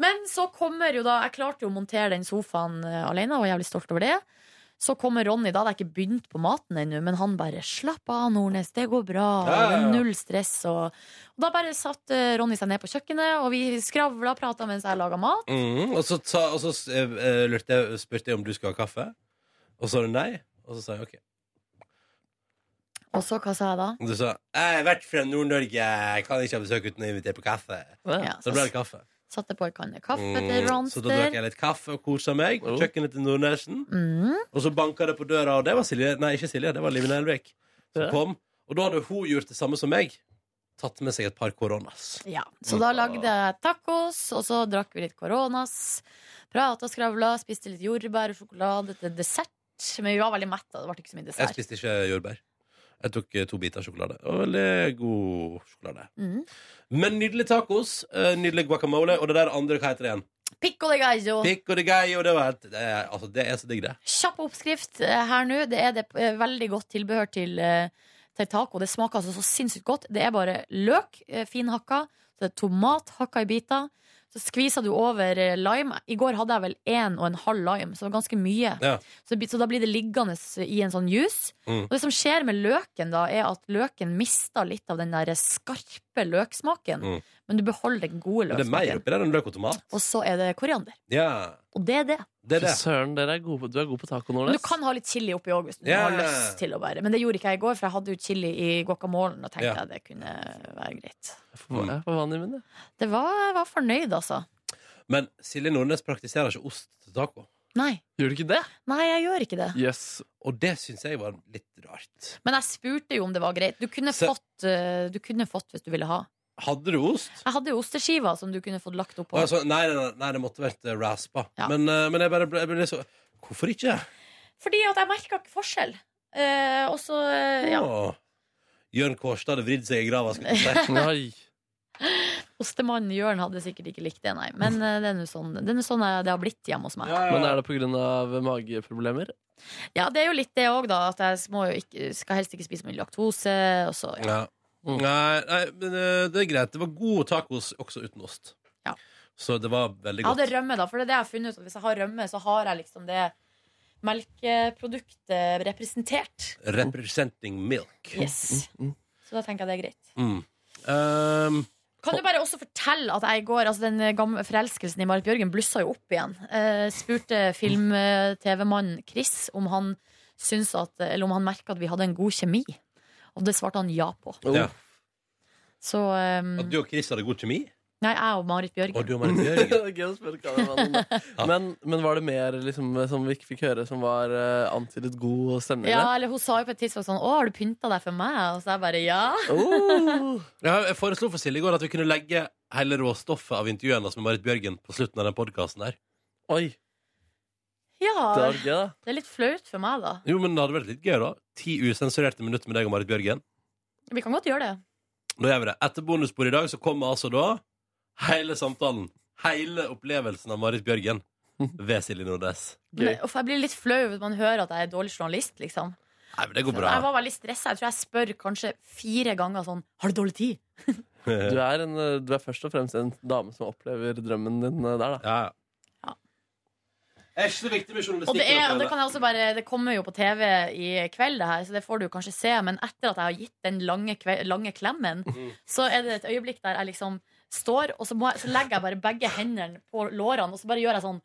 Speaker 3: Men så kommer jo da Jeg klarte jo å montere den sofaen eh, alene, og jeg er jævlig stolt over det. Så kommer Ronny, da hadde jeg ikke begynt på maten ennå, men han bare 'Slapp av, Nordnes, det går bra'.
Speaker 2: Ja, ja, ja.
Speaker 3: Null stress. Og, og da bare satte eh, Ronny seg ned på kjøkkenet, og vi skravla og prata mens jeg laga mat.
Speaker 2: Mm. Og så, ta, og så eh, lurte jeg, spurte jeg om du skulle ha kaffe, og så sa du nei. Og så sa jeg OK.
Speaker 3: Og så hva sa jeg da?
Speaker 2: Og du sa jeg har vært fra Nord-Norge, jeg kan ikke ha besøk uten å invitere på kaffe.
Speaker 3: Ja,
Speaker 2: Så
Speaker 3: så
Speaker 2: det ble det kaffe.
Speaker 3: satte jeg på en kanne Altså, kaffe til
Speaker 2: Mm. Så da drakk
Speaker 3: Ronster.
Speaker 2: jeg litt kaffe og kosa meg på
Speaker 5: Oh.
Speaker 2: kjøkkenet til Nordnesen.
Speaker 3: Mm.
Speaker 2: Og så banka det på døra, og det var Silje Nei, ikke Silje, det var Live Nelvik. Som
Speaker 5: Ja.
Speaker 2: kom. Og da hadde hun gjort det samme som meg. Tatt med seg et par koronas.
Speaker 3: Ja. Så da lagde jeg tacos, og så drakk vi litt coronas. Prata og skravla, spiste litt jordbær og sjokolade til dessert. Men vi var veldig metta. Det ble ikke så mye
Speaker 2: Jeg
Speaker 3: dessert.
Speaker 2: spiste ikke jordbær. Jeg tok eh, to biter sjokolade. Og veldig god sjokolade.
Speaker 3: Mm.
Speaker 2: Men nydelig tacos, eh, nydelig guacamole, og det der andre, hva heter det igjen?
Speaker 3: Pico de gallo.
Speaker 2: Pico de gallo. Det, var, helt- det, er- altså, det er så digg, det.
Speaker 3: Kjapp oppskrift eh, her nå. Det er det eh, veldig godt tilbehør til, eh, til taco. Det smaker altså så sinnssykt godt. Det er bare løk, eh, finhakka, så det er tomat hakka i biter. Så skviser du over eh, lime. I går hadde jeg vel én og en halv lime, så det var ganske mye.
Speaker 2: Ja.
Speaker 3: Så, det blir- så da blir det liggende i en sånn juice.
Speaker 2: Mm.
Speaker 3: Og det som skjer med løken, da, er at løken mister litt av den der skarpe løksmaken.
Speaker 2: Mm.
Speaker 3: Men du beholder den gode
Speaker 2: Men det er mer
Speaker 3: løksmaken.
Speaker 2: oppi der enn løk og tomat.
Speaker 3: Og så er det koriander.
Speaker 2: Ja,
Speaker 3: Og det er det.
Speaker 2: det er
Speaker 5: Fy
Speaker 2: det.
Speaker 5: søren, dere er gode på, du er god på taco, Nordnes.
Speaker 3: Men du kan ha litt chili oppi òg hvis du
Speaker 2: Ja.
Speaker 3: har lyst til å være Men det gjorde ikke jeg i går, for jeg hadde jo chili i guacamolen og tenkte
Speaker 2: Ja.
Speaker 3: at det kunne være greit.
Speaker 5: Jeg får, jeg får vann i munnen. jeg.
Speaker 3: Det var, jeg var fornøyd, altså.
Speaker 2: Men Silje Nordnes praktiserer ikke ost til taco.
Speaker 3: Nei.
Speaker 5: Gjør du ikke det?
Speaker 3: Nei, jeg gjør ikke det.
Speaker 5: Jøss.
Speaker 2: Og det syns jeg var litt rart.
Speaker 3: Men jeg spurte jo om det var greit. Du kunne,
Speaker 2: Så-
Speaker 3: fått, eh, du kunne fått hvis du ville ha.
Speaker 2: Hadde du ost?
Speaker 3: Jeg hadde jo osteskiver som du kunne fått lagt oppå.
Speaker 2: Altså, nei, nei, nei, nei, det måtte vært eh, raspa.
Speaker 3: Ja.
Speaker 2: Men, eh, men jeg bare ble, jeg ble så Hvorfor ikke?
Speaker 3: Fordi at jeg merka ikke forskjell. Eh, og så eh, ja.
Speaker 2: Åh. Jørn Kårstad hadde vridd seg i grava. skulle jeg si.
Speaker 5: Nei.
Speaker 3: Ostemannen Jørn hadde sikkert ikke likt det, nei. Men eh, det er nå sånn, det, er nå sånn jeg- det har blitt hjemme hos meg.
Speaker 5: Men er det på grunn av mageproblemer?
Speaker 3: Ja, det er jo litt det òg, da. At jeg må jo ikke, skal helst ikke spise mye laktose. Og så, ja.
Speaker 2: Ja.
Speaker 5: Mm.
Speaker 2: Nei, nei, men eh, det er greit. Det var gode tacos også uten ost.
Speaker 3: Ja.
Speaker 2: Så det var veldig
Speaker 3: Jeg
Speaker 2: godt.
Speaker 3: hadde rømme, da. For det er det jeg har funnet ut. At hvis jeg har rømme, så har jeg liksom det melkeproduktet representert.
Speaker 2: Representing milk.
Speaker 3: Yes.
Speaker 5: Mm, mm.
Speaker 3: Så da tenker jeg det er greit.
Speaker 2: Mm. Um,
Speaker 3: Kan du bare også fortelle at jeg i går Altså Den gamle forelskelsen i Marit Bjørgen blussa jo opp igjen. Eh, spurte film-TV-mannen Chris om han syns at Eller om han merka at vi hadde en god kjemi. Og det svarte han ja på.
Speaker 2: ja.
Speaker 3: Så eh,
Speaker 2: At du og Chris hadde god kjemi?
Speaker 3: Nei, jeg og Marit Bjørgen.
Speaker 2: Og du og Marit Bjørgen?
Speaker 5: Det er gøy å spørre kameramannen, da. men, men var det mer liksom, som vi ikke fikk høre, som var eh, antydet god stemning?
Speaker 3: Ja, eller Hun sa jo på et tidspunkt sånn 'Å, har du pynta deg for meg?' Og så jeg bare 'ja'.
Speaker 5: der? Oh.
Speaker 2: Ja, jeg foreslo for Silje i går at vi kunne legge hele råstoffet av intervjuene hennes med Marit Bjørgen på slutten av den podkasten her.
Speaker 5: Oi.
Speaker 3: Ja,
Speaker 5: Dag, ja.
Speaker 3: det er litt flaut for meg, da.
Speaker 2: Jo, men det hadde vært litt gøy, da. Ti usensurerte minutter med deg og Marit Bjørgen.
Speaker 3: Vi kan godt gjøre det.
Speaker 2: Da gjør vi det. Etter bonusbordet i dag så kommer altså da hele samtalen. Hele opplevelsen av Marit Bjørgen ved Silje Nordnes.
Speaker 3: Men,
Speaker 5: Gøy.
Speaker 3: uff, jeg blir litt flau hvis man hører at jeg er dårlig journalist, liksom.
Speaker 2: Nei, men det går bra.
Speaker 3: Jeg var veldig stressa. Jeg tror jeg spør kanskje fire ganger sånn Har du dårlig tid?
Speaker 5: Du er, en, eh, du er først og fremst en dame som opplever drømmen din eh, der, da.
Speaker 2: Ja, ja.
Speaker 3: Ja.
Speaker 2: Det er ikke så viktig med
Speaker 3: Og det, er,
Speaker 2: journalistikken.
Speaker 3: og det kan jeg også bare Det kommer jo på TV i kveld, det her, så det får du jo kanskje se. Men etter at jeg har gitt den lange, kve- lange klemmen, så er det et øyeblikk der jeg liksom står, og så, må jeg, så legger jeg bare begge hendene på lårene, og så bare gjør jeg sånn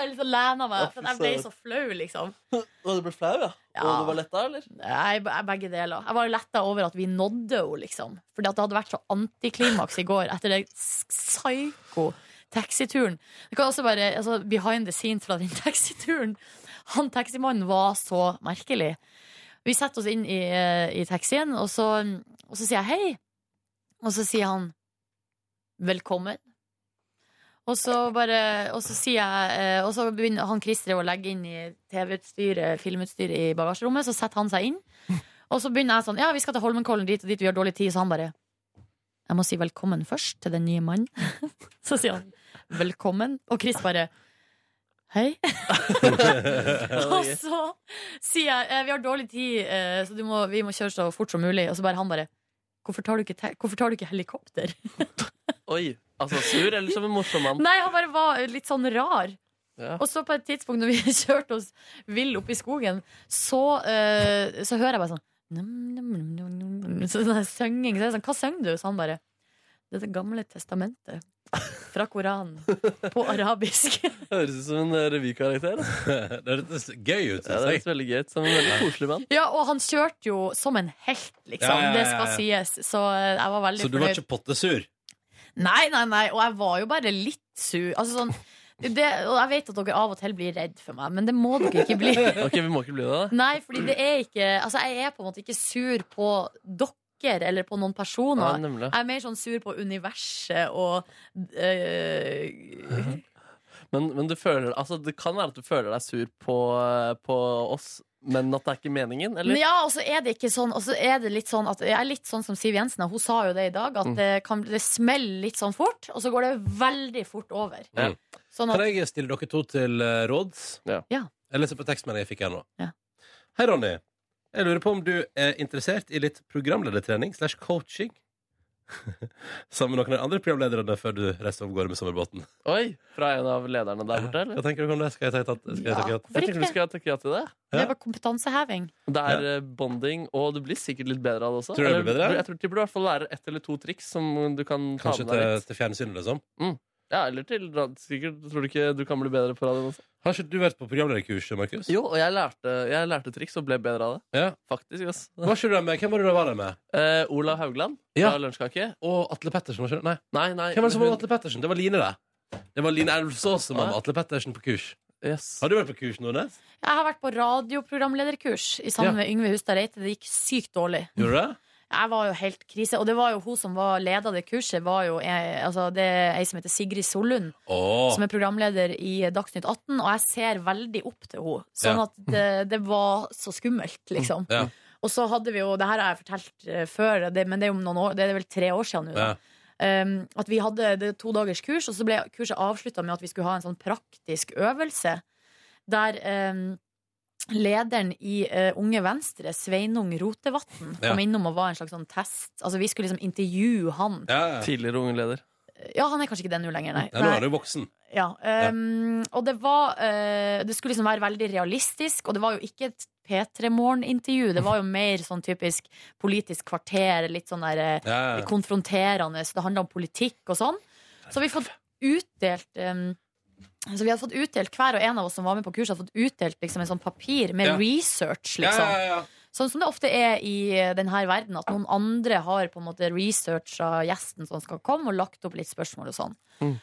Speaker 3: Eller så lener jeg meg. For jeg ble så flau, liksom.
Speaker 5: Og du ble flau, ja?
Speaker 3: Ja.
Speaker 5: Og du var letta, eller?
Speaker 3: Nei, be- begge deler. Jeg var jo letta over at vi nådde henne, liksom. Fordi at det hadde vært så antiklimaks i går etter den psyko taxituren. Det kan også bare, altså, Behind the scenes fra den taxituren. Han taximannen var så merkelig. Vi setter oss inn i, eh, i taxien, og så, og så sier jeg hei. Og så sier han velkommen. Og så bare Og så sier jeg eh, Og så begynner han Christer å legge inn i TV-utstyret, filmutstyret i bagasjerommet. Så setter han seg inn. Og så begynner jeg sånn Ja, vi skal til Holmenkollen dit og dit, vi har dårlig tid. Så han bare Jeg må si velkommen først til den nye mannen. Så sier han velkommen, og Chris bare Hei. og så sier jeg eh, vi har dårlig tid, eh, så du må, vi må kjøre så fort som mulig. Og så bare han bare Hvorfor tar du ikke, te- hvorfor tar du ikke helikopter?
Speaker 5: Oi. Altså sur, eller som en morsom mann?
Speaker 3: Nei, han bare var litt sånn rar.
Speaker 5: Ja.
Speaker 3: Og så på et tidspunkt når vi kjørte oss vill opp i skogen, så, eh, så hører jeg bare sånn num, num, num, num, num, num. Sånn der sønging. Så jeg er sånn, Hva synger du? Så han bare Det er Det gamle testamentet. Fra Koranen. På arabisk.
Speaker 5: Høres ut som en eh, revykarakter. da.
Speaker 2: det hørtes gøy ut.
Speaker 5: Ja, det
Speaker 2: synes jeg.
Speaker 5: høres veldig gøy ut. Som en veldig koselig mann.
Speaker 3: Ja, og han kjørte jo som en helt, liksom.
Speaker 2: Ja, ja, ja,
Speaker 3: Det skal
Speaker 2: ja.
Speaker 3: sies. Så eh, jeg var veldig
Speaker 2: Så du var ikke pottesur?
Speaker 3: Nei, nei, nei, og jeg var jo bare litt sur. Altså sånn det, og jeg vet at dere av og til blir redd for meg, men det må dere ikke bli.
Speaker 5: Ok, vi må ikke bli det, da.
Speaker 3: Nei, fordi det er ikke Altså, jeg er på en måte ikke sur på dere eller på noen
Speaker 5: Ja,
Speaker 3: personer.
Speaker 5: nemlig.
Speaker 3: Jeg er mer sånn sur på universet og øh,
Speaker 5: Men, men du føler, altså, det kan være at du føler deg sur på, eh, på oss, men at det er ikke meningen, eller?
Speaker 3: Ja, og så er det ikke sånn, og så er det litt sånn at Jeg er litt sånn som Siv Jensen, og hun sa jo det i dag, at det, kan, det smeller litt sånn fort, og så går det veldig fort over.
Speaker 5: Ja.
Speaker 3: Sånn
Speaker 2: Kan
Speaker 3: at
Speaker 2: jeg stille dere to til eh, råds?
Speaker 5: Ja.
Speaker 3: Ja.
Speaker 2: Jeg leser på tekstmeldingen jeg fikk her nå.
Speaker 3: Ja.
Speaker 2: Hei, Ronny. Jeg lurer på om du er interessert i litt programledertrening slash coaching? Sammen med noen av de andre programlederne før du reiser av gårde med sommerbåten.
Speaker 5: Oi! Fra en av lederne der borte, eller?
Speaker 2: Hva tenker dere om det? Skal jeg ta et skal jeg ta et-
Speaker 3: hvorfor
Speaker 5: Jeg tenker du
Speaker 3: ikke?
Speaker 5: skal takke ja til det.
Speaker 3: Det er bare kompetanseheving.
Speaker 5: Det er eh, bonding, og du blir sikkert litt bedre av det også.
Speaker 2: Tror du det blir
Speaker 5: Eller,
Speaker 2: bedre?
Speaker 5: Jeg tror du i hvert fall lærer ett eller to triks som du kan ta
Speaker 2: Kanskje
Speaker 5: med deg
Speaker 2: til,
Speaker 5: litt.
Speaker 2: til fjernsynet, liksom?
Speaker 5: Ja, eller til rad- sikkert. Tror du ikke du kan bli bedre på radioen også?
Speaker 2: Har ikke du vært på programlederkurs, Markus?
Speaker 5: Jo, og jeg lærte, jeg lærte triks og ble bedre av det.
Speaker 2: Ja.
Speaker 5: Faktisk, ass.
Speaker 2: Var ikke du der med? Hvem var det du var der med?
Speaker 5: Eh, Olav Haugland
Speaker 2: Ja.
Speaker 5: fra Lunsjkake.
Speaker 2: Og Atle Pettersen? var ikke det? Nei.
Speaker 5: Nei, nei.
Speaker 2: Hvem var det som var med
Speaker 5: hun-
Speaker 2: Atle Pettersen? Det var Line, det. Det var Line Elvsås som var med
Speaker 5: Ja.
Speaker 2: Atle Pettersen på kurs.
Speaker 5: Yes.
Speaker 2: Har du vært på kurs, Nordnes?
Speaker 3: Jeg har vært på radioprogramlederkurs i sammen
Speaker 2: Ja.
Speaker 3: med Yngve Hustad Reite. Det gikk sykt dårlig.
Speaker 2: Gjorde du det?
Speaker 3: Jeg var jo helt krise. Og det var jo hun som var leda det kurset. Var jo, eh, altså, det er ei som heter Sigrid Sollund,
Speaker 2: Åh.
Speaker 3: som er programleder i Dagsnytt 18. Og jeg ser veldig opp til henne. Sånn
Speaker 2: Ja.
Speaker 3: at det, det var så skummelt, liksom.
Speaker 2: Ja.
Speaker 3: Og så hadde vi jo Det her har jeg fortalt eh, før, det, men det er jo om noen år, det er vel tre år siden nå. da.
Speaker 2: Ja.
Speaker 3: Um, at vi hadde det to dagers kurs, og så ble kurset avslutta med at vi skulle ha en sånn praktisk øvelse der um, lederen i eh, Unge Venstre, Sveinung Rotevatn,
Speaker 2: Ja.
Speaker 3: kom innom og var en slags sånn test. Altså vi skulle liksom intervjue han.
Speaker 2: Ja, ja.
Speaker 5: Tidligere unge leder.
Speaker 3: Ja, han er kanskje ikke det nå lenger, nei.
Speaker 2: Nei, nå er du voksen.
Speaker 3: Ja, ehm, Og det var eh, Det skulle liksom være veldig realistisk, og det var jo ikke et P3 Morgen-intervju. Det var jo mer sånn typisk Politisk kvarter, litt sånn der eh,
Speaker 2: Ja, ja.
Speaker 3: konfronterende, så det handla om politikk og sånn. Så har vi fått utdelt em, så vi hadde fått utdelt, Hver og en av oss som var med på kurset, hadde fått utdelt liksom, en sånn papir med
Speaker 2: Ja.
Speaker 3: research.
Speaker 2: Ja,
Speaker 3: liksom.
Speaker 2: ja, ja.
Speaker 3: Sånn som det ofte er i denne verden, at noen andre har på en måte researcha gjesten som skal komme, og lagt opp litt spørsmål og sånn.
Speaker 5: Mm.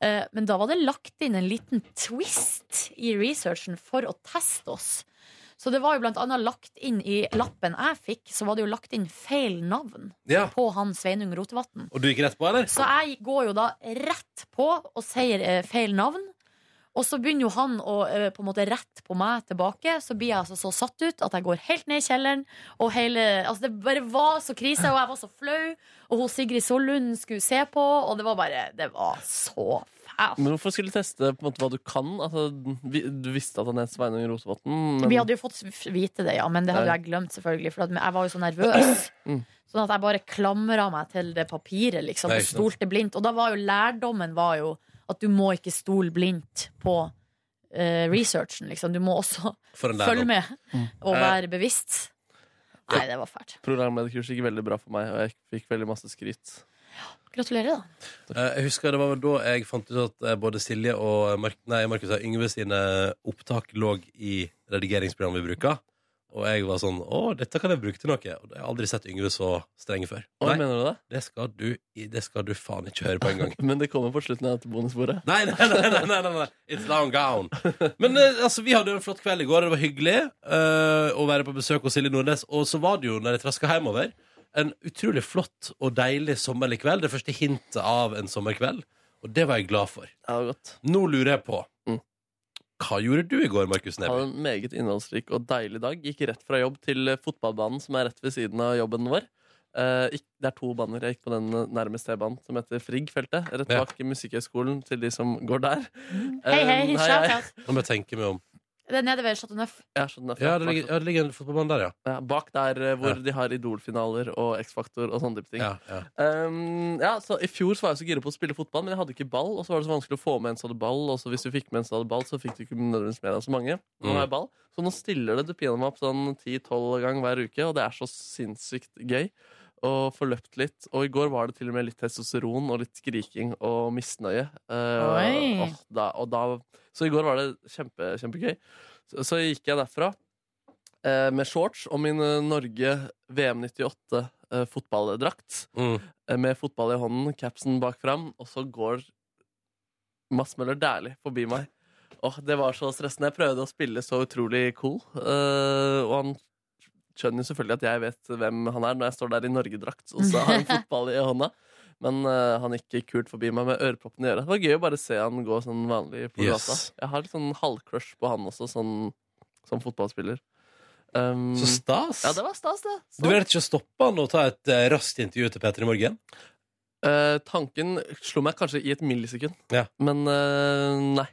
Speaker 3: Eh, Men da var det lagt inn en liten twist i researchen for å teste oss. Så det var jo blant annet lagt inn i lappen jeg fikk, så var det jo lagt inn feil navn
Speaker 2: Ja.
Speaker 3: på han Sveinung Rotevatn.
Speaker 2: Og du gikk rett på, eller?
Speaker 3: Så jeg går jo da rett på og sier eh, feil navn. Og så begynner jo han å eh, på en måte rette på meg tilbake. Så blir jeg altså så satt ut at jeg går helt ned i kjelleren. Og hele, altså det bare var så krise, og jeg var så flau. Og hun Sigrid Sollund skulle se på, og det var bare Det var så fælt.
Speaker 5: Men hvorfor skulle du teste på en måte hva du kan? Altså, vi, du visste at han het Sveinung Rotevatn. men-
Speaker 3: Vi hadde jo fått f- vite det, ja, men det hadde
Speaker 5: Ja.
Speaker 3: jeg glemt, selvfølgelig. For at jeg var jo så nervøs.
Speaker 5: Mm.
Speaker 3: Sånn at jeg bare klamra meg til det papiret liksom,
Speaker 2: Nei,
Speaker 3: og
Speaker 2: ikke sant.
Speaker 3: stolte blindt. Og da var jo lærdommen var jo at du må ikke stole blindt på eh, researchen. Liksom. Du må også
Speaker 2: For en
Speaker 3: følge
Speaker 2: lærdom.
Speaker 3: med og
Speaker 2: Eh.
Speaker 3: være bevisst. Nei, det var fælt.
Speaker 5: Programlederkurs gikk veldig bra for meg, og jeg fikk veldig masse skryt.
Speaker 3: Gratulerer, da.
Speaker 2: Eh, Jeg husker det var vel da jeg fant ut at eh, både Silje og Mark, nei, Markus og Yngve sine opptak lå i redigeringsprogrammet vi bruker. Og jeg var sånn Å, dette kan jeg bruke til noe. Og jeg har aldri sett Yngve så streng før.
Speaker 5: Oi,
Speaker 2: Nei,
Speaker 5: mener du det?
Speaker 2: det skal du, i- det skal du faen ikke høre på engang.
Speaker 5: Men det kommer på slutten av dette bonusbordet.
Speaker 2: Nei, nei, nei, nei, nei, nei, nei. It's long gone. Men eh, altså, vi hadde jo en flott kveld i går. og Det var hyggelig eh, å være på besøk hos Silje Nordnes. Og så var det jo, når jeg traska hjemover, en utrolig flott og deilig sommerlig kveld. Det første hintet av en sommerkveld. Og det var jeg glad for.
Speaker 5: Ja, godt.
Speaker 2: Nå lurer jeg på
Speaker 5: Mm.
Speaker 2: Hva gjorde du i går, Markus
Speaker 5: Hadde
Speaker 2: Neby?
Speaker 5: en meget innholdsrik og deilig dag. Gikk rett fra jobb til eh, fotballbanen, som er rett ved siden av jobben vår. Eh, ikk- det er to baner. Jeg gikk på den eh, nærmest T-banen, som heter Frigg-feltet. Rett
Speaker 2: Ja.
Speaker 5: bak Musikkhøgskolen, til de som går der.
Speaker 3: Mm. Hei,
Speaker 5: Eh,
Speaker 3: hei.
Speaker 5: nei,
Speaker 3: shout
Speaker 5: jeg-
Speaker 3: out.
Speaker 2: Nå må jeg tenke meg om.
Speaker 3: Det er nede ved Chateau Neuf.
Speaker 5: Ja, skjønner jeg.
Speaker 2: Ja, det ligger, ja, det ligger en fotballmann der, ja.
Speaker 5: Ja, bak der eh, hvor
Speaker 2: Ja.
Speaker 5: de har Idol-finaler og X-Faktor og sånne type ting.
Speaker 2: ja, ja.
Speaker 5: Um, ja, så I fjor så var jeg så gira på å spille fotball, men jeg hadde ikke ball. Og så var det så vanskelig å få med en som hadde ball. Og så hvis du fikk med en som hadde ball, så fikk du ikke nødvendigvis med deg så mange. Nå har jeg ball Så nå stiller det dupinene meg opp sånn 10-12 ganger hver uke, og det er så sinnssykt gøy. Og får løpt litt. Og i går var det til og med litt testosteron og litt skriking og misnøye. Eh,
Speaker 3: Oi.
Speaker 5: og da, og da, så i går var det kjempe, kjempegøy. Så, så gikk jeg derfra eh, med shorts og min eh, Norge eh, VM98-fotballdrakt
Speaker 2: Mm.
Speaker 5: eh, med fotball i hånden, capsen bak fram, og så går Mads Møller Dæhlie forbi meg. Åh, Det var så stressende. Jeg prøvde å spille så utrolig cool, eh, og han skjønner jo selvfølgelig at jeg vet hvem han er når jeg står der i norgedrakt og så har han fotball i hånda. Men eh, han gikk kult forbi meg med øreproppene i øret. Det var gøy å bare se han gå sånn vanlig på
Speaker 2: Yes.
Speaker 5: gata. Jeg har litt sånn halvcrush på han også, sånn, som fotballspiller. Um,
Speaker 2: Så stas.
Speaker 5: ja, det var stas, det.
Speaker 2: Du vurderte ikke å stoppe han og ta et eh, raskt intervju til Peter i morgen?
Speaker 5: Eh, tanken slo meg kanskje i et millisekund,
Speaker 2: Ja.
Speaker 5: men eh, nei.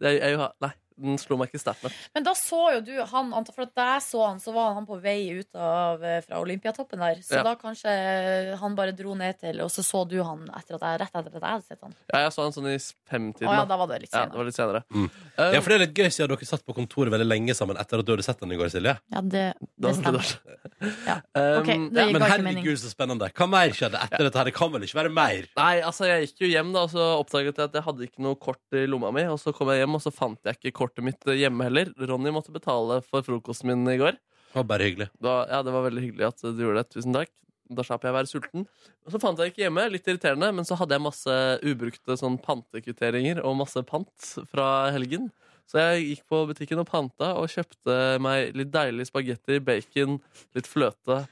Speaker 5: Jeg, jeg, nei. Den slo meg ikke sterkt nok.
Speaker 3: Men da så jo du han, Anta, for at der så han, så var han på vei ut av, eh, fra Olympiatoppen der. Så
Speaker 5: Ja.
Speaker 3: da kanskje han bare dro ned til, og så så du han etter at jeg, rett etter at jeg hadde sett han.
Speaker 5: Ja, jeg så den sånn i femtiden.
Speaker 3: Å ja,
Speaker 5: da.
Speaker 3: da var det litt
Speaker 5: Ja, det
Speaker 3: senere.
Speaker 5: var litt senere.
Speaker 2: Mm.
Speaker 5: Eh,
Speaker 2: Ja, for det er litt gøy siden dere satt på kontoret veldig lenge sammen etter at du hadde sett den i går, Silje.
Speaker 3: Ja, det, det
Speaker 5: da var
Speaker 3: stemmer.
Speaker 5: det dårlig.
Speaker 3: Ja.
Speaker 5: Um,
Speaker 3: Ok, det
Speaker 5: ja.
Speaker 2: Men
Speaker 3: gikk bare ikke mening.
Speaker 2: herregud, så spennende. Hva mer skjedde etter dette? her? Det kan vel ikke være mer?
Speaker 5: Nei, altså jeg gikk jo hjem da, og så oppdaget jeg at jeg hadde ikke noe kort i lomma mi. Og så kom jeg hjem, og så fant jeg ikke kortet mitt eh, hjemme heller. Ronny måtte betale for frokosten min i går.
Speaker 2: Det var bare hyggelig.
Speaker 5: Da, ja, det var veldig hyggelig at du gjorde det. Tusen takk. Da slapp jeg å være sulten. Og så fant jeg det ikke hjemme, litt irriterende, men så hadde jeg masse ubrukte sånn pantekvitteringer og masse pant fra helgen. Så jeg gikk på butikken og panta og kjøpte meg litt deilig spagetti, bacon, litt fløte,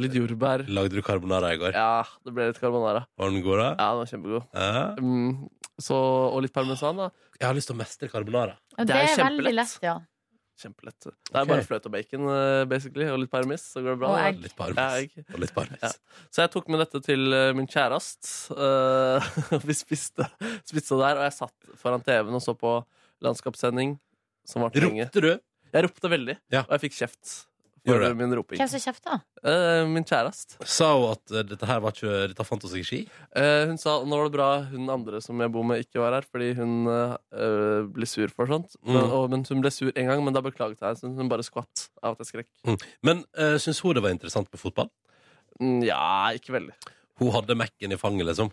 Speaker 5: litt jordbær.
Speaker 2: Lagde du carbonara i går?
Speaker 5: Ja, det ble litt carbonara.
Speaker 2: Var den god, da?
Speaker 5: Ja, den var kjempegod.
Speaker 2: Ja.
Speaker 5: Mm, så, og litt parmesan, da.
Speaker 2: Jeg har lyst til å mestre carbonara.
Speaker 3: Ja,
Speaker 5: Det
Speaker 3: det
Speaker 5: er
Speaker 3: er
Speaker 5: kjempelett.
Speaker 3: veldig lett, ja.
Speaker 5: Kjempelett. Det er
Speaker 2: Ok.
Speaker 5: bare fløte og bacon, eh, basically, og litt parmes, så går det bra.
Speaker 3: Og egg.
Speaker 2: Litt
Speaker 5: Ja,
Speaker 2: parmes.
Speaker 5: egg.
Speaker 2: Og litt parmes.
Speaker 5: Ja. Så jeg tok med dette til eh, min kjærest. eh, vi spiste, spiste der, og jeg satt foran TV-en og så på landskapssending. Som varte lenge.
Speaker 2: Ropte du?
Speaker 5: Jeg ropte veldig,
Speaker 2: Ja.
Speaker 5: og jeg fikk kjeft for
Speaker 2: Gjorde det.
Speaker 5: min roping.
Speaker 3: Hvem som kjefta?
Speaker 5: Eh, min kjærest.
Speaker 2: Sa hun at eh, dette her var ikke Dette fant oss ikke i ski?
Speaker 5: Eh, hun sa nå var det bra hun andre som jeg bor med, ikke var her, fordi hun eh, eh, ble sur for sånt. Men,
Speaker 2: Mm.
Speaker 5: og, men Hun ble sur en gang, men da beklaget jeg. Så hun bare skvatt av at jeg skrek.
Speaker 2: Men uh, syns hun det var interessant med fotball?
Speaker 5: Mm, ja, ikke veldig.
Speaker 2: Hun hadde Mac-en i fanget, liksom.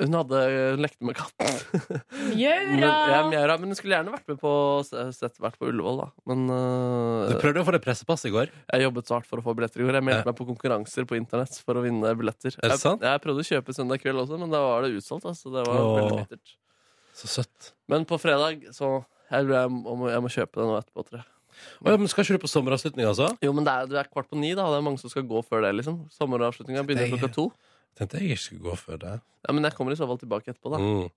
Speaker 5: Hun hadde hun lekte med katten. Men, ja,
Speaker 3: Mjaura!
Speaker 5: Mjøra, men hun skulle gjerne vært med på sett, vært på Ullevål, da. Men
Speaker 2: Du
Speaker 5: øh,
Speaker 2: prøvde å få deg pressepass i går.
Speaker 5: jeg jobbet så hardt for å få billetter i går. Jeg
Speaker 2: Ja.
Speaker 5: meldte meg på konkurranser på internett for å vinne billetter.
Speaker 2: Er det
Speaker 5: Jeg,
Speaker 2: sant?
Speaker 5: jeg prøvde å kjøpe søndag kveld også, men da var det utsolgt. Altså. Det var
Speaker 2: Åh.
Speaker 5: veldig bittert.
Speaker 2: Så søtt.
Speaker 5: Men på fredag så jeg, tror jeg, må, jeg må kjøpe det nå etterpå, tror jeg.
Speaker 2: Å ja, men skal ikke du på sommeravslutning, altså?
Speaker 5: Jo, men det er, det er kvart på ni, da. og Det er mange som skal gå før det. liksom Sommeravslutninga begynner
Speaker 2: Det-
Speaker 5: klokka to.
Speaker 2: Tenkte jeg ikke skulle gå før det.
Speaker 5: Ja, Men jeg kommer i så fall tilbake etterpå, da.
Speaker 2: Mm.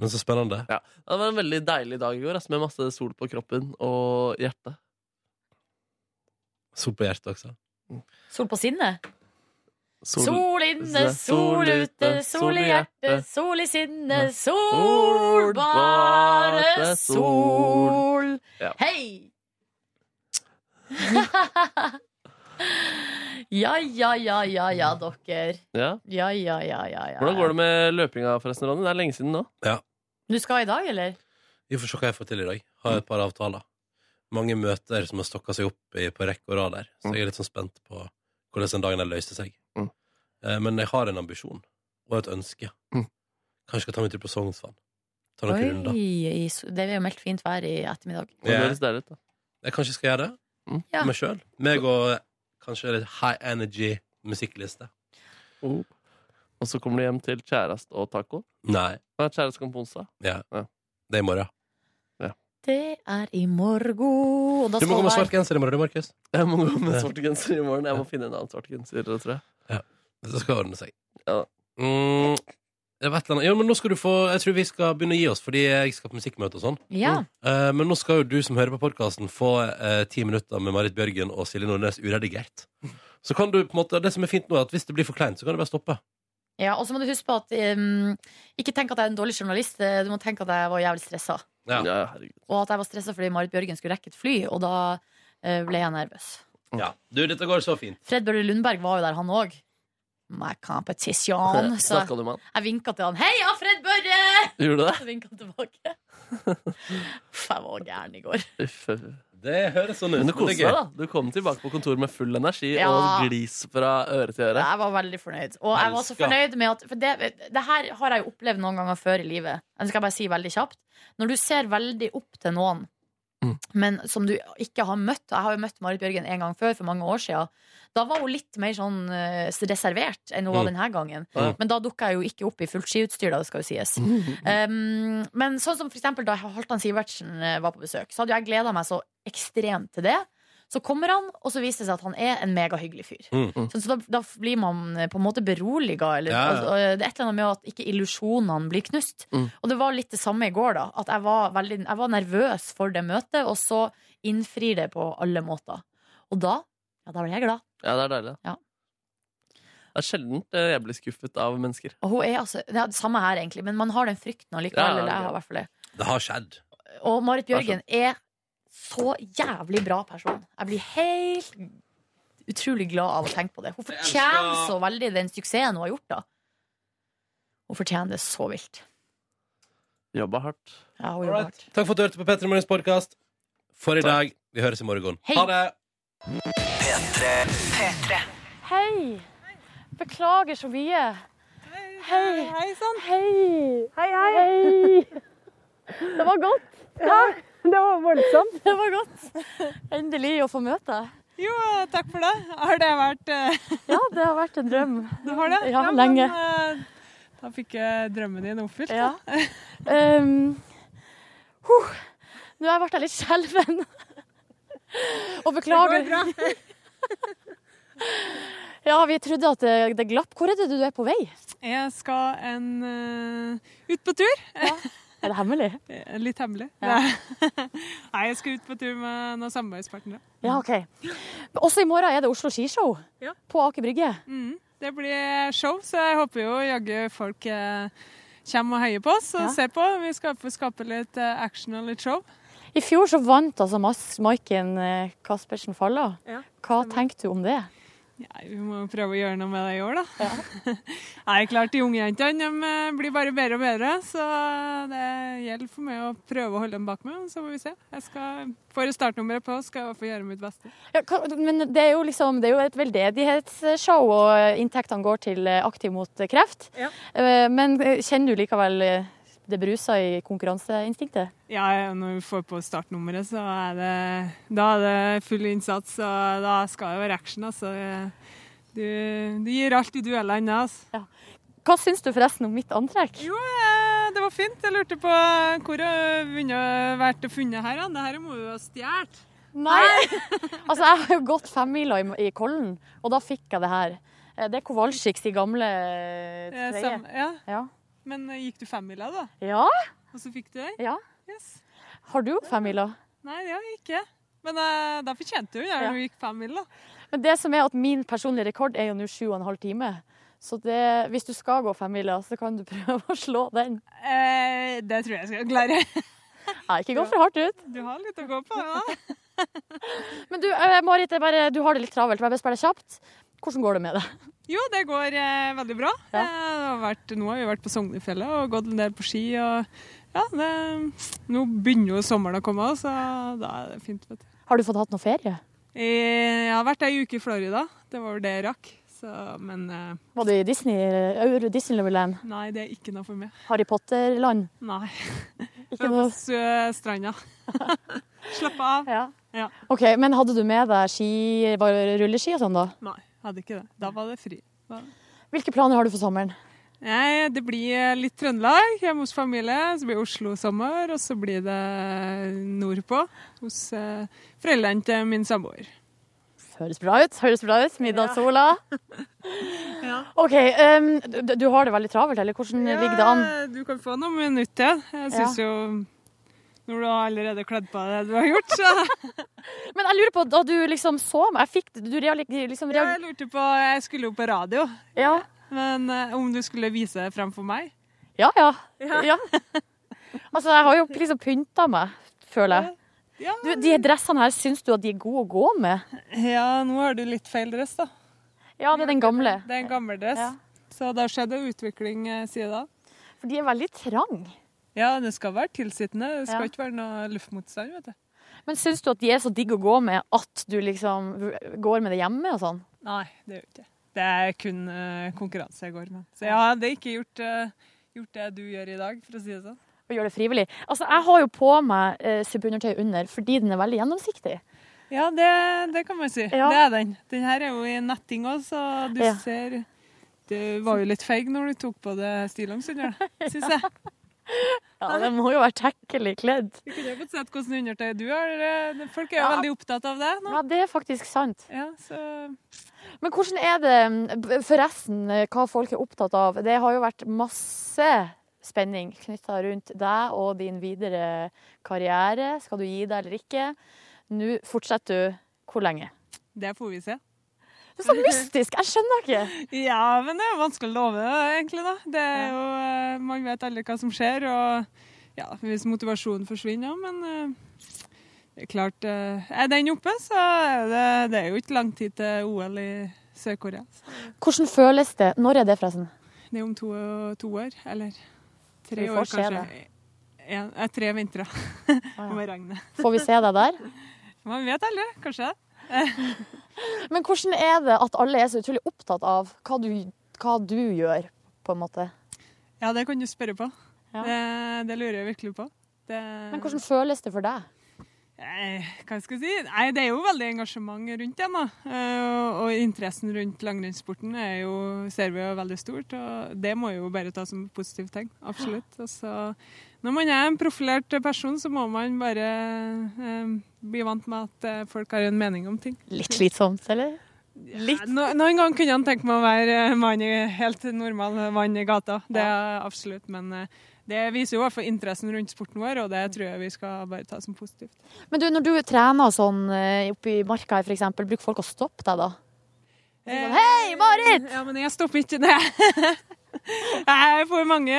Speaker 2: Men så spennende.
Speaker 5: Ja. Det var en veldig deilig dag i går, ass, med masse sol på kroppen og hjertet.
Speaker 2: Sol på hjertet også.
Speaker 3: Sol på sinnet?
Speaker 5: Sol.
Speaker 3: Sol inne, sol ute, sol i hjertet, sol i sinnet, sol,
Speaker 5: Sol,
Speaker 3: bare
Speaker 5: bare
Speaker 3: sol.
Speaker 5: Ja.
Speaker 3: Hei! Ja, ja, ja, ja, ja, dere.
Speaker 5: Ja.
Speaker 3: Ja, ja, ja, ja, ja.
Speaker 5: Hvordan går det med løpinga, forresten, Ronny? Det er lenge siden nå.
Speaker 3: Du skal i dag, eller?
Speaker 2: Vi får se hva jeg får til i dag. Har et par avtaler. Mange møter som har stokka seg opp i, på rekke og rad der. Så jeg er litt sånn spent på hvordan den dagen der løste seg.
Speaker 5: Mm.
Speaker 2: Eh, men jeg har en ambisjon og et ønske.
Speaker 5: Mm.
Speaker 2: Kanskje jeg skal ta meg en tur på Sognsvann. Ta noen runder.
Speaker 3: i s- det er jo meldt fint vær i ettermiddag.
Speaker 5: Det
Speaker 2: Ja.
Speaker 5: høres deilig ut, da.
Speaker 2: Jeg kanskje skal gjøre det.
Speaker 5: Mm.
Speaker 3: Ja.
Speaker 2: Meg sjøl. Meg og kanskje litt high energy musikkliste.
Speaker 5: Oh. Og så kommer du hjem til kjæreste og taco.
Speaker 2: Nei,
Speaker 5: Hva er kjæreste kom på onsdag?
Speaker 2: det er i morgen.
Speaker 3: Det er i morgen. Og da
Speaker 2: Du må
Speaker 3: skal
Speaker 2: gå med
Speaker 3: det
Speaker 2: svart genser i morgen, du, Markus.
Speaker 5: Jeg må gå med svart genser i morgen. Jeg må finne en annen svart genser, tror jeg.
Speaker 2: Det skal ordne seg.
Speaker 5: Ja.
Speaker 2: Mm, det var et eller annet. Jo, men nå skal du få Jeg tror vi skal begynne å gi oss, fordi jeg skal på musikkmøte og sånn.
Speaker 3: være- Ja.
Speaker 2: Eh, men nå skal jo du som hører på podkasten, få eh, ti minutter med Marit Bjørgen og Silje Nordnes uredigert. Så kan du på en måte Det som er fint nå, er at hvis det blir for kleint, så kan du bare stoppe.
Speaker 3: Ja, og så må du huske på at um, Ikke tenk at jeg er en dårlig journalist. eh, Du må tenke at jeg var jævlig stressa.
Speaker 2: Ja.
Speaker 5: Ja, herregud.
Speaker 3: Og at jeg var stressa fordi Marit Bjørgen skulle rekke et fly, og da eh, ble jeg nervøs.
Speaker 2: Mm. Ja. Du, dette går så fint.
Speaker 3: Fred Børre Lundberg var jo der, han òg. My competition. Så
Speaker 5: Snakka du med han?
Speaker 3: jeg vinka til han. 'Heia, Fred Børre!'
Speaker 5: Gjorde du det?
Speaker 3: Så vinka han tilbake. Uff, jeg var gæren i går.
Speaker 5: Uff, uff, uff.
Speaker 2: Det høres sånn ut.
Speaker 5: Men du koste
Speaker 2: det er
Speaker 5: deg,
Speaker 2: gøy.
Speaker 5: da. Du kom tilbake på kontoret med full energi
Speaker 3: Ja.
Speaker 5: og glis fra øre til øre.
Speaker 3: Jeg var veldig fornøyd. Og jeg var så
Speaker 2: Elsker.
Speaker 3: fornøyd med at For det, det her har jeg jo opplevd noen ganger før i livet. Det skal jeg bare si veldig kjapt. Når du ser veldig opp til noen
Speaker 5: Mm.
Speaker 3: men som du ikke har møtt Jeg har jo møtt Marit Bjørgen en gang før, for mange år siden. Da var hun litt mer sånn eh, reservert enn hun var
Speaker 2: Mm.
Speaker 3: denne gangen.
Speaker 5: Ja.
Speaker 3: Men da dukka jeg jo ikke opp i fullt skiutstyr, da, det skal jo sies. Um, men sånn som for eksempel da Halvdan Sivertsen eh, var på besøk, så hadde jo jeg gleda meg så ekstremt til det. Så kommer han, og så viser det seg at han er en megahyggelig fyr.
Speaker 2: Mm.
Speaker 3: Så, så da, da blir man eh, på en måte beroliga. Eller,
Speaker 2: Ja, ja.
Speaker 3: altså, eh, det er et eller annet med at ikke illusjonene blir knust.
Speaker 5: Mm.
Speaker 3: Og det var litt det samme i går, da. At jeg var, veldig, jeg var nervøs for det møtet, og så innfrir det på alle måter. Og da ja, da ble jeg glad.
Speaker 5: Ja, det er deilig. da.
Speaker 3: Ja.
Speaker 5: Det er sjelden eh, jeg blir skuffet av mennesker.
Speaker 3: Og hun er altså, det er det samme her, egentlig, men man har den frykten allikevel.
Speaker 5: Ja, Altså-
Speaker 3: eller jeg
Speaker 5: ok.
Speaker 3: har i hvert fall det.
Speaker 2: Det har skjedd.
Speaker 3: Og Marit
Speaker 5: Vær så
Speaker 3: Bjørgen er så jævlig bra person. Jeg blir helt utrolig glad av å tenke på det. Hun fortjener så veldig den suksessen hun har gjort, da. Hun fortjener det så vilt.
Speaker 5: Jobba hardt.
Speaker 3: Ja, hun jobber hardt.
Speaker 2: Takk for at du hørte på Petter Morgens podkast for i dag. Vi høres i morgen.
Speaker 3: Hei.
Speaker 2: Ha det!
Speaker 7: Hei! Beklager så mye.
Speaker 6: Hei, hei sann.
Speaker 4: Hei!
Speaker 7: sånn. Hei,
Speaker 4: Hei!
Speaker 7: Det var godt.
Speaker 4: Ja, det var voldsomt.
Speaker 7: Det var godt. Endelig å få møte deg.
Speaker 6: Jo, takk for det. Har det vært eh,
Speaker 7: Ja, det har vært en drøm.
Speaker 6: Du har det?
Speaker 7: Ja,
Speaker 6: men,
Speaker 7: lenge.
Speaker 6: eh, Da fikk jeg drømmen din oppfylt.
Speaker 7: Ja. Ehm, huh. Nå har jeg vært litt skjelven. Og beklager. Ja, vi trodde at det, det glapp. Hvor er det du er på vei?
Speaker 6: Jeg skal en eh, ut på tur.
Speaker 7: Er det hemmelig?
Speaker 6: Eh, Litt hemmelig.
Speaker 7: Ja.
Speaker 6: Nei, jeg skal ut på tur med noen samarbeidspartnere.
Speaker 7: Ja, OK. Men Også i morgen er det Oslo skishow
Speaker 6: Ja.
Speaker 7: på Aker Brygge.
Speaker 6: Mm. Det blir show, så jeg håper jo jaggu folk eh, kommer og heier på oss og
Speaker 7: Ja.
Speaker 6: ser på. Vi skal få skape litt eh, action og litt show.
Speaker 7: I fjor så vant altså Mas- Maiken eh, Caspersen Falla.
Speaker 6: Ja,
Speaker 7: Hva tenker du om det?
Speaker 6: Ja, vi må jo prøve å gjøre noe med det i år, da. Nei, klart de unge jentene de eh, blir bare bedre og bedre, så det gjelder for meg å prøve å holde dem bak meg, og så får vi se. Jeg skal, Får jeg startnummeret på, skal jeg i hvert fall gjøre mitt beste.
Speaker 7: Ja, hva, men det er jo liksom Det er jo et veldedighetsshow, og inntektene går til eh, Aktiv mot kreft.
Speaker 6: Ja.
Speaker 7: Eh, Men eh, kjenner du likevel eh, det bruser i konkurranseinstinktet?
Speaker 6: Ja, ja, når vi får på startnummeret, så er det Da er det full innsats, og da skal det være action, altså. Du, du gir alt i duellene, altså.
Speaker 7: Hva syns du forresten om mitt antrekk?
Speaker 6: Jo, eh, det var fint. Jeg lurte på hvor jeg har vunnet- vært og funnet her. da. Det her må du ha stjålet.
Speaker 3: Nei! altså, jeg har jo gått femmila i, i Kollen, og da fikk jeg det her. Eh, Det er Kowalskiks i gamle eh,
Speaker 6: Eh,
Speaker 3: treet.
Speaker 6: sam- ja.
Speaker 3: Ja.
Speaker 6: Men eh, gikk du femmila, da?
Speaker 3: Ja?
Speaker 6: Og så fikk du den?
Speaker 3: Ja.
Speaker 6: Yes.
Speaker 3: Har du gått femmila?
Speaker 6: Nei, det har jeg ikke. Men eh, da fortjente du jo det
Speaker 3: Ja.
Speaker 6: når du gikk femmil, da.
Speaker 3: Men det som er at min personlige rekord er jo nå sju og en halv time. Så det, hvis du skal gå femmila, så kan du prøve å slå den.
Speaker 6: Eh, det tror jeg skal klare.
Speaker 3: Nei, ikke gå for hardt ut.
Speaker 6: Du har litt å gå på, ja.
Speaker 3: Men du, eh, Marit, jeg bare, du har det litt travelt, men jeg bare spør deg kjapt. Hvordan går det med deg?
Speaker 6: Jo, det går eh, veldig bra.
Speaker 3: Ja.
Speaker 6: Eh, det har vært, nå har vi vært på Sognefjellet og gått en del på ski. Og, ja, det, nå begynner jo sommeren å komme, så da er det fint. Vet du.
Speaker 3: Har du fått hatt noe ferie?
Speaker 6: Eh, Jeg har vært ei uke i Florida. Det var vel det jeg rakk. Så, men eh,
Speaker 3: Var du i Disney, eh, Euro Disneyland?
Speaker 6: nei, det er ikke noe for meg.
Speaker 3: Harry Potter-land?
Speaker 6: Nei.
Speaker 3: Ikke
Speaker 6: Jeg var
Speaker 3: noe
Speaker 6: på sø- stranda. Slapp av.
Speaker 3: Ja.
Speaker 6: Ja.
Speaker 3: OK, men hadde du med deg ski, bare rulleski og sånn, da?
Speaker 6: Nei, hadde ikke det. Da var det fri. Da-
Speaker 3: Hvilke planer har du for sommeren?
Speaker 6: Nei, det blir eh, litt Trøndelag hjemme hos familie, så blir det Oslo sommer, og så blir det nordpå hos eh, foreldrene til min samboer.
Speaker 3: Høres bra ut, høres bra ut. Middagssola. OK, um, du, du har det veldig travelt, eller hvordan ligger det an?
Speaker 6: Ja, Du kan få noen minutter. Jeg syns jo Når du har allerede kledd på deg det du har gjort, så
Speaker 3: Men jeg lurer på, da du liksom så meg, jeg fikk Du real- liksom
Speaker 6: Ja,
Speaker 3: real-
Speaker 6: Jeg lurte på Jeg skulle jo på radio,
Speaker 3: Ja.
Speaker 6: men eh, om du skulle vise det fram for meg?
Speaker 3: Ja, ja. ja. Altså, jeg har jo liksom pynta meg, føler jeg.
Speaker 6: Ja,
Speaker 3: Du, de dressene her, syns du at de er gode å gå med?
Speaker 6: ja nå har du litt feil dress, da.
Speaker 3: Ja, det er den gamle.
Speaker 6: Det er en gammel dress.
Speaker 3: Ja.
Speaker 6: Så det har skjedd en utvikling eh, siden da.
Speaker 3: For de er veldig trang.
Speaker 6: Ja, det skal være tilsittende. Det skal
Speaker 3: Ja.
Speaker 6: ikke være noe luftmotstand, vet du.
Speaker 3: Men syns du at de er så digg å gå med at du liksom går med det hjemme og sånn?
Speaker 6: Nei, det gjør ikke jeg. Det er kun eh, konkurranse jeg går med. Så jeg har det ikke gjort, eh, gjort det du gjør i dag, for å si det sånn.
Speaker 3: Og gjør det frivillig. Altså, jeg har jo på meg eh, subundertøy under fordi den er veldig gjennomsiktig.
Speaker 6: Ja, det, det kan man si.
Speaker 3: Ja.
Speaker 6: Det er den. Den her er jo i netting òg, så du
Speaker 3: Ja.
Speaker 6: ser Du var jo litt feig når du tok på deg stillongs under det, syns jeg.
Speaker 3: Ja, den må jo være tekkelig kledd.
Speaker 6: Du kunne jo fått sett hvordan undertøy du har. eh, Folk er jo
Speaker 3: Ja.
Speaker 6: veldig opptatt av det nå.
Speaker 3: Ja, det er faktisk sant.
Speaker 6: Ja, så
Speaker 3: Men hvordan er det mm, b- forresten eh, hva folk er opptatt av? Det har jo vært masse spenning knytta rundt deg og din videre karriere. Skal du gi deg eller ikke? Nå fortsetter du hvor lenge?
Speaker 6: det får vi se.
Speaker 3: Det er så mystisk! Jeg skjønner ikke.
Speaker 6: Ja, men det er vanskelig å love, egentlig. da. Det er jo, eh, Man vet aldri hva som skjer. og ja, Hvis motivasjonen forsvinner, ja, men eh, det er klart eh, Er den oppe, så er det, det er jo ikke lang tid til OL i Sør-Korea. Så
Speaker 3: Hvordan føles det? Når er det, forresten?
Speaker 6: Det er om to, to år, eller
Speaker 3: Vi
Speaker 6: tre
Speaker 3: får
Speaker 6: år,
Speaker 3: se
Speaker 6: kanskje. En, eh, tre vintre med regnet.
Speaker 3: Får vi se deg der?
Speaker 6: Man vet aldri, kanskje.
Speaker 3: Men hvordan er det at alle er så utrolig opptatt av hva du, hva du gjør, på en måte?
Speaker 6: Ja, det kan du spørre på.
Speaker 3: Ja.
Speaker 6: Det, det lurer jeg virkelig på. Det,
Speaker 3: Men hvordan føles det for deg?
Speaker 6: Nei, Eh, hva skal jeg si? Nei, det er jo veldig engasjement rundt det. da. Eh, Og interessen rundt langrennssporten er jo, ser vi jo veldig stort, og det må jo bare ta som positivt tegn. Absolutt. Og så, når man er en profilert person, så må man bare eh, bli vant med at eh, folk har en mening om ting.
Speaker 3: Litt slitsomt, eller? Litt.
Speaker 6: Ja, No, noen gang kunne han tenke meg å være eh, mann i, helt normal eh, mann i gata. Det er absolutt. Men eh, det viser jo i hvert fall interessen rundt sporten vår, og det tror jeg vi skal bare ta som positivt.
Speaker 3: Men du, når du trener sånn eh, oppe i marka her, for eksempel, bruker folk å stoppe deg da? Sånn,
Speaker 6: Eh,
Speaker 3: Hei, Marit!
Speaker 6: Ja, men jeg stopper ikke det. Jeg får mange,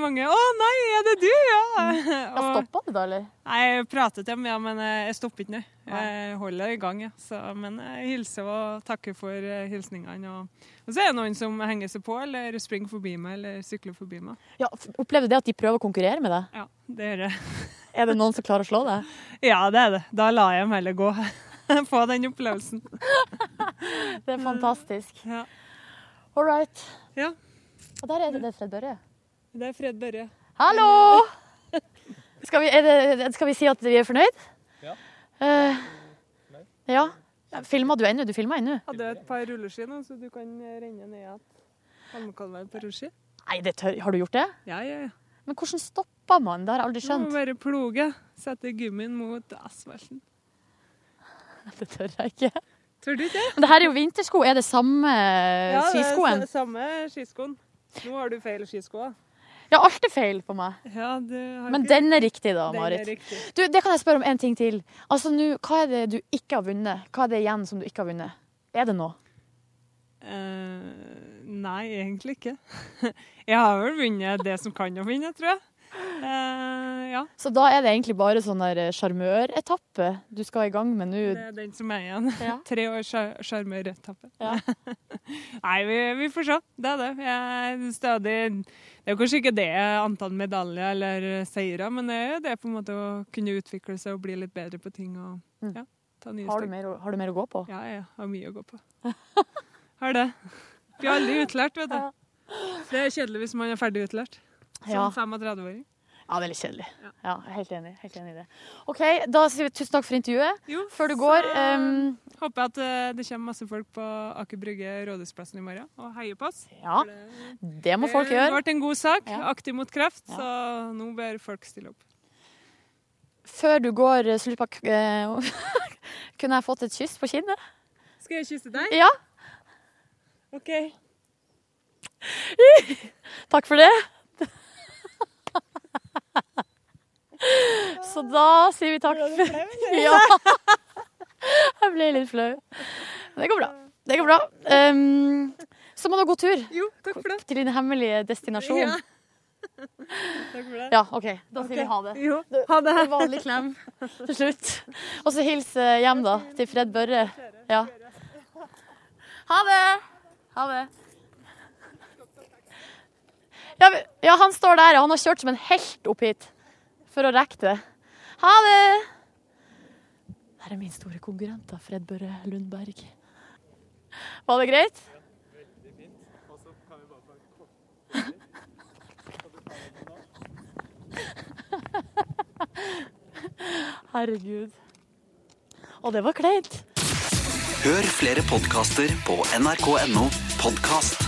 Speaker 6: mange 'Å nei, er det du?' Ja.
Speaker 3: Ja,
Speaker 6: Og,
Speaker 3: stopper du da, eller?
Speaker 6: nei, jeg prater til dem, ja, men eh, jeg stopper ikke nå. Jeg holder i gang, ja. Så, men eh, jeg hilser og takker for eh, hilsningene. Og, og så er det noen som henger seg på, eller springer forbi meg, eller sykler forbi meg.
Speaker 3: Ja, f- opplever du det at de prøver å konkurrere med deg?
Speaker 6: Ja, det er det.
Speaker 3: Er det noen som klarer å slå deg?
Speaker 6: Ja, det er det. Da lar jeg dem heller gå. Få den opplevelsen.
Speaker 3: Det er fantastisk.
Speaker 6: Mm. Ja.
Speaker 3: All right.
Speaker 6: Ja.
Speaker 3: Og der er det det, Fred Børre.
Speaker 6: Det er Fred Børre.
Speaker 3: Hallo! Skal vi, er det, skal vi si at vi er fornøyd? Ja. ja. Filma du ennå? Du filma ennå?
Speaker 6: Hadde et par rulleski nå, så du kan eh, renne ned igjen. Holmenkollveien på rulleski.
Speaker 3: Nei, det tør. har du gjort det?
Speaker 6: Ja, ja, ja.
Speaker 3: Men hvordan stopper man? Det har jeg aldri
Speaker 6: Du må
Speaker 3: skjønt.
Speaker 6: bare ploge. Sette gummien mot asfalten.
Speaker 3: Det tør jeg ikke.
Speaker 6: Tør du ikke?
Speaker 3: Men det her er jo vintersko. Er det samme
Speaker 6: det er
Speaker 3: Eh, skiskoen?
Speaker 6: sa- samme skiskoen. Nå har du feil skisko. da.
Speaker 3: Ja, alt er feil på meg.
Speaker 6: Ja, du har
Speaker 3: Men
Speaker 6: ikke-
Speaker 3: den er riktig, da,
Speaker 6: Den er
Speaker 3: Marit.
Speaker 6: riktig.
Speaker 3: Du, det kan jeg spørre om en ting til. Altså, nå, Hva er det du ikke har vunnet? Hva er det igjen som du ikke har vunnet? Er det noe?
Speaker 6: Eh, nei, egentlig ikke. Jeg har vel vunnet det som kan å vinne, tror jeg. Eh, ja,
Speaker 3: Så da er det egentlig bare sånn der sjarmøretappe du skal i gang med nå.
Speaker 6: det er den som er igjen.
Speaker 3: Ja.
Speaker 6: Tre år sjar- sjarmøretappe.
Speaker 3: Ja.
Speaker 6: nei, vi, vi får se. Det er det. Jeg er stadig Det er jo kanskje ikke det antall medaljer eller seire, men det er jo det på en måte å kunne utvikle seg og bli litt bedre på ting og ja, ta nye
Speaker 3: Mm. Har du
Speaker 6: steg.
Speaker 3: mer, å- har du mer å gå på?
Speaker 6: Ja, jeg har mye å gå på. Har det. Blir aldri utlært, vet du. Det er kjedelig hvis man er ferdig utlært
Speaker 3: Ja.
Speaker 6: som 35-åring.
Speaker 3: Ja, det er litt kjedelig. Ja, jeg er helt enig, helt enig i det. OK, da sier vi tusen takk for intervjuet.
Speaker 6: Jo,
Speaker 3: Før du
Speaker 6: så
Speaker 3: går ehm,
Speaker 6: Håper jeg at eh, det kommer masse folk på Aker Brygge Rådhusplassen i morgen og heier på oss.
Speaker 3: Ja, det må folk
Speaker 6: Det
Speaker 3: gjøre.
Speaker 6: ble en god sak.
Speaker 3: Ja.
Speaker 6: Aktiv mot kreft,
Speaker 3: Ja.
Speaker 6: så nå bør folk stille opp.
Speaker 3: Før du går, eh, slutt på k- eh, Kunne jeg fått et kyss på kinnet?
Speaker 6: Skal jeg kysse deg?
Speaker 3: Ja,
Speaker 6: OK.
Speaker 3: takk for det. Så da sier vi takk. Ja. Jeg ble litt flau. Men det går bra. Det går bra. Ehm, så må du ha god tur
Speaker 6: Jo, takk for det.
Speaker 3: til din hemmelige destinasjon.
Speaker 6: Ja. Takk for det.
Speaker 3: Ja, OK. Da sier vi ha det.
Speaker 6: Jo, ha det.
Speaker 3: En vanlig klem til slutt. Og så hils eh, hjem, da, til Fred Børre. Ja. Ha det! Ha det. Ja, men- ja, han står der. ja. Han har kjørt som en helt opp hit for å rekke det. Ha det! Der er min store konkurrent, da, Fred Børre Lundberg. Var det greit? Herregud. Og det var kleint.
Speaker 8: Hør flere podkaster på nrk.no podkast.